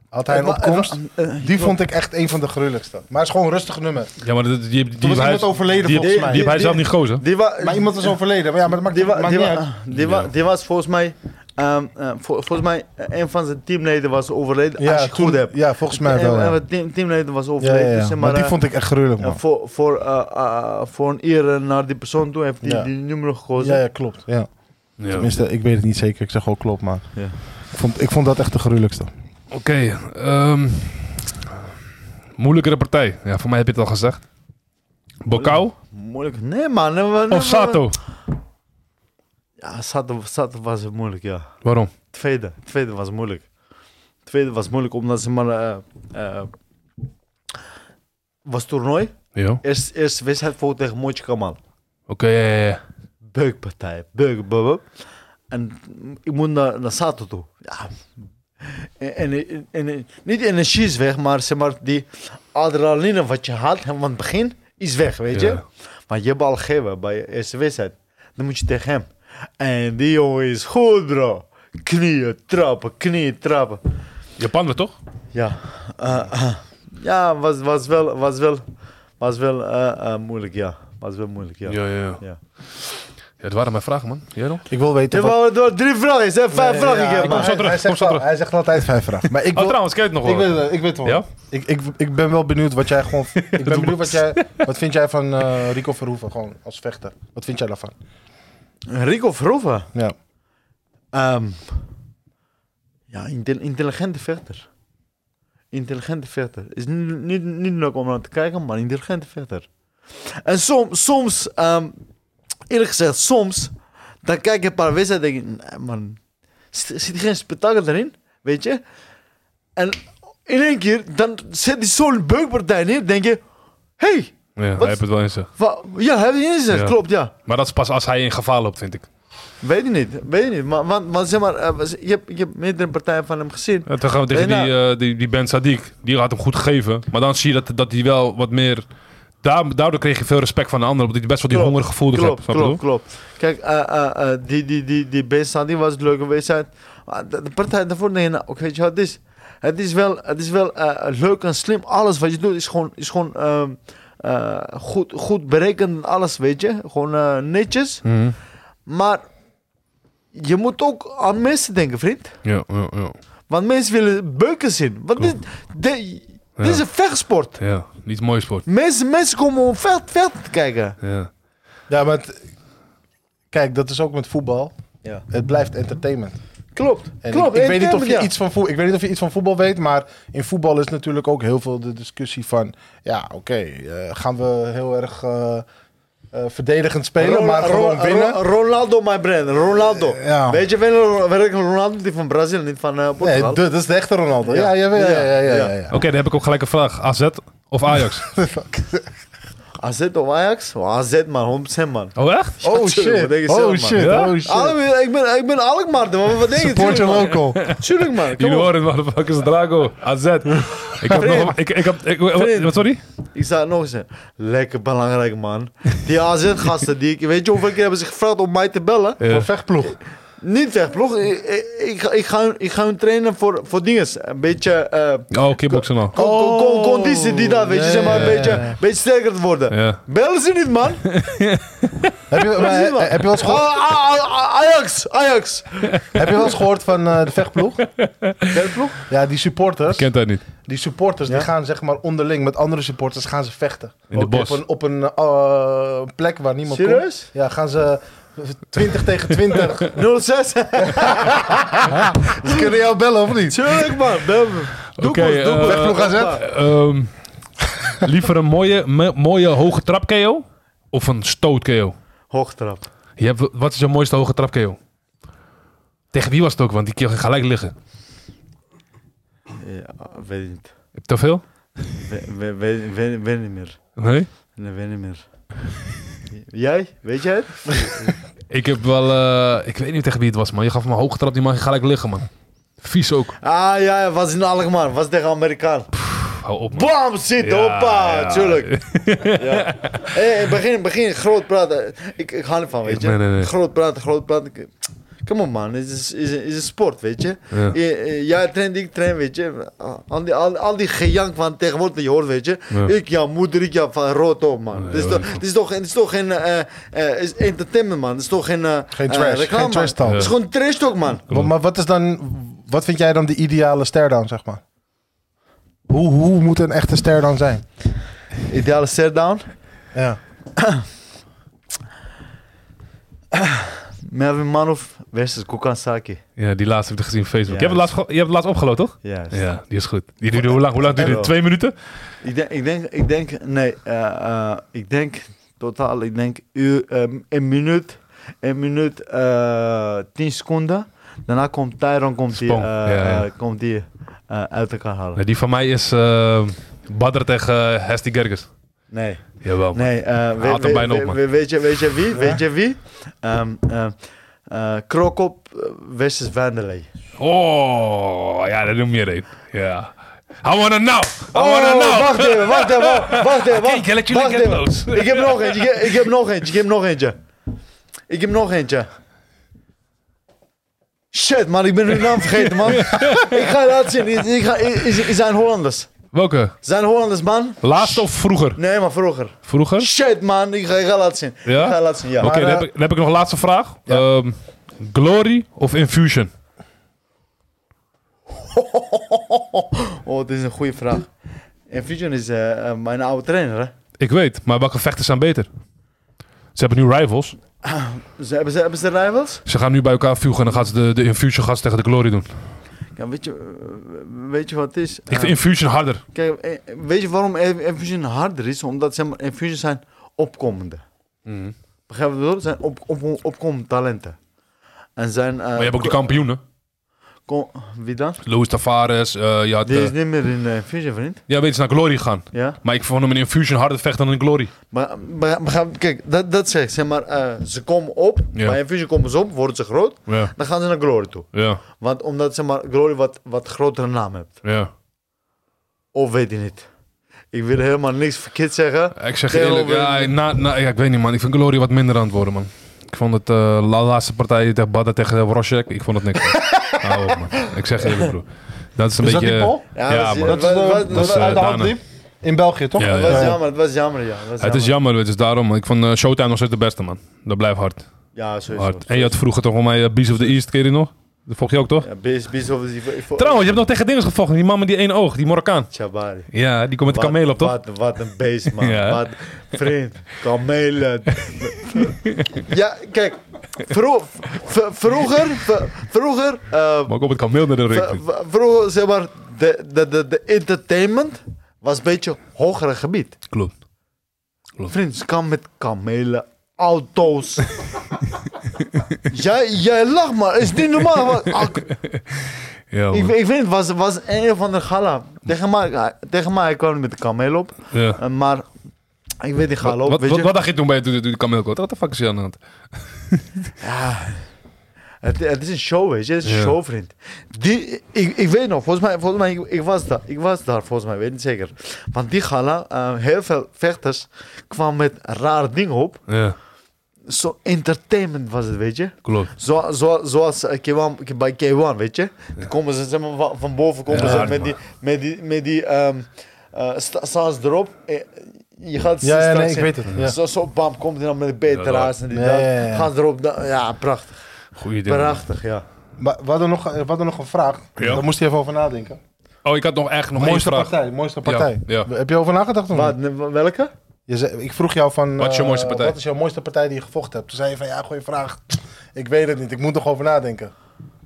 A: Had hij een opkomst. Die vond ik echt een van de gruwelijkste. Maar het is gewoon een rustig nummer.
C: Eh,
B: Ja, maar dat- die, die, die,
A: Toen was
B: hij,
A: iemand overleden
B: die,
A: volgens mij.
B: die heb hij zelf niet gekozen.
C: Die wa-
A: Maar iemand was overleden. Maar ja, maar dat maakt,
C: eh, Die, wa-
A: maakt
C: die,
A: niet
C: wa- ah,
A: uit.
C: die, wa- die was volgens mij, ehm, eh, vol- volgens mij eh, een van zijn teamleden was overleden.
A: Ja,
C: als je het goed
A: toen-
C: hebt. Eh,
A: ja, volgens mij wel.
C: Een
A: ja.
C: van de team, teamleden was
A: Ja, ja,
C: overleden.
A: ja.
C: dus zeg
A: Maar die
C: eh,
A: vond ik echt gruwelijk,
C: eh,
A: man.
C: voor, voor, eh, eh, voor een eer eh, naar die persoon toe heeft hij
A: Ja.
C: die nummer gekozen.
A: Ja, ja, klopt. Ja.
B: Ja. Oké,
A: Tenminste, ik weet het niet zeker. Ik zeg wel klopt, maar...
C: Ja.
A: Ik, vond, ik vond dat echt de gruwelijkste.
B: ehm, moeilijkere partij. Ja, voor mij heb je het al gezegd. Bokau
C: Moeilijk. Nee, man. nee, man,
A: Oh,
C: nee,
B: of Sato?
C: man. Ja, Sato, Sato was het moeilijk, ja.
B: Waarom?
C: Tweede. Tweede was moeilijk. Tweede was moeilijk omdat ze maar. eh, eh, was toernooi.
B: Ja. Oké,
C: Eerst, eerst wedstrijd voor tegen Moitje Kamal.
B: ja, ja, ja.
C: beukpartij, beuk, buh, buh. En ik moet naar, naar Sato toe. Ja. En, en, en- en- niet de energie is weg, maar, zeg maar die adrenaline wat je had van het begin is weg, weet je.
B: Ja.
C: Maar je hebt al gegeven bij je eerste wedstrijd. Dan moet je tegen hem. En die jongen is goed, bro. Knieën trappen, knieën trappen.
B: Japan weer toch?
C: Ja, eh, eh, ja was, was wel, was wel, was wel eh, eh, moeilijk, ja. Was wel moeilijk, ja.
B: ja. ja.
C: Ja.
B: Ja, dat waren mijn vragen, man. Jij nog?
A: Ik wil weten...
C: Je
A: wat-
C: wou door drie vragen, zijn vijf
A: Ja,
C: vragen.
A: ja,
C: ik heb,
A: hij-
C: man.
B: zo terug,
A: Hij
B: kom
A: zegt,
B: zo
A: al-
B: terug.
A: hij zegt altijd vijf vragen. Maar ik
B: Oh,
A: wil...
B: trouwens, kijk nog
A: Ik
B: wel.
A: weet het, ik weet het wel.
B: Ja?
A: Ik, ik, ik ben wel benieuwd wat jij gewoon... Ik ben benieuwd wat jij... Wat vind jij van eh, Rico Verhoeven, gewoon, als vechter? Wat vind jij daarvan?
C: Rico Verhoeven.
A: Ja.
C: Ehm, ja, intel- intelligente vechter. Intelligente vechter. Is niet, niet, niet leuk om naar te kijken, maar intelligente vechter. En soms, soms ehm, eerlijk gezegd, soms, dan kijk je een paar wedstrijden en denk je, nee, man, zit, zit geen spektakel erin, weet je? En in één keer, dan zet hij zo'n beukpartij neer, denk je, hé, hey,
B: Ja, hij
C: Wat?
B: heeft het wel in zich.
C: wa- ja, heb je ingezet,
B: Ja.
C: klopt, ja.
B: Maar dat is pas als hij in gevaar loopt, vind ik.
C: Weet je niet, weet je niet. Maar, want, want zeg maar, eh, je, hebt, je hebt meerdere partijen van hem gezien.
B: En toen gaan we tegen
C: Nee,
B: die, eh, die, die Ben Sadiq. Die had hem goed gegeven. Maar dan zie je dat, dat hij wel wat meer... daar- Daardoor kreeg je veel respect van de anderen. Omdat hij best wel die
C: Klopt,
B: hongergevoel hebt.
C: Klopt,
B: snap je wat ik
C: klopt, klopt. Kijk, eh, eh, eh, die, die, die, die Bensan, die was een leuke wedstrijd. Maar de, de partij daarvoor, nee, nou, oké, weet je wat het is? Het is wel, het is wel eh, leuk en slim. Alles wat je doet is gewoon, is gewoon ehm, eh, goed, goed berekend. en Alles, weet je? Gewoon eh, netjes.
B: bedoel? Mhm.
C: Maar je moet ook aan mensen denken, vriend.
B: Ja, ja, ja.
C: Want mensen willen beuken zien. Want dit, de-
B: Ja.
C: Dit is een vechtsport.
B: Ja, niet mooi sport.
C: Mensen, mensen komen om vecht, vecht te kijken.
B: Ja.
A: Ja, maar het- kijk, dat is ook met voetbal.
C: Ja.
A: Het blijft entertainment.
C: Klopt.
A: En
C: klopt.
A: ik, ik weet niet of je
C: ja.
A: iets van voetbal, ik weet niet of je iets van voetbal weet, maar in voetbal is natuurlijk ook heel veel de discussie van, ja, oké, eh, gaan we heel erg eh, eh, verdedigend spelen,
C: Ro-
A: maar
C: Ro-
A: gewoon
C: Ro-
A: winnen. Eh,
C: Ronaldo, my brand. Ronaldo.
A: Ja.
C: Weet je wel, werkt Ronaldo die van Brazil, niet van eh,
A: nee,
C: Portugal?
A: d- dat is de echte Ronaldo. Ja,
C: Ja.
A: ja, ja, ja, ja, ja,
C: Ja.
A: ja.
B: Oké, dan heb ik ook gelijk een vraag. AZ of Ajax?
C: AZ of Ajax? Oh, AZ man, 100% man.
B: Oh, echt?
A: Oh
C: Ja, tuurlijk, wat denk je
A: shit, oh
C: zelf, man?
A: shit,
B: Ja?
A: oh shit.
C: Alem- ik ben, ik ben Alkmaar, man. Wat denk je?
A: Support your
C: Tuurlijk, man.
A: local.
C: Tuurlijk, man. Kom
B: Jullie
C: op.
B: horen het, motherfuckers. Drago, AZ. Ik heb nog... Ik, ik heb, ik, wat,
C: Vreemd.
B: wat, sorry?
C: Ik zou het nog eens zeggen. Lekker belangrijk, man. Die AZ-gasten, die, ik- weet je hoeveel keer hebben ze gevraagd om mij te bellen?
B: Ja.
A: Voor vechtploeg.
C: Niet weg, ploeg. Ik, ik- ik, ga- ik, ga, hun- ik ga hun trainen voor, voor dinges. Een beetje... eh,
B: Oh, kickboksen al.
C: con- con- con- conditie die dat, weet je, zeg maar, een
A: ja, ja.
C: beetje, een beetje sterker te worden.
B: Oh, Ja.
C: Bellen ze niet, man.
A: Heb je, maar, eh,
C: Precies, man.
A: heb je wel eens
C: Ah,
A: gehoord,
C: ah, ah, ah, Ajax, Ajax.
A: heb je wel eens gehoord van eh, de vechtploeg?
C: Vechtploeg?
A: Ja, die supporters.
B: Kent hij niet.
A: Die supporters die
C: Ja?
A: gaan zeg maar onderling met andere supporters gaan ze vechten.
B: In de
A: Ook
B: bos.
A: Op een, op een eh, plek waar niemand
C: Serieus?
A: komt. Ja, gaan ze 20 tegen 20.
C: 06.
A: Ze kunnen jou bellen of niet?
C: Tuurlijk, man. Bel me. Doe
B: Oké,
C: maar, doe
B: eh,
C: maar.
A: Vechtploeg AZ.
B: Ehm, liever een mooie, me- mooie hoge trap KO of een stoot KO?
C: Hoogtrap.
B: Je hebt, wat is je mooiste hoge trap KO? Tegen wie was het ook? Want die keer ging gelijk liggen.
C: Ja, weet ik niet.
B: Te veel?
C: We- we- Weet weet- weet niet meer.
B: Nee.
C: Nee, weet niet meer. Jij? Weet jij het?
B: Ik heb wel, eh, ik weet niet tegen wie het was, man. Je gaf me een hoge trap, die man ging gelijk liggen, man. Vies ook.
C: Ah ja, ja, was in Alkmaar. Was tegen Amerikaan.
B: Pff, hou op, man.
C: Bam, zit,
B: Ja,
C: hoppa.
B: ja.
C: Tuurlijk. Ja. Hey, begin, begin, groot praten. Ik, ik hou niet van, weet je.
B: Nee, nee, nee.
C: Groot praten, groot praten. Ik- Come on man, het is, is, is een sport, weet je.
B: Ja.
C: Je- eh, Jij traint, ik train, weet je. Al die, al, al die gejank van tegenwoordig die je hoort, weet je.
B: Ja.
C: Ik, jouw moeder, ik, jouw van rood op, man.
B: Nee,
C: Het is
B: hoor
C: toch-
B: niet van.
C: het is toch- het is toch geen eh, eh, is entertainment, man. Het is toch geen, eh,
A: Geen
C: eh,
A: trash,
C: reclame,
A: geen trash
C: man.
A: talk.
C: Het is gewoon trash talk, man.
A: Maar, maar wat is dan, wat vind jij dan de ideale sterdown zeg maar? Hoe, hoe moet een echte sterdown zijn?
C: Ideale set-down.
A: Ja.
C: Melvin Manov versus Kukansaki.
B: Ja, die laatste heb ik gezien op Facebook.
C: Ja.
B: Je hebt het laatst, ge- je hebt het laatst opgeloot, toch?
C: Juist.
B: Ja, die is goed. Die duurde, hoe lang, hoe lang duurde die? Twee minuten?
C: Ik, denk, ik, denk, ik denk, nee, eh, eh, ik denk totaal, ik denk uur, ehm, een minuut, een minuut, eh, tien seconden. Daarna komt Tyron, komt die,
B: Spong,
C: eh,
B: ja, ja.
C: eh, komt die eh, uit elkaar halen.
B: Nee, die van mij is eh Badr tegen eh, Hesti Gerges.
C: Nee,
B: Jawel. man.
C: nee. eh, we-
B: Haalt hem
C: we-
B: bijna op,
C: we-
B: man.
C: we- weet, je, weet je wie? Weet je wie? Ehm eh, eh, Krokop eh, versus Vanderlei.
B: Oh, ja, dat noem je er een. Ja. I wanna know! I wanna
C: Oh,
B: know!
C: wacht even, wacht even, wacht even, wacht even.
B: Kijk, let jullie
C: wacht
B: get
C: even.
B: loads.
C: Ik heb nog eentje, ik heb- ik heb nog eentje, ik heb nog eentje. Ik heb nog eentje. Shit man, ik ben hun naam vergeten man. ik ga het laten zien, ik, ik ga, ik, ik- ik zijn Hollanders.
B: Welke?
C: Zijn Hollanders man?
B: Laatst of vroeger?
C: Nee maar vroeger.
B: Vroeger? Oké,
C: Shit man, ik ga, ik ga laten zien.
B: Ja?
C: Ik ga laten zien, ja.
A: Maar,
B: dan,
A: eh,
B: heb ik- dan heb ik nog een laatste vraag. Ehm, Glory of Infusion?
C: Oh, dit is een goede vraag. En Fusion is eh, eh, mijn oude trainer hè.
B: Ik weet, maar welke vechters zijn beter? Ze hebben nu rivals.
C: Dus hebben ze, hebben ze rivals?
B: Ze gaan nu bij elkaar fugen en dan gaan ze de, de Infusion gast tegen de Glory doen.
C: Ja, weet je, eh, weet je wat het is?
B: Ik
C: Eh,
B: vind Infusion harder.
C: Kijk, eh, weet je waarom Infusion harder is? Omdat zeg maar, Infusion zijn opkomende.
B: Mhm.
C: Begrijp je wat ik bedoel? Zijn op, op, opkomende talenten. En zijn... eh,
B: Maar je hebt ook die kampioenen.
C: ko- wie dan?
B: Louis Tavares, eh, je had...
C: Die
B: eh,
C: is niet meer in eh, Infusion, vriend.
B: ja, weet je, naar Glory gaan.
C: Ja?
B: Maar ik vond hem in Infusion harder vechten dan in Glory.
C: Maar, maar, maar kijk, dat, dat zeg ik. Zeg maar, eh, ze komen op.
B: Ja.
C: Bij Infusion komen ze op, worden ze groot.
B: Ja,
C: Dan gaan ze naar Glory toe.
B: ja,
C: Want omdat zeg maar, Glory wat, wat grotere naam heeft.
B: ja.
C: Of weet je niet. Ik wil helemaal niks verkeerd zeggen.
B: Eh, Ik zeg je
C: Theo,
B: eerlijk,
C: we-
B: ja, na, na, ja, ik weet niet man. Ik vind Glory wat minder aan het worden man. Ik vond het eh, la laatste partij tegen Badda tegen Wroschek, ik vond het niks. man. Hou op man. Ik zeg je eerlijk broer. Dat is een
A: Is dat
B: beetje...
A: die Paul?
C: Ja,
B: Ja,
C: dat is-
B: man.
C: dat
A: Dat is
C: was-
A: de,
C: was-
A: dat is
B: eh,
A: uit de hand
B: Dana.
A: liep. In België toch?
B: Ja,
C: Het
B: ja.
C: was jammer, het was jammer, ja. Het was
B: Het is
C: jammer.
B: jammer, weet je, dus daarom. Ik vond eh, Showtime nog steeds de beste man. Dat blijft hard.
C: Ja, sowieso.
B: e- hard. En je had vroeger toch voor mij eh, Beast of the East, keer je die nog? Dat volg je ook toch?
C: Ja, Bis, bis over die... voor-
B: Trouwens, je hebt nog tegen dingen gevochten. Die man met die één oog, die Marokkaan.
C: Jabari.
B: Ja, die komt met de kameel op, toch?
C: Wat, wat een beest, man.
B: Ja.
C: Wat, vriend, kamelen. ja, kijk. Vro v- vroeger, v- vroeger, eh,
B: Maar ook op het kameel naar de
C: v-
B: ring.
C: v- vroeger, zeg maar, de, de, de, de entertainment was een beetje hogere gebied.
B: Klopt.
C: Vriend, ze kan met kamelen, auto's. jij, jij lacht maar, is niet normaal. Wat- ah,
B: Ja,
C: ik,
B: man.
C: ik weet het, was, was een van de gala. Tegen mij, tegen mij hij kwam met de kameel op.
B: Ja.
C: Eh, maar ik weet die
B: Wat,
C: gala op,
B: wat,
C: weet
B: wat,
C: je.
B: wat dacht je toen bij toen toen de kameel kwam? Wat de fuck is je aan de hand?
C: Het, het is een show, weet je. Het is een
B: Ja.
C: show, vriend. Die, ik, ik weet nog, volgens mij, volgens mij ik, ik was daar. Ik was daar, volgens mij, weet niet zeker. Want die gala, eh, heel veel vechters kwamen met raar dingen op.
B: Ja,
C: Zo entertainment was het, weet je.
B: klopt.
C: Zo, zo, zoals eh, K1, bij K1, weet je. Dan komen ze zeg maar, van, van boven komen
B: Ja,
C: ze
B: man.
C: met die, met die, met die ehm eh, sta- saus erop. Eh, Je gaat
A: Ja, ja,
C: straks
A: nee, ik
C: zien.
A: weet het. Ja.
C: Zo, zo bam, komt hij dan met de beterhaas en die
A: Ja,
C: dat.
A: ja, ja.
C: Gaat erop, dan- ja, prachtig.
B: Goeie ding. man.
C: Prachtig, ja.
A: Maar we hadden nog, we hadden nog een vraag.
B: Ja.
A: Daar moest je even over nadenken.
B: Oh, ik had nog echt nog één
A: mooiste
B: vraag.
A: partij, mooiste partij.
B: ja.
A: Heb je over nagedacht? of
C: Wat,
A: niet?
C: welke?
A: Je zei- ik vroeg jou van...
B: Wat is je
A: eh,
B: mooiste partij?
A: Wat is jouw mooiste partij die je gevochten hebt? Toen zei je van, ja, goeie vraag. Ik weet het niet, ik moet nog over nadenken.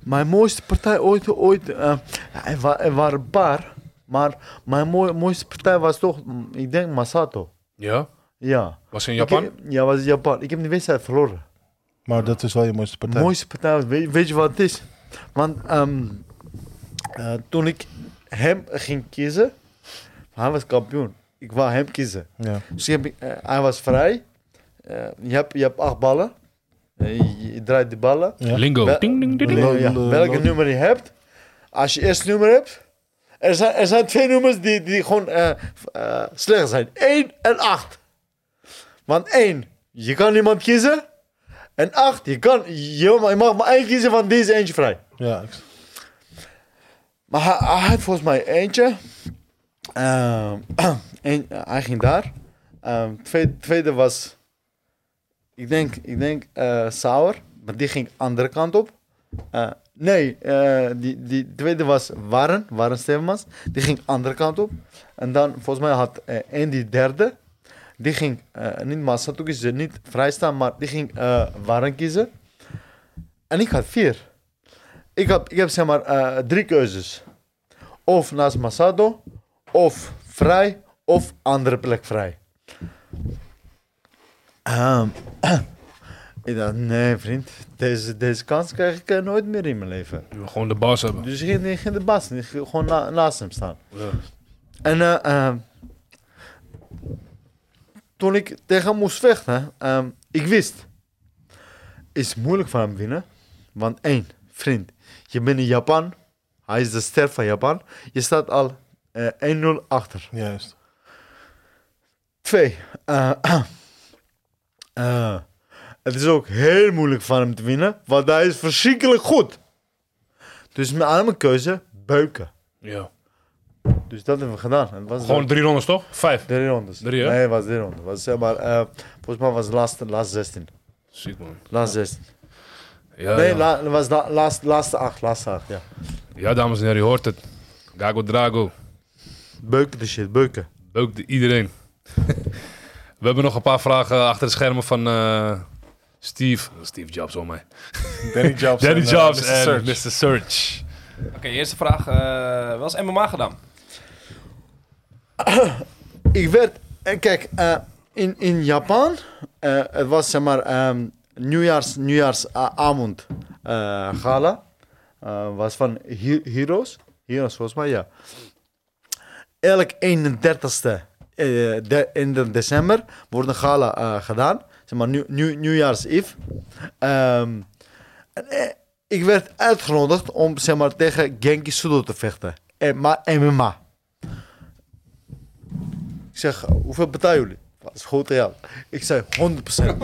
C: Mijn mooiste partij ooit, ooit eh, ja, er, wa- er waren een paar, maar mijn mooi- mooiste partij was toch, mm, ik denk Masato.
B: Ja?
C: Ja.
B: Was in Japan?
C: Ik heb- ja, was in Japan. Ik heb de wedstrijd verloren.
A: Maar dat is wel je mooiste partij.
C: De mooiste partij, was- weet, weet je wat het is? Want ehm, eh, toen ik hem ging kiezen, hij was kampioen. Ik wou hem kiezen.
A: Ja.
C: Dus ik heb, eh, hij was vrij. Eh, je, hebt, je hebt acht ballen. Eh, je, je draait die ballen.
A: Ja.
B: Lingo.
C: Wel-
B: Ding, ding, ding, ding.
A: Lul,
C: Ja,
A: lul,
C: welke
A: lul.
C: nummer je hebt. Als je eerste nummer hebt. Er zijn, er zijn twee nummers die, die gewoon eh, f- eh, slecht zijn. 1 en 8. Want 1, je kan niemand kiezen. En 8, je, kan, je, mag- je mag maar één kiezen van deze eentje vrij.
A: Ja, ik-
C: Maar hij, hij had volgens mij eentje. Ehm, en, hij ging daar. Ehm, tweede, tweede was, ik denk, ik denk eh, Sauer, maar die ging andere kant op. Eh, nee, eh, die, die tweede was Warren, Warren Stevens, die ging andere kant op. En dan volgens mij had eh en die derde, die ging eh, niet Masato kiezen, niet vrijstaan, maar die ging eh, Warren kiezen. En ik had vier. Ik heb, ik heb zeg maar eh, drie keuzes. Of naast Masado, of vrij, of andere plek vrij. Ehm, ik dacht, nee vriend, deze, deze kans krijg ik eh, nooit meer in mijn leven.
B: Gewoon de bas hebben.
C: Dus ik ging, ik ging de baas, ik ging gewoon na- naast hem staan. En eh, ehm, toen ik tegen hem moest vechten, ehm, ik wist, is moeilijk van hem winnen. Want één, vriend, je bent in Japan, hij is de ster van Japan, je staat al eh, 1-0 achter.
A: Juist.
C: Twee. eh, eh, het is ook heel moeilijk van hem te winnen, want hij is verschrikkelijk goed. Dus mijn arme keuze, beuken.
B: Ja.
C: Dus dat hebben we gedaan. En was
B: Gewoon drie rondes, toch? Vijf.
C: drie rondes.
B: drie, hè?
C: Nee, het was drie rondes. Was, zeg maar, eh, volgens mij was het laatste, laatste 16.
B: Ziek, man.
C: Laatste 16.
B: Ja,
C: nee,
B: ja.
C: la- het was la- laatste, laatste 8. Laatste 8, ja.
B: ja, dames en heren, je hoort het. Gago Drago.
C: Beuken de shit, beuken.
B: Leuk de- iedereen. We hebben nog een paar vragen achter de schermen van eh, Steve. Steve Jobs, om mij.
A: Danny Jobs.
B: Danny
A: en, eh,
B: Jobs
A: Mr.
B: en
A: Search.
B: Mr. Search.
G: Oké, eerste vraag. eh wat is MMA gedaan?
C: ik werd, eh, kijk, eh, in, in Japan, eh, het was zeg maar ehm nieuwjaars, nieuwjaarsavond eh, gala, eh, was van Hi- Heroes, Heroes volgens mij, ja. Elk 31ste eh, de, in de december wordt een gala eh, gedaan, zeg maar nieuw, nieuw, nieuwjaarseve. Ehm, en, eh, ik werd uitgenodigd om zeg maar, tegen Genki Sudo te vechten, Eh, maar MMA. Ik zeg, hoeveel betalen jullie? Dat is goed geld. Ik zei, 100%.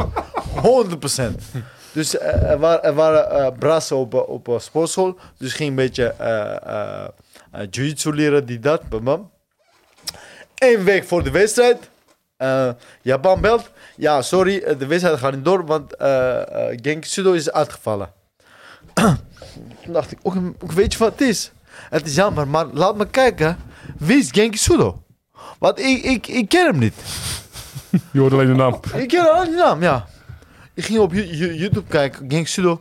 C: 100%. Dus eh, er waren, er waren eh, brassen op, eh, op eh, sportschool. Dus ging een beetje eh eh, eh, jiu-jitsu leren, die dat. Bam, bam. Eén week voor de wedstrijd. eh, Japan belt. Ja, sorry, eh, de wedstrijd gaat niet door, want eh eh, Genki Sudo is uitgevallen. Toen dacht ik, ook, ook weet je wat het is? Het is jammer, maar laat me kijken. Wie is Genki Sudo? Want ik, ik, ik ken hem niet.
B: Je hoort alleen de naam.
C: Ik ken alleen die naam, ja. Ik ging op Yo- Yo- YouTube kijken, Genki Sudo.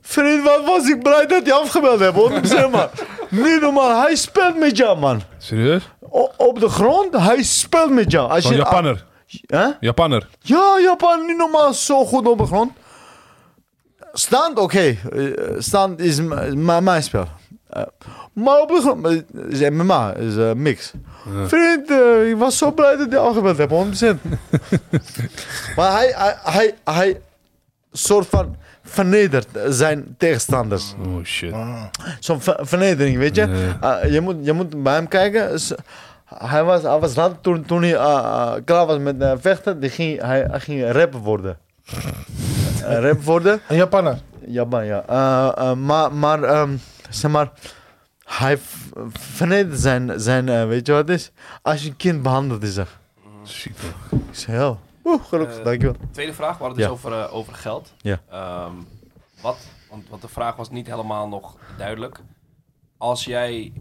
C: Vriend, wat was ik blij dat hij afgebeld heeft, hoor. Zeg maar. Niet normaal, hij speelt met jou, man.
B: Serieus?
C: O- op de grond, hij speelt met jou. Als
B: Van
A: ah.
C: je,
B: Japanner.
C: Hè?
B: Japanner.
C: Ja, Japan niet normaal zo goed op de grond. Stand, oké. eh, Stand is m- m- mijn spel. Eh, maar op de grond eh, is MMA, is eh, mix. Vriend, eh, ik was zo blij dat hij afgebeld heeft, 100%. maar hij, hij, hij, hij soort van vernedert zijn tegenstanders.
B: Oh shit.
A: Ah.
C: Zo'n ver- vernedering, weet je?
B: Ja.
C: Eh, je, moet, je moet bij hem kijken. Ze- hij was, hij was laat toen, toen hij eh, eh, klaar was met eh, vechten, die ging, hij, hij ging rapper worden. Eh, rapper worden?
A: Een Japanner.
C: Japan, ja. Eh, eh, maar, maar ehm, zeg maar, hij v- vernedert zijn, zijn eh, weet je wat het is? Als je een kind behandelt, is er.
B: Shit.
C: Ik zei, oh, oeh, gelukkig,
G: Eh,
C: dankjewel.
G: Tweede vraag, we hadden het
C: Ja.
G: dus over, eh, over geld.
C: Ja.
G: Ehm, wat, want, want de vraag was niet helemaal nog duidelijk. Als jij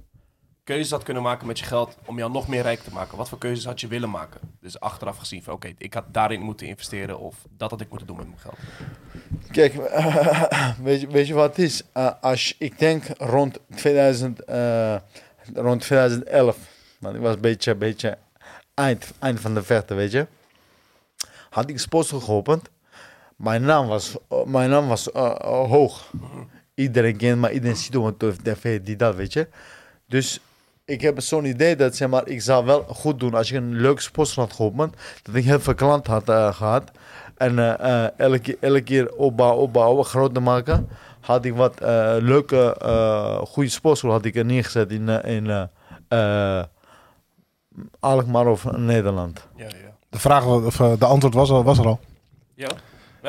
G: keuzes had kunnen maken met je geld om jou nog meer rijk te maken, wat voor keuzes had je willen maken? Dus achteraf gezien van oké, ik had daarin moeten investeren of dat had ik moeten doen met mijn geld.
C: Kijk, weet, je, weet je wat het is? Eh, als je- ik denk rond, 2000, eh, rond 2011, want ik was een beetje, een beetje eind, eind van de vechten, weet je. Had ik sportschool geopend. Mijn naam was, mijn naam was eh, eh, hoog. Iedereen kent maar iedereen ziet hem op de tv, die dat, weet je. Dus ik heb zo'n idee dat zeg maar, ik zou wel goed doen als ik een leuk sportschool had geopend. Dat ik heel veel klanten had eh, gehad. En eh, eh, elke, keer- elke keer opbouwen, opbouwen, groter maken. Had ik wat eh, leuke, eh, goede sportschool had ik er neergezet in, eh, in eh, eh, Alkmaar of Nederland.
G: Ja, ja.
A: De, vraag, wa- of, eh, de antwoord was, al- was er al.
G: Ja,
A: Ja.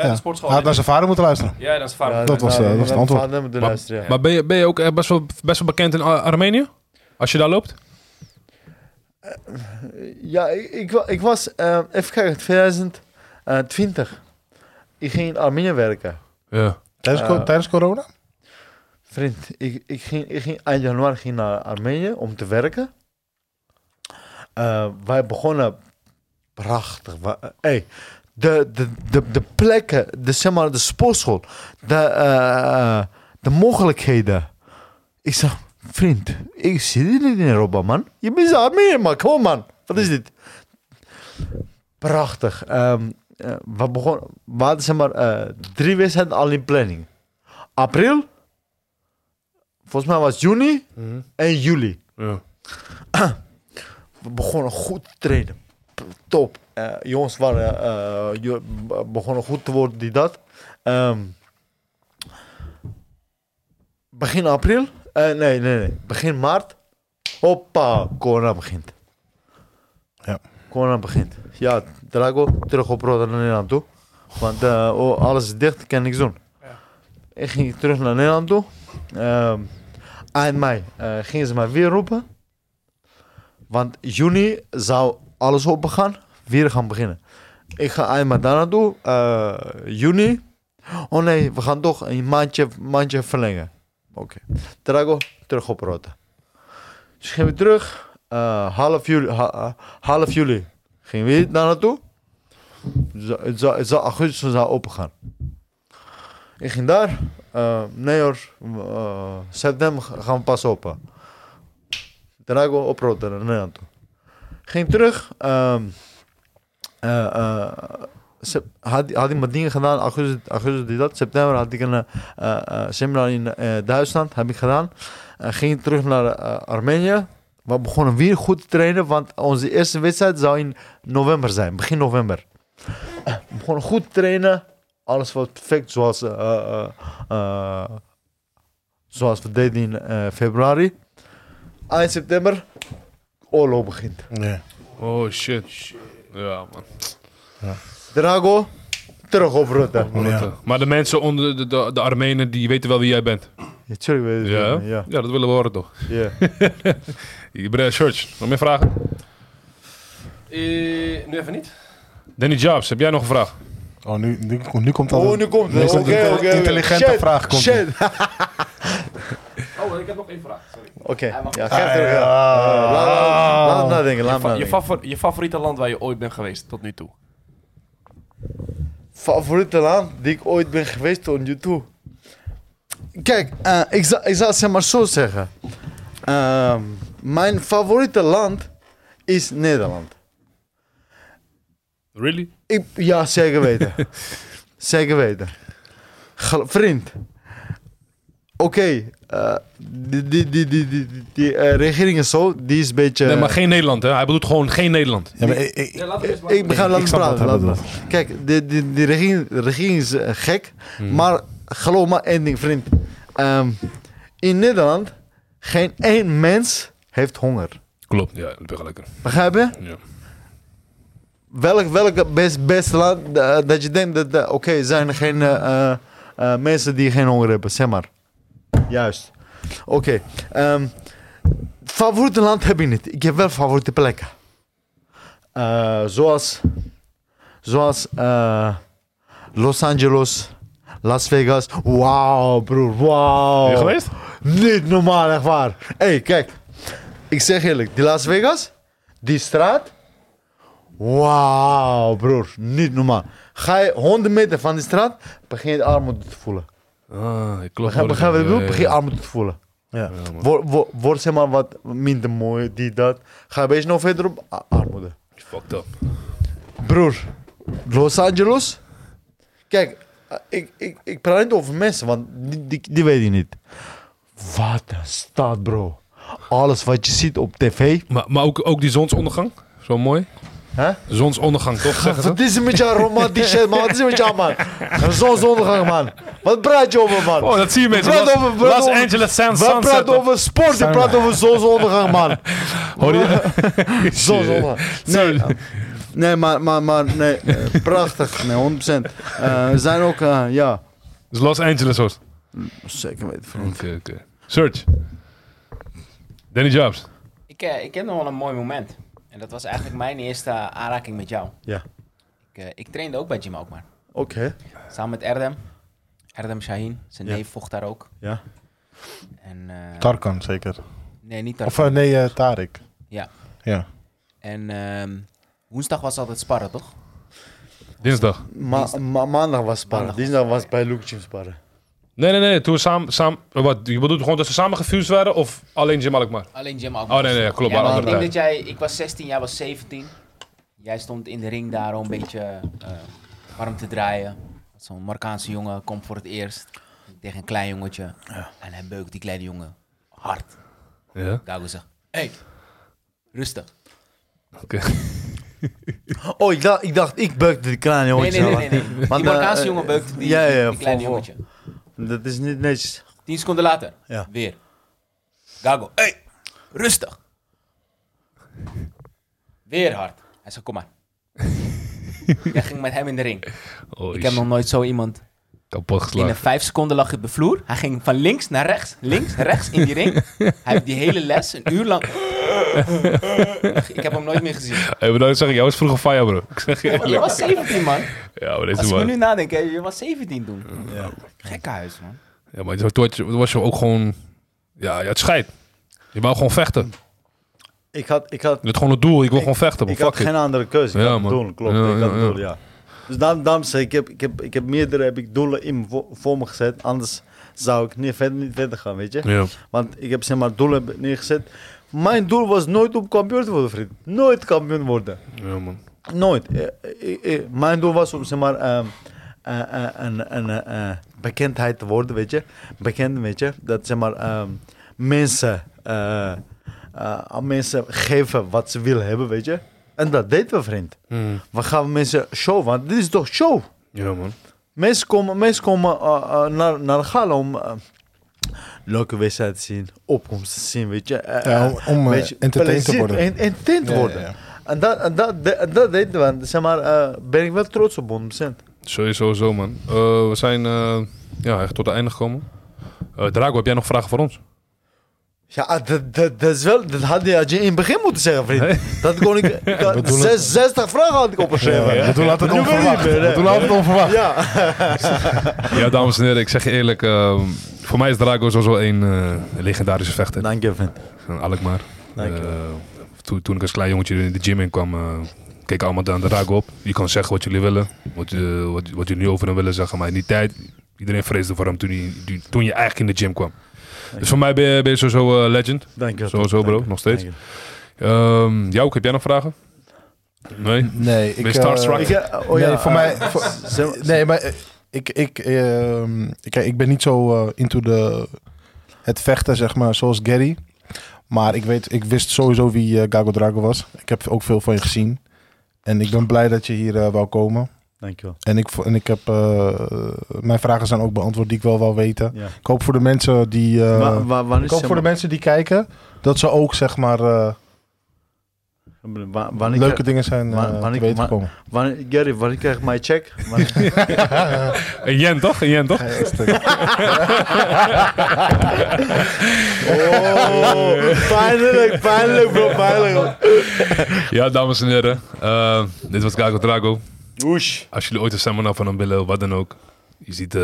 G: de
A: Hij
G: sportschool.
A: had naar zijn vader moeten luisteren.
G: Ja, dat is vaak.
C: Ja,
A: dat was, eh,
C: nou,
A: dat was het
C: mijn
A: antwoord.
C: vader moet
B: Maar-
C: luisteren, ja.
B: Maar ben je, ben je ook eh, best wel, best wel bekend in Ar- Armenië? Als je daar loopt?
C: Eh, Ja, ik, ik, wa- ik was, eh, even kijken, 2020. Ik ging in Armenië werken.
B: Ja.
A: Tijdens, co-
C: Eh.
A: tijdens corona?
C: Vriend, ik, ik, ging, ik ging eind januari ging naar Armenië om te werken. Eh, wij begonnen prachtig. Wa- Hey, de, de, de, de plekken, de, zeg maar, de sportschool, de, eh, eh, de mogelijkheden. Ik zeg, vriend, ik zie dit niet in Europa, man. Je bent in Armenië, man. Kom op, man. Wat is dit? Prachtig. Ehm, eh, we, begonnen, we hadden zeg maar, eh, drie wedstrijden al in planning. April, Volgens mij was juni en juli.
B: Ja.
C: We begonnen goed te trainen. P- Top. Eh, jongens waren, eh, jo- be- begonnen goed te worden, die dat. Ehm, begin april? Eh, nee, nee, nee. Begin maart. Hoppa, corona begint.
A: Ja.
C: Corona begint. Ja, Drago, terug op Rotterdam naar Nederland toe. Want eh, oh, alles is dicht, ik kan niks doen. Ik ging terug naar Nederland toe. Ehm, eind mei eh, gingen ze mij weer roepen. Want juni zou alles open gaan. Weer gaan beginnen. Ik ga eind mei daar naartoe. eh, juni. Oh nee, we gaan toch een maandje, maandje verlengen. Oké. Drago, terug op rotte. Dus gingen we terug. eh, half, juli, ha- eh, half juli gingen we hier daar naartoe. Zo- Het zou, het zou augustus zou open gaan. Ik ging daar. eh, nee hoor, eh, september gaan we pas open. Drago op rotte naar Nederland toe. Ging terug. ehm, eh, eh, sep- had, had ik mijn dingen gedaan, augustus, augustus die dat, september had ik een eh, eh, eh, seminar in eh, Duitsland, heb ik gedaan. Eh, ging terug naar eh, Armenië. We begonnen weer goed te trainen, want onze eerste wedstrijd zou in november zijn, begin november. We begonnen goed te trainen, alles was perfect zoals, eh, eh, eh, zoals we deden in eh, februari. Eind september, oorlog begint.
A: Nee.
B: Oh shit. Ja, man.
C: Drago, terug op Rutte.
A: Oh Ja.
B: Maar de mensen onder de, de, de Armenen, die weten wel wie jij bent.
C: Ja, tuurlijk weet ik
B: Ja?
C: het, Ja.
B: dat willen we horen toch?
C: ja.
B: Ibrahim Church, nog meer vragen?
G: Eh, nu even niet.
B: Danny Jobs, heb jij nog een vraag?
A: Oh, nu, nu, nu komt dat.
C: Oh, nu komt het.
A: nu
C: Oké,
A: komt
C: oké, oké.
A: Intelligente
C: Shit,
A: vraag komt.
C: Shit.
G: Oh, ik heb nog één vraag. Sorry.
C: Oké,
G: Hij mag-
C: ja, geef terug. ja. Eh, laat- laat- Laat het nadenken, laat
G: Ah, Je,
C: het nadenken.
G: fa- je, favor- je favoriete land waar je ooit bent geweest tot nu toe?
C: Favoriete land die ik ooit ben geweest tot nu toe? Kijk, eh, ik, zal, ik zal het zeg maar zo zeggen. Ehm, mijn favoriete land is Nederland.
B: Really?
C: Ik, ja, zeker weten. zeker weten. Gel- vriend. Oké, eh, die, die, die, die, die, die, die, eh, regering is zo, die is een beetje...
B: Nee, maar geen Nederland, hè? Hij bedoelt gewoon geen Nederland.
A: Ja, maar ik- ik-
G: Ja, laten we eens maar-
C: Ik begin
A: ik
C: langs
A: snap
C: praten.
A: wat hij
C: laat- Kijk, de, de, de, regering, de regering is eh, gek. Maar geloof me één ding, vriend. Ehm, in Nederland, geen één mens heeft honger.
B: Klopt, ja, dat begrijp ik.
C: Begrijp je?
B: Ja.
C: Welk, welk best, best land eh, dat je denkt dat... eh, Oké, zijn er geen eh, eh, eh, mensen die geen honger hebben, zeg maar. Juist. Oké. ehm, favoriete land heb ik niet. Ik heb wel favoriete plekken. Eh, zoals... Zoals... eh, Los Angeles. Las Vegas. Wauw, broer. Wauw.
B: Ben je geweest?
C: Niet normaal, echt waar. Hé, hey, kijk. Ik zeg eerlijk, die Las Vegas, die straat. Wauw, broer. Niet normaal. Ga je 100 meter van die straat, begin je armoede te voelen.
B: Ah, klopt.
C: Begrijp begrijp je wat ik bedoel? Begin je
B: Ja,
C: armoede te voelen.
A: Ja.
C: Word, word, word zeg maar wat minder mooi, die dat. Ga je beetje nog verder op a- armoede.
B: Fucked up.
C: Broer, Los Angeles. Kijk, eh, ik, ik, ik praat niet over mensen, want die, die, die weet je niet. Wat een stad, bro. Alles wat je ziet op tv.
B: Maar, maar ook, ook die zonsondergang, zo mooi.
C: Hè?
B: Zonsondergang, toch? Zeggen ze?
C: Wat is er met jou romantisch shit, man? Wat is er met jou, man? Zonsondergang, man. Wat praat je over, man?
B: Oh, dat zie je mensen.
C: Praat
B: Los,
C: over- praat
B: Los
C: over-
B: Angeles Sun,
C: We
B: Sunset.
C: praten over sport, je praat over zonsondergang, man.
B: Hoor je?
C: Zonsondergang. Nee, eh, nee maar, maar, maar, nee. eh, Prachtig, nee, 100%. Eh, Er zijn ook, eh, ja,
B: Dus Los Angeles, hoor.
C: zeker weten.
B: Oké, oké. Search. Danny Jobs.
H: Ik, eh, ik heb nog wel een mooi moment. En dat was eigenlijk mijn eerste aanraking met jou.
C: Ja.
H: Ik, eh, ik trainde ook bij Jim Alkmaar.
C: Oké.
H: Samen met Erdem. Erdem Shahin. Zijn
C: Ja.
H: neef vocht daar ook.
C: Ja.
H: En, eh,
A: Tarkan, zeker.
H: nee, niet
A: Of
H: Tarkan.
A: eh, nee, eh, Tarek.
H: Ja.
A: Ja.
H: En ehm, woensdag was altijd sparren, toch?
B: Dinsdag.
C: Ma ma- maandag was sparren.
H: Maandag was
C: Dinsdag was bij Luke Jim sparren.
B: Nee, nee, nee. Toen we samen... samen wat, je bedoelt gewoon dat ze samen gefused werden of alleen Jim Alkmaar?
H: Alleen Jim Alkmaar.
B: Oh, nee, nee, ja, klopt.
H: Ja,
B: maar
H: maar ik
B: andere
H: denk
B: tijd.
H: dat jij... Ik was 16, jij was 17. Jij stond in de ring daar al een beetje eh, warm te draaien. Zo'n Marokkaanse jongen komt voor het eerst tegen een klein jongetje. En hij beukt die kleine jongen hard.
B: Ja,
H: Gago zegt, hé, hey, rustig.
B: oké.
C: Oh, ik dacht, ik, dacht, ik beukte die kleine
H: Nee,
C: jongen.
H: nee, nee, nee. nee.
C: Want,
H: die Marokkaanse
C: eh,
H: jongen beukt die,
C: ja, ja,
H: die kleine
C: voor- voor-
H: jongetje.
C: Dat is niet netjes.
H: Tien seconden later,
C: Ja.
H: weer. Gago, hé, hey, rustig. Weer hard. Hij zei, kom maar. Jij ging met hem in de ring.
B: Oh,
H: Ik heb nog nooit zo iemand.
B: kapot
H: Binnen
B: geslagen.
H: vijf seconden lag je op de vloer. Hij ging van links naar rechts, links, rechts in die ring. Hij heeft die hele les een uur lang. Ik heb hem nooit meer gezien.
B: Hey, maar dan zeg Eh, ik, jij was vroeger fire, bro. Ik zeg je
H: Je
B: eerlijk.
H: was 17, man.
B: Ja, maar dat
H: Als
B: is
H: ik me nu
B: waar.
H: nadenk, hè, je was 17 toen. Ja. Gekkenhuis, man.
B: Ja, maar toen had je- toen was je ook gewoon... Ja, je had scheid. Je wou gewoon vechten.
C: Ik had, ik had,
B: Je had gewoon het doel. Ik wil gewoon vechten, man.
C: ik had
B: Fuck it.
C: geen andere keuze. Ik
B: Ja,
C: had
B: man.
C: doelen, klopt.
B: Ja,
C: ik
B: ja,
C: had
B: ja.
C: doelen, ja. Dus daarom, daarom zei ik, ik heb, ik heb, ik heb meerdere heb ik doelen in me voor, voor me gezet. Anders zou ik niet verder, niet verder gaan, weet je.
B: Ja.
C: Want ik heb zeg maar doelen heb ik neergezet. Mijn doel was nooit om kampioen te worden, vriend. Nooit kampioen worden.
B: ja, man.
C: Nooit. Eh, eh, eh, mijn doel was om zeg maar ehm, eh, eh, een, een, eh, eh, bekendheid te worden, weet je. Bekend, weet je. Dat zeg maar ehm, mensen, eh, eh, aan mensen geven wat ze willen hebben, weet je. En dat deden we, vriend.
B: Mm.
C: We gaan mensen show, want dit is toch show.
B: Ja, man.
C: Mensen komen, mensen komen eh, eh, naar, naar Gala om eh, leuke wedstrijden te zien, opkomsten te zien, weet je. Eh,
A: Ja,
C: eh,
A: om- om, eh,
C: weet je,
A: entertained te
C: plezier-
A: worden.
C: en- entertained te
A: Ja,
C: worden.
A: ja, ja.
C: En dat, en dat, de- en dat deed we. Zeg maar, eh, ben ik wel trots op 100%.
B: Sowieso, zo, man. Eh, we zijn eh, ja, echt tot het einde gekomen. Eh, Drago, heb jij nog vragen voor ons?
C: Ja, ah, dat, dat, dat is wel, dat had je, had je in het begin moeten zeggen, vriend. Dat kon ik, dat-
A: We doen het.
C: zes- 60 vragen had ik opgeschreven. Ja,
A: We doen altijd
C: Nu weet ik
A: onverwacht.
C: het, hè.
A: We doen altijd onverwacht.
C: ja.
B: Ja, dames en heren, ik zeg je eerlijk, ehm, Voor mij is Drago sowieso een eh, legendarische vechter.
C: Dank je, vent.
B: Van Alkmaar.
C: Dank je wel.
B: Eh, toen, toen ik als klein jongetje in de gym in kwam, eh keek allemaal aan de raak op. Je kan zeggen wat jullie willen, wat, eh, wat, wat jullie nu over hem willen zeggen. Maar in die tijd, iedereen vreesde voor hem toen, hij, die- toen je eigenlijk in de gym kwam. Dus voor mij ben je, ben je sowieso eh, legend.
C: Dank je.
B: Sowieso, bro, nog steeds.
C: Dank
B: Ehm jou, heb jij nog vragen? Nee?
A: Nee, ik...
B: Ben je starstruck?
A: eh,
C: je. Ik, eh, oh ja,
A: nee, voor
C: eh,
A: mij... voor-
C: zeg-
A: nee, maar eh, ik, ik, ehm, kijk, ik ben niet zo eh, into de, het vechten, zeg maar, zoals Gary. Maar ik, weet, ik wist sowieso wie eh, Gago Drago was. Ik heb ook veel van je gezien. En ik ben blij dat je hier eh wou komen.
C: Dank je wel.
A: En ik, vo- en ik heb... eh, mijn vragen zijn ook beantwoord die ik wel wou weten.
C: Ja.
A: Ik hoop voor de mensen die... eh,
F: Wa- wa- wanneer
A: ik
F: is,
A: hoop
F: zeg
A: Eh, voor de
F: maar-
A: mensen die kijken... dat ze ook, zeg maar, eh,
C: Wa- Wanneer
A: leuke
C: krijg-
A: dingen zijn eh,
C: Wa- wanneer
A: te
C: ik-
A: weten
C: wa-
A: gekomen.
C: wanneer- Gary, wanneer krijg ik mijn check? Wanneer-
B: Een yen toch? Een yen toch?
C: Oh, pijnlijk, pijnlijk bro, pijnlijk.
B: Ja, dames en heren. eh, dit was Gago Drago.
C: Oesh.
B: Als jullie ooit een seminar van hem willen, wat dan ook. Je ziet eh,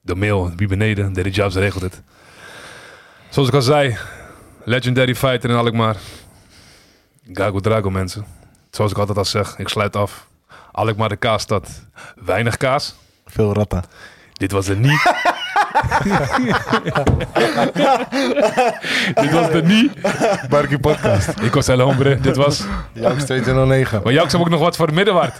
B: de mail wie beneden. Daddy Jobs regelt het. Zoals ik al zei, legendary fighter in Alkmaar. Gago Drago, mensen. Zoals ik altijd al zeg, ik sluit af. Alkmaar de kaasstad. Weinig kaas.
A: Veel ratten.
B: Dit was de niet. Dit was de niet.
A: Barkie Podcast.
B: Ik was El Hombre. Dit was...
A: Jouw 209.
B: Maar Jaks heb ook nog wat voor het middenwaard.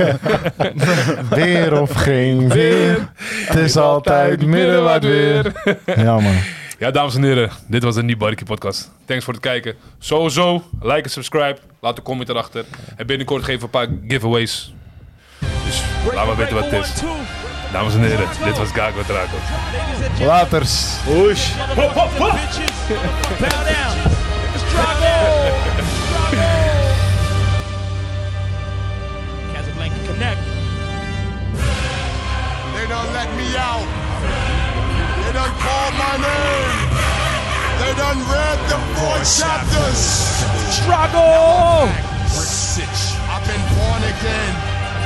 A: Weer of geen weer. Het is altijd middenwaard weer. Ja, man.
B: Ja, dames en heren, dit was de Niebarkie podcast. Thanks voor het kijken. Sowieso, like en subscribe. Laat een comment erachter. En binnenkort geven we een paar giveaways. Dus laat maar weten wat het is. Dames en heren, dit was Gago Draco.
A: Laters.
D: Casablanca Connect.
I: They don't let me out. They don't call my name. They done read the four chapters.
D: Struggle!
I: I've been born again.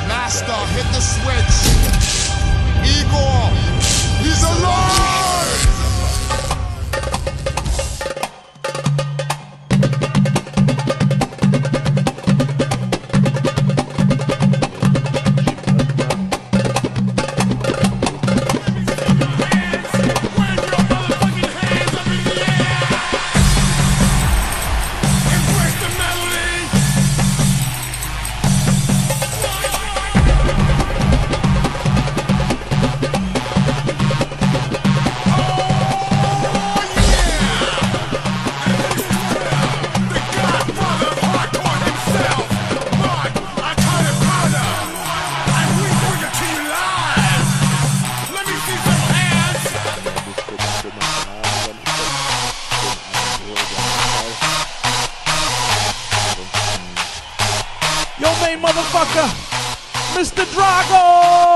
I: Master, hit the switch. Igor, he's alive!
J: Let me see some hands.
D: Yo, main motherfucker, Mr. Drago!